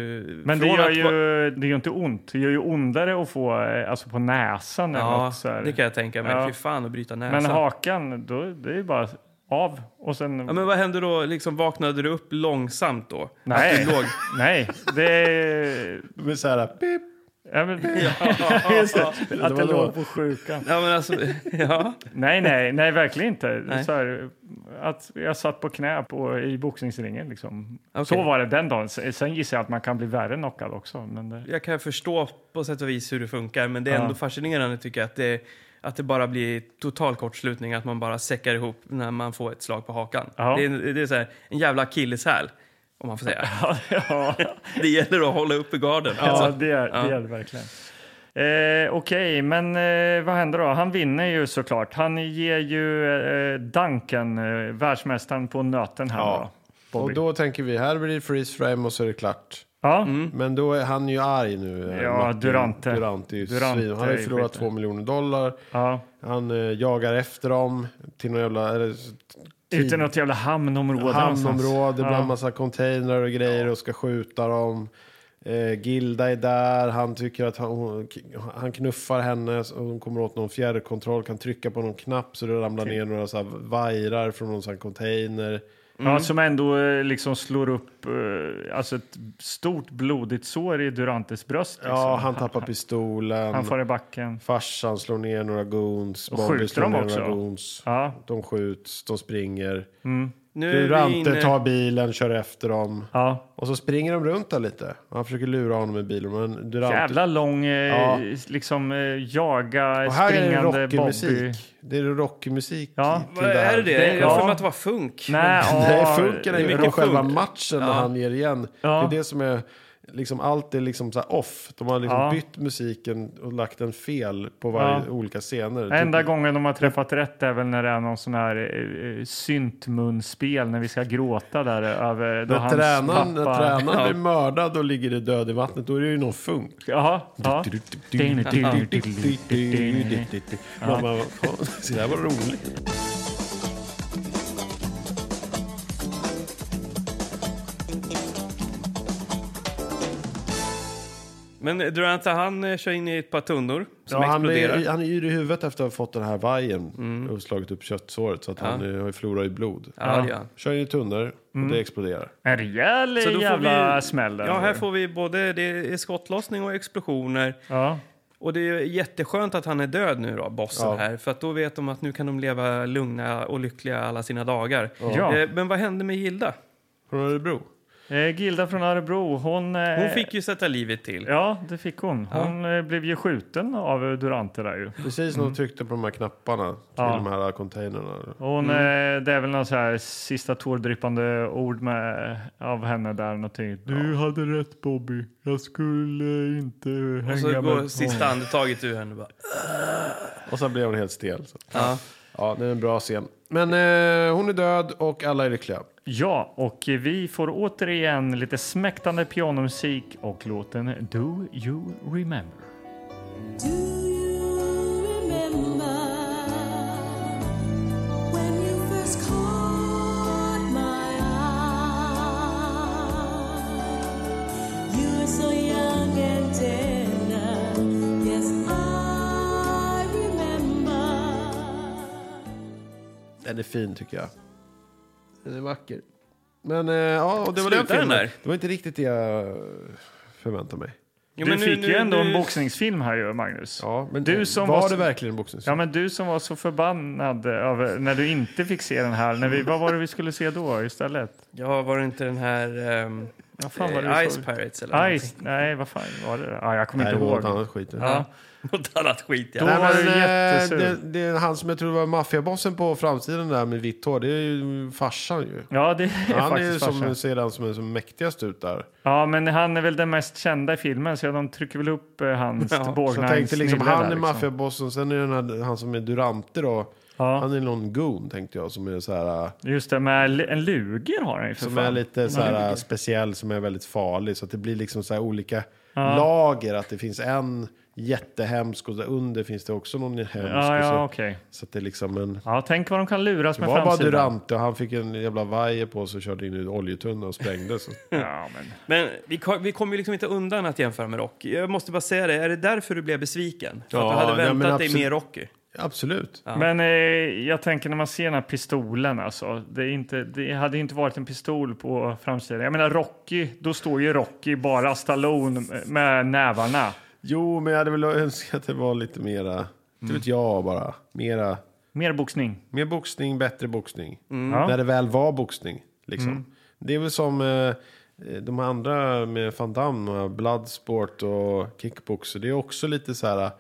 Speaker 2: Men det
Speaker 1: från
Speaker 2: gör,
Speaker 1: att
Speaker 2: ju,
Speaker 1: vara-
Speaker 2: det gör ju inte ont. Det gör ju ondare att få eh, alltså på näsan eller
Speaker 1: Ja,
Speaker 2: något så här.
Speaker 1: det kan jag tänka mig.
Speaker 2: Ja.
Speaker 1: Fy fan att bryta näsan.
Speaker 2: Men hakan, då, det är ju bara av. Och sen...
Speaker 1: Ja, men vad hände då? Liksom, vaknade du upp långsamt då?
Speaker 2: Nej.
Speaker 1: Att du låg...
Speaker 2: Nej, det är...
Speaker 3: Men så här, pip!
Speaker 1: [laughs]
Speaker 2: Ja, men, [laughs] just det, att
Speaker 3: var
Speaker 2: jag
Speaker 3: då.
Speaker 2: låg på sjukan.
Speaker 1: Ja, men alltså, [laughs] ja.
Speaker 2: Nej, nej, nej, verkligen inte.
Speaker 1: Nej.
Speaker 2: Så här, att jag satt på knä på, i boxningsringen. Liksom.
Speaker 1: Okej.
Speaker 2: Så var det den dagen. S- Sen gissar jag att man kan bli värre knockad också. Men det,
Speaker 1: Jag kan förstå på sätt och vis hur det funkar, men det är ändå
Speaker 2: Ja.
Speaker 1: fascinerande tycker jag att det, att det bara blir total kortslutning, att man bara säckar ihop när man får ett slag på hakan.
Speaker 2: Ja.
Speaker 1: Det, är, det är så här, en jävla akilleshäl, om man får säga.
Speaker 2: [laughs] ja,
Speaker 1: [laughs] det gäller att hålla uppe garden.
Speaker 2: ja,
Speaker 1: alltså.
Speaker 2: det, är, det är det verkligen. Eh, Okej, men eh, vad händer då? Han vinner ju såklart. Han ger ju eh, Duncan, eh, världsmästaren, på nöten här.
Speaker 3: Ja.
Speaker 2: Ja.
Speaker 3: Och då tänker vi, här blir det freeze frame och så är det klart.
Speaker 2: Ja,
Speaker 3: Men då är han ju arg nu. eh,
Speaker 2: Ja,
Speaker 3: Martin
Speaker 2: Durante.
Speaker 3: Durante är ju
Speaker 2: Durante
Speaker 3: svin. Han har ju
Speaker 2: är
Speaker 3: förlorat
Speaker 2: skiten.
Speaker 3: två miljoner dollar.
Speaker 2: ja.
Speaker 3: Han eh, jagar efter dem till någon jävla... Eller,
Speaker 2: Ute i något jävla hamnområde.
Speaker 3: hamnområde
Speaker 2: någonstans.
Speaker 3: bland massa containrar och grejer och ska skjuta dem. Eh, Gilda är där, han tycker att han, hon- han knuffar henne och hon kommer åt någon fjärrkontroll, kan trycka på någon knapp så det ramlar ner några så här vajrar från någon sån här container.
Speaker 2: Ja, som ändå eh, liksom slår upp eh, alltså ett stort blodigt sår i Durantes bröst. Liksom.
Speaker 3: Ja, han tappar pistolen.
Speaker 2: Han far i backen.
Speaker 3: Farsan slår ner några goons.
Speaker 2: Och
Speaker 3: Bobby
Speaker 2: skjuter
Speaker 3: slår
Speaker 2: dem
Speaker 3: ner
Speaker 2: också.
Speaker 3: Några goons.
Speaker 2: Ja,
Speaker 3: De skjuts, de springer.
Speaker 1: Nu är vi
Speaker 3: Durante
Speaker 1: inne...
Speaker 3: tar bilen, kör efter dem.
Speaker 2: ja.
Speaker 3: Och så springer de runt där lite. Han försöker lura honom med bilen. Men Durante...
Speaker 2: Jävla lång, eh,
Speaker 3: Ja.
Speaker 2: liksom eh, jaga,
Speaker 3: Och här är det
Speaker 2: springande
Speaker 3: rockig
Speaker 2: Bobby.
Speaker 3: musik. Det är rockig musik.
Speaker 2: Ja.
Speaker 3: till
Speaker 1: Vad är
Speaker 3: [laughs]
Speaker 1: det?
Speaker 3: här.
Speaker 1: det? Jag har för
Speaker 2: ja.
Speaker 1: mig att det var funk.
Speaker 2: Nej,
Speaker 3: Nej,
Speaker 2: ja,
Speaker 3: funkar det är mycket
Speaker 1: rock-
Speaker 3: själva
Speaker 1: funk.
Speaker 3: matchen när han ger igen.
Speaker 2: Ja.
Speaker 3: Det är det som är... Liksom allt är liksom så här off. De har liksom
Speaker 2: Ja.
Speaker 3: bytt musiken och lagt den fel på varje
Speaker 2: Ja.
Speaker 3: olika scener.
Speaker 2: Enda
Speaker 3: Typ-
Speaker 2: gången de har träffat rätt är väl när det är någon sån här eh, eh, syntmunspel när vi ska gråta där över då
Speaker 3: Typ, När
Speaker 2: hans
Speaker 3: tränaren, när
Speaker 2: pappa...
Speaker 3: tränaren blir mördad och ligger i död i vattnet, då är det ju någon funk.
Speaker 2: Jaha, ja.
Speaker 3: Man bara, "Fan, Så det här var roligt.
Speaker 1: Men Durante, han eh, kör in i ett par tunnor som
Speaker 3: Ja, han,
Speaker 1: exploderar.
Speaker 3: är, han är yr i huvudet efter att ha fått den här vajen och slagit upp köttsåret så att han eh, har ju florat i blod.
Speaker 1: Ja, det gör han.
Speaker 3: Kör in i tunnor och det exploderar.
Speaker 2: En rejäl
Speaker 1: Så då får
Speaker 2: jävla
Speaker 1: vi-
Speaker 2: smäll. där.
Speaker 1: Ja, här får vi både det är skottlossning och explosioner.
Speaker 2: ja.
Speaker 1: Och det är jätteskönt att han är död nu då, bossen
Speaker 3: Ja.
Speaker 1: här. För att då vet de att nu kan de leva lugna och lyckliga alla sina dagar.
Speaker 2: Ja.
Speaker 1: Eh, Men vad hände med Gilda?
Speaker 3: Från Örebro.
Speaker 2: Eh, Gilda från Örebro, hon... eh,
Speaker 1: Hon fick ju sätta livet till.
Speaker 2: Ja, det fick hon. Hon eh, blev ju skjuten av eh, Durante där ju.
Speaker 3: Precis när de tryckte på de här knapparna till
Speaker 2: Ja.
Speaker 3: de här containrarna.
Speaker 2: Och Hon,
Speaker 1: Mm.
Speaker 2: eh, det är väl någon så här sista tårdryppande ord med, av henne där. typ. Någonting. Du hade rätt Bobby. Jag skulle inte hänga
Speaker 1: Och så
Speaker 2: med
Speaker 1: går
Speaker 2: honom.
Speaker 1: sista andetaget ur henne och bara...
Speaker 3: Och sen blev hon helt stel. Så.
Speaker 1: Ja.
Speaker 3: Ja, det är en bra scen. Men eh, hon är död och alla är lyckliga.
Speaker 2: Ja, och vi får återigen lite smäktande pianomusik och låten Do You Remember.
Speaker 10: Do you remember when you first caught my eye? You were so young and tender. Yes, I remember.
Speaker 3: Den är fin tycker jag. Den är vacker. Men eh, ja, och det var
Speaker 1: Slutar
Speaker 3: den filmen.
Speaker 1: den där?
Speaker 3: Det var inte riktigt det jag förväntade mig.
Speaker 1: Jo,
Speaker 2: du
Speaker 1: men nu-
Speaker 2: fick
Speaker 1: nu-
Speaker 2: ju ändå
Speaker 1: nu-
Speaker 2: en boxningsfilm här ju, Magnus.
Speaker 3: Ja, men
Speaker 2: Du som
Speaker 3: var,
Speaker 2: var-
Speaker 3: det verkligen boxning?
Speaker 2: Ja, men du som var så förbannad över när du inte fick se den här. När vi, vad var det vi skulle se då istället?
Speaker 1: Ja, var det inte den här ehm,
Speaker 2: Vad fan var det
Speaker 1: eh,
Speaker 2: vi
Speaker 1: Ice
Speaker 2: såg?
Speaker 1: Pirates eller
Speaker 2: Ice, nej, vad fan var det? Ja, jag kommer
Speaker 3: Nej, det
Speaker 2: inte
Speaker 3: var något
Speaker 2: ihåg.
Speaker 3: annat skit.
Speaker 2: Ja.
Speaker 1: någonting? [laughs] Något annat skit ja.
Speaker 2: Då-
Speaker 3: Nej,
Speaker 2: var
Speaker 3: men,
Speaker 2: du
Speaker 3: eh,
Speaker 2: jättesur.
Speaker 3: det, det är han som jag tror var maffiabossen på framsidan där med vitt hår. Det är ju farsan ju.
Speaker 2: Ja, det är
Speaker 3: Han är ju
Speaker 2: faktiskt
Speaker 3: som,
Speaker 2: farsan.
Speaker 3: ser den som är som mäktigast ut där.
Speaker 2: Ja, men han är väl den mest kända i filmen, så de trycker väl upp eh, hans
Speaker 1: Ja, så
Speaker 3: Så
Speaker 2: bågnarns
Speaker 3: jag tänkte liksom,
Speaker 2: snille
Speaker 3: han
Speaker 2: där,
Speaker 3: är
Speaker 2: liksom.
Speaker 3: maffiabossen, sen är den här, han som är Durante då.
Speaker 2: Ja.
Speaker 3: Han är någon goon tänkte jag som är så här, äh,
Speaker 2: Just det, med l- en luger har han ju för
Speaker 3: som
Speaker 2: fan.
Speaker 3: är lite så här, äh, speciell, som är väldigt farlig. Så att det blir liksom så här olika lager, att det finns en jättehemsk och där under finns det också någon hemsk.
Speaker 2: Ja,
Speaker 3: och så,
Speaker 2: ja, okej.
Speaker 3: så att det är liksom en...
Speaker 2: Ja, tänk vad de kan luras
Speaker 3: Det
Speaker 2: med
Speaker 3: var bara
Speaker 2: framsidan.
Speaker 3: Durante och han fick en jävla vajer på sig och körde in i en oljetunna och sprängdes.
Speaker 2: Ja, men
Speaker 1: Men vi, kom- vi kommer ju liksom inte undan att jämföra med Rocky. Jag måste bara säga det, är det därför du blev besviken? För att
Speaker 3: Ja,
Speaker 1: du hade
Speaker 3: nej, men
Speaker 1: väntat dig
Speaker 3: absolut.
Speaker 1: mer Rocky?
Speaker 3: Absolut.
Speaker 2: Men eh, jag tänker när man ser den här pistolen alltså. Det, är inte, det hade ju inte varit en pistol på framsidan. Jag menar Rocky, då står ju Rocky bara Stallone med nävarna.
Speaker 3: Jo, men jag hade väl önskat att det var lite mera, inte vet jag bara, mera,
Speaker 2: Mer boxning.
Speaker 3: mer boxning, bättre boxning.
Speaker 1: Mm.
Speaker 2: Ja.
Speaker 3: När det väl var boxning, liksom. Det är väl som eh, de andra med Van Damme, och Bloodsport och kickboxer. Det är också lite så här eh,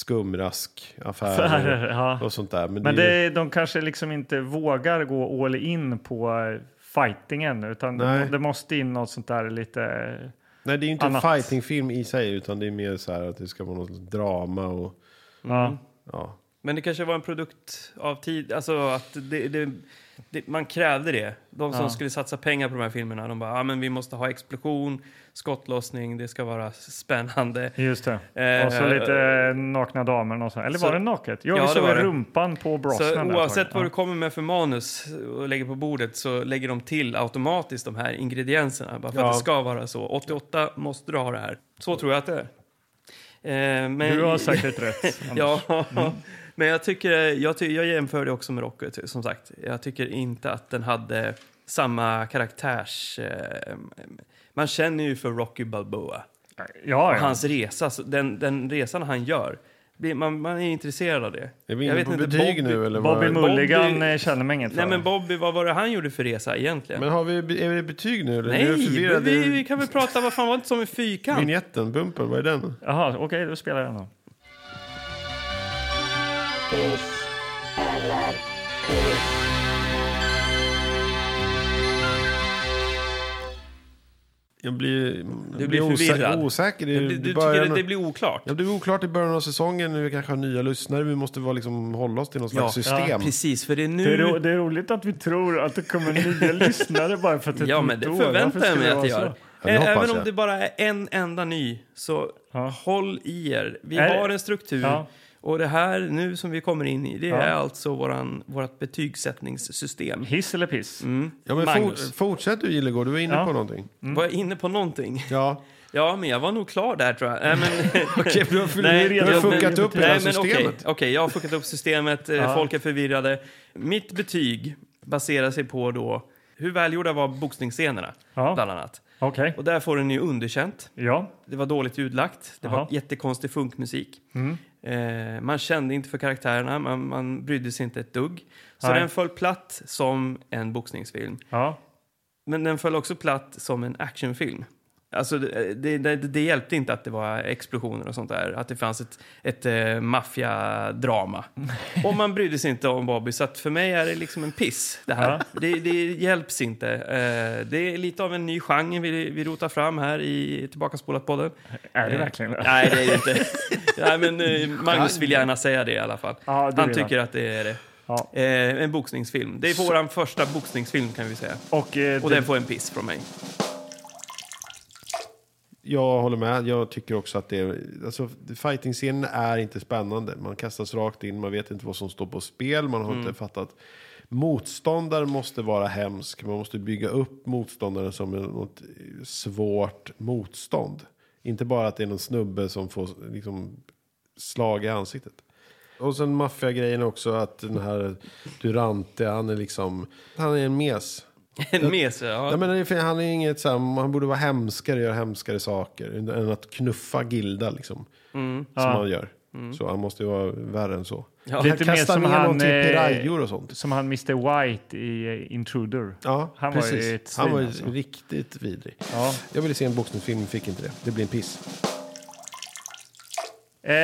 Speaker 3: skumrask
Speaker 1: [laughs]
Speaker 2: Affärer,
Speaker 3: affärer
Speaker 2: ja.
Speaker 3: och sånt där. Men,
Speaker 2: Men
Speaker 3: det, är-
Speaker 2: det, de kanske liksom inte vågar gå all in på eh, fightingen utan
Speaker 3: Nej.
Speaker 2: det måste in något sånt där lite... eh,
Speaker 3: nej, det är ju inte
Speaker 2: annat.
Speaker 3: en fightingfilm i sig, utan det är mer så här att det ska vara något drama och
Speaker 1: Mm.
Speaker 2: Ja.
Speaker 3: ja.
Speaker 1: Men det kanske var en produkt av tid, alltså att det, det, det, man krävde det. De som
Speaker 2: Ja.
Speaker 1: skulle satsa pengar på de här filmerna, de bara, ah, men vi måste ha explosion, skottlossning, det ska vara spännande.
Speaker 2: Just det.
Speaker 1: Eh,
Speaker 2: och så lite eh, nakna damer och så. Eller
Speaker 1: så-
Speaker 2: var det naket? Jo,
Speaker 1: Ja,
Speaker 2: vi
Speaker 1: det var
Speaker 2: såg
Speaker 1: det.
Speaker 2: rumpan på Brosnan.
Speaker 1: Så
Speaker 2: där, tror
Speaker 1: oavsett
Speaker 2: jag.
Speaker 1: vad
Speaker 2: Ja.
Speaker 1: du kommer med för manus och lägger på bordet så lägger de till automatiskt de här ingredienserna. Bara för
Speaker 3: Ja.
Speaker 1: att det ska vara så. 88 måste du ha det här. Så tror jag att det är. Eh, men,
Speaker 2: Du
Speaker 1: [laughs]
Speaker 2: har säkert rätt.
Speaker 1: ja,
Speaker 2: Mm.
Speaker 1: men jag tycker, jag, ty- jag jämför det också med Rocky, ty- som sagt. Jag tycker inte att den hade samma karaktärs... Eh, man känner ju för Rocky Balboa.
Speaker 2: Ja, ja.
Speaker 1: Hans resa, så den, den resan han gör. blir- Man, man är intresserad av det.
Speaker 3: Är vi inne på betyg nu eller? vad?
Speaker 2: Bobby Mulligan
Speaker 1: Bobby-
Speaker 2: eh, känner mig inget för.
Speaker 1: Nej men Bobby, vad var det han gjorde för resa egentligen?
Speaker 3: Men har vi, är vi i betyg nu eller? Nu är jag
Speaker 1: Nej,
Speaker 3: förvirrad.
Speaker 1: men vi, vi kan väl prata, vad fan var inte som en fyrkant?
Speaker 3: Vinjetten, bumpen, vad är den?
Speaker 2: Jaha, okej, då spelar jag den då.
Speaker 3: Jag blir,
Speaker 1: Du
Speaker 3: jag
Speaker 1: blir
Speaker 3: osä-
Speaker 1: förvirrad.
Speaker 3: osäker. Det,
Speaker 1: Du, du
Speaker 3: det
Speaker 1: tycker
Speaker 3: börjar,
Speaker 1: att det blir oklart?
Speaker 3: ja, det är oklart i början av säsongen. Vi kanske har nya lyssnare. Vi måste vara, liksom, hålla oss till något slags system.
Speaker 1: ja, precis, för det är
Speaker 2: Det
Speaker 1: nu...
Speaker 2: är, ro- det är roligt att vi tror att det kommer [laughs] nya lyssnare bara för att det är
Speaker 1: Ja,
Speaker 2: ett
Speaker 1: men det
Speaker 2: nytt år.
Speaker 1: förväntar
Speaker 2: Varför
Speaker 1: jag mig
Speaker 2: skulle
Speaker 1: att det
Speaker 2: vara
Speaker 1: gör.
Speaker 2: så?
Speaker 3: Ja, det hoppas
Speaker 1: Även om
Speaker 3: jag.
Speaker 1: det bara är en enda ny, så håll i er. Vi
Speaker 2: Är-
Speaker 1: har en struktur.
Speaker 2: Ja.
Speaker 1: Och det här nu som vi kommer in i, det
Speaker 2: Ja.
Speaker 1: är alltså våran, vårat betygssättningssystem.
Speaker 2: Hiss eller piss?
Speaker 1: Mm.
Speaker 3: ja, men
Speaker 1: Magnus.
Speaker 3: for, fortsätt du Gillegård, du var inne
Speaker 2: Ja.
Speaker 3: på någonting.
Speaker 1: Var jag inne på någonting?
Speaker 3: Ja.
Speaker 1: Ja, men jag var nog klar där tror jag. Nej, men,
Speaker 3: [laughs] Okej, du har,
Speaker 1: Nej,
Speaker 3: du har
Speaker 1: jag-
Speaker 3: fuckat
Speaker 1: men-
Speaker 3: upp hela
Speaker 1: nej, men
Speaker 3: systemet.
Speaker 1: Okej, okej, jag har fuckat upp systemet, eh, folk är förvirrade. Mitt betyg baserar sig på då hur välgjorda var boxningsscenerna,
Speaker 2: Ja.
Speaker 1: bland annat.
Speaker 2: Okej,
Speaker 1: Och där får den ju underkänt.
Speaker 2: ja.
Speaker 1: Det var dåligt ljudlagt, det
Speaker 2: Jaha.
Speaker 1: var jättekonstig funkmusik.
Speaker 3: Mm.
Speaker 1: Eh, man kände inte för karaktärerna, man, man brydde sig inte ett dugg. Så
Speaker 2: Nej.
Speaker 1: den föll platt som en boxningsfilm.
Speaker 2: ja.
Speaker 1: Men den föll också platt som en actionfilm. Alltså, det, det, det, det hjälpte inte att det var explosioner och sånt där. Att det fanns ett, ett eh, maffiadrama. Och man brydde sig inte om Bobby, så att för mig är det liksom en piss. Det, här. det, det hjälps inte. Eh, det är lite av en ny genre vi, vi rotar fram här i Tillbakaspolat-podden.
Speaker 2: Är
Speaker 1: Eh,
Speaker 2: det verkligen det?
Speaker 1: Nej, det är det
Speaker 2: [laughs]
Speaker 1: inte. Nej, men, eh, Magnus vill gärna säga det i alla fall.
Speaker 2: Ja, det
Speaker 1: Han
Speaker 2: vill han.
Speaker 1: tycker att det är det.
Speaker 2: Ja.
Speaker 1: Eh, en boxningsfilm. Det är vår första boxningsfilm kan vi säga.
Speaker 2: Och, eh,
Speaker 1: Och
Speaker 2: det-
Speaker 1: den får en piss från mig.
Speaker 3: Jag håller med. Jag tycker också att det är... Alltså, fighting-scenen är inte spännande. Man kastas rakt in, man vet inte vad som står på spel, man har inte fattat. Motståndaren måste vara hemsk. Man måste bygga upp motståndaren som en- något svårt motstånd. Inte bara att det är någon snubbe som får liksom, slag i ansiktet. Och sen maffiagrejen också, att den här Durante, han är liksom... Han är en mes.
Speaker 1: En mes, ja.
Speaker 3: Jag menar, det är för- han är ju inget så här, han borde vara hemskare, göra hemskare saker. än- Än att knuffa Gilda liksom.
Speaker 2: Mm,
Speaker 3: Som han gör. Så han måste ju vara värre än så.
Speaker 2: Lite mer
Speaker 3: kastar
Speaker 2: som
Speaker 3: ner
Speaker 2: han,
Speaker 3: någon till
Speaker 2: eh,
Speaker 3: pirayor och sånt.
Speaker 2: Som han Mr White i eh, Intruder.
Speaker 3: Ja,
Speaker 2: han var ju
Speaker 3: precis.
Speaker 2: ett svin,
Speaker 3: han var ju
Speaker 2: alltså.
Speaker 3: riktigt vidrig.
Speaker 2: Ja.
Speaker 3: Jag ville se en boxningsfilm, fick inte det. Det blir en piss.
Speaker 2: Eh,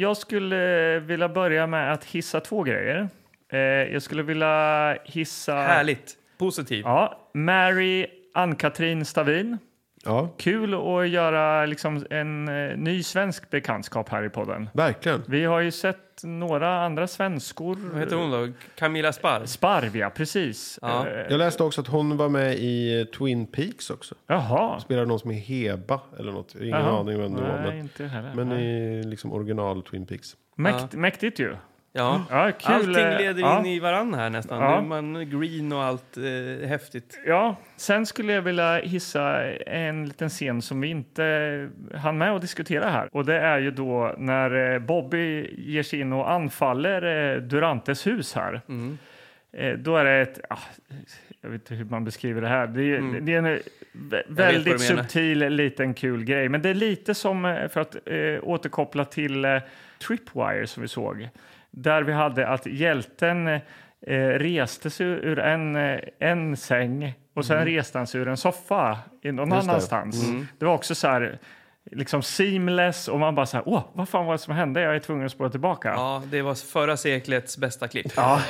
Speaker 2: jag skulle vilja börja med att hissa två grejer. Eh, jag skulle vilja hissa...
Speaker 1: Härligt. Positiv.
Speaker 2: Ja, Mary Ann-Katrin Stavin.
Speaker 3: Ja,
Speaker 2: Kul att göra liksom en eh, ny svensk bekantskap här i podden.
Speaker 3: verkligen.
Speaker 2: Vi har ju sett några andra svenskor.
Speaker 1: Vad heter hon då? Camilla Sparv?
Speaker 2: Sparv, ja, precis.
Speaker 1: Ja.
Speaker 2: Eh,
Speaker 3: Jag läste också att hon var med i eh, Twin Peaks också.
Speaker 2: jaha.
Speaker 3: Spelade någon som är Heba eller något. Ingen
Speaker 2: Jaha.
Speaker 3: aning vem det var.
Speaker 2: Nej,
Speaker 3: Men,
Speaker 2: inte heller.
Speaker 3: men
Speaker 2: Nej.
Speaker 3: i liksom original Twin Peaks.
Speaker 2: Mäkt, Mäktigt ju.
Speaker 1: Ja.
Speaker 2: Ja, kul.
Speaker 1: Allting
Speaker 2: eh,
Speaker 1: leder
Speaker 2: ja.
Speaker 1: in i varann här nästan.
Speaker 2: Ja.
Speaker 1: Nu är Man green och allt eh, häftigt.
Speaker 2: Ja, sen skulle jag vilja hissa en liten scen som vi inte hann med att diskutera här. Och det är ju då när eh, Bobby ger sig in och anfaller eh, Durantes hus här.
Speaker 1: Mm.
Speaker 2: Eh, Då är det ett... ah, Jag vet inte hur man beskriver det här. Det är,
Speaker 1: Mm.
Speaker 2: det är en eh, vä- väldigt
Speaker 1: du menar.
Speaker 2: subtil, liten kul grej. Men det är lite som, eh, för att eh, återkoppla till eh, Tripwire som vi såg, där vi hade att hjälten eh, reste sig ur en, eh, en säng och sen reste han sig ur en soffa i någon
Speaker 3: Just det.
Speaker 2: annanstans. Det. var också så här, liksom seamless och man bara så här, åh, vad fan var det som hände? Jag är tvungen att spåra tillbaka. [laughs]
Speaker 1: Ja, det var förra seklets bästa klipp.
Speaker 2: Ja,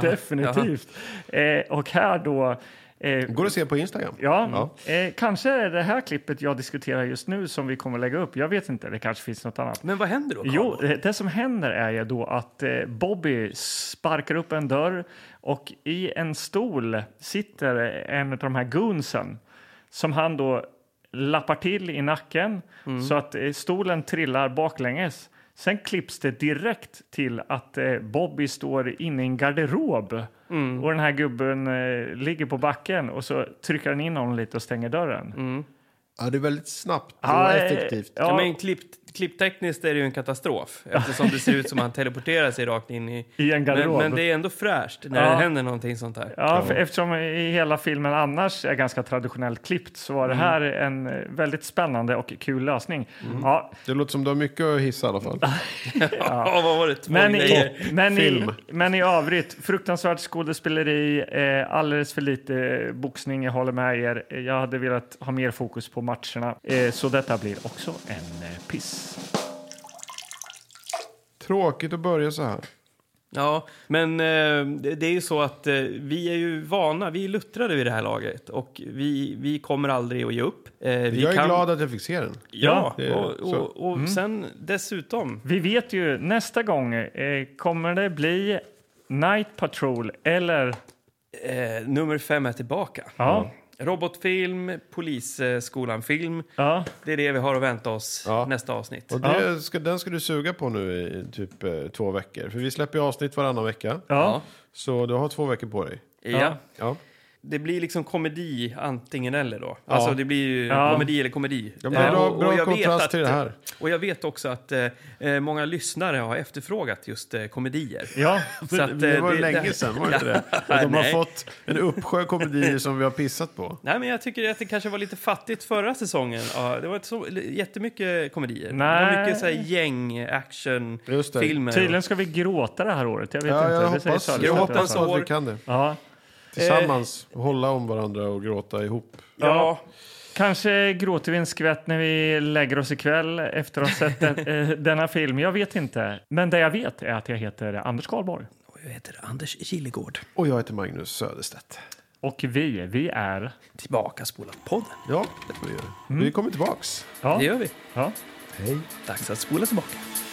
Speaker 2: definitivt. Eh, och här då... Eh,
Speaker 3: Går att se på Instagram.
Speaker 2: ja, Eh, kanske är det här klippet jag diskuterar just nu som vi kommer lägga upp. Jag vet inte, det kanske finns något annat.
Speaker 1: Men vad händer då? Carl?
Speaker 2: Jo, eh, det som händer är ju då att eh, Bobby sparkar upp en dörr och i en stol sitter eh, en av de här goonsen som han då lappar till i nacken
Speaker 1: Mm.
Speaker 2: så att eh, stolen trillar baklänges. Sen klipps det direkt till att eh, Bobby står inne i en garderob
Speaker 1: Mm.
Speaker 2: och den här gubben eh, ligger på backen och så trycker han in honom lite och stänger dörren.
Speaker 3: Ja, det är väldigt snabbt och
Speaker 2: Ja, eh,
Speaker 3: effektivt.
Speaker 1: Mm. Ja,
Speaker 2: ja,
Speaker 1: men klipp, klipptekniskt är det ju en katastrof eftersom det ser ut som han teleporterar sig rakt in i...
Speaker 2: I en garderob.
Speaker 1: Men, men det är ändå fräscht när
Speaker 2: Ja.
Speaker 1: det händer någonting sånt här.
Speaker 2: Ja, för eftersom i hela filmen annars är ganska traditionellt klippt så var det
Speaker 3: Mm.
Speaker 2: här en eh, väldigt spännande och kul lösning. Ja,
Speaker 3: Det låter som du har mycket att hissa i alla fall.
Speaker 1: Ja, [laughs] vad var det? Två
Speaker 2: men,
Speaker 1: grejer.
Speaker 2: i, men, i,
Speaker 3: Film.
Speaker 2: men i övrigt, fruktansvärt skådespeleri, eh, alldeles för lite eh, boxning, jag håller med er. Eh, Jag hade velat ha mer fokus på matcherna, eh, så detta blir också en eh, piss.
Speaker 3: Tråkigt att börja så här.
Speaker 1: Ja, men eh, det det är ju så att eh, vi är ju vana, vi är luttrade vid det här laget och vi, vi kommer aldrig att ge upp. Eh, vi
Speaker 3: Jag är
Speaker 1: kan-
Speaker 3: glad att jag fick se den.
Speaker 1: Ja,
Speaker 3: det är
Speaker 1: och,
Speaker 3: så. Mm.
Speaker 1: och, och sen dessutom,
Speaker 2: Vi vet ju, nästa gång eh, kommer det bli Night Patrol eller...
Speaker 1: eh, nummer fem är tillbaka.
Speaker 2: Ja,
Speaker 1: Robotfilm, Polisskolan-film.
Speaker 2: ja.
Speaker 1: Det är det vi har att vänta oss
Speaker 3: Ja.
Speaker 1: nästa avsnitt.
Speaker 3: Och det ska, den ska du suga på nu i typ eh, två veckor. För vi släpper ju avsnitt varannan vecka.
Speaker 2: ja.
Speaker 3: Så du har två veckor på dig.
Speaker 1: Ja.
Speaker 3: Ja.
Speaker 1: Det blir liksom komedi antingen eller då. Alltså det blir ju
Speaker 2: Ja.
Speaker 1: komedi eller komedi.
Speaker 3: Ja, men
Speaker 1: Eh,
Speaker 3: bra
Speaker 1: och- och
Speaker 3: bra
Speaker 1: jag vet
Speaker 3: kontrast
Speaker 1: att-
Speaker 3: till det här.
Speaker 1: Och jag vet också att eh, eh, många lyssnare har efterfrågat just eh, komedier.
Speaker 3: [laughs]
Speaker 2: ja.
Speaker 1: Så att, eh,
Speaker 3: det var ju länge sedan, var det inte
Speaker 1: [laughs]
Speaker 3: det? Och de har
Speaker 1: Nej.
Speaker 3: fått en uppsjö komedier som vi har pissat på.
Speaker 1: Nej, men jag tycker att det kanske var lite fattigt förra säsongen. Ja, det var inte så jättemycket komedier. Det
Speaker 2: Nej.
Speaker 1: var mycket så här gäng, action,
Speaker 3: Just det.
Speaker 1: filmer.
Speaker 2: Tydligen ska vi gråta det här året. Jag vet
Speaker 3: Ja,
Speaker 2: inte.
Speaker 3: jag
Speaker 2: Det säger
Speaker 3: hoppas,
Speaker 2: Sally
Speaker 3: jag
Speaker 2: Stöter i alla
Speaker 3: hoppas
Speaker 2: fall.
Speaker 1: år.
Speaker 3: att vi kan det.
Speaker 2: Ja.
Speaker 3: Tillsammans
Speaker 1: Eh.
Speaker 3: hålla om varandra och gråta ihop.
Speaker 2: Ja. Kanske gråter vi en skvätt när vi lägger oss ikväll efter att ha sett den, eh, denna film. Jag vet inte. Men det jag vet är att jag heter Anders Karlborg.
Speaker 1: Och Jag heter Anders Kilegård.
Speaker 3: Och jag heter Magnus Söderstedt.
Speaker 2: Och vi, vi är...
Speaker 1: Tillbaka spola podden.
Speaker 3: Ja, det får vi göra. Vi kommer tillbaks.
Speaker 2: Ja.
Speaker 1: Det gör vi.
Speaker 2: Ja.
Speaker 1: Dags att spola tillbaka.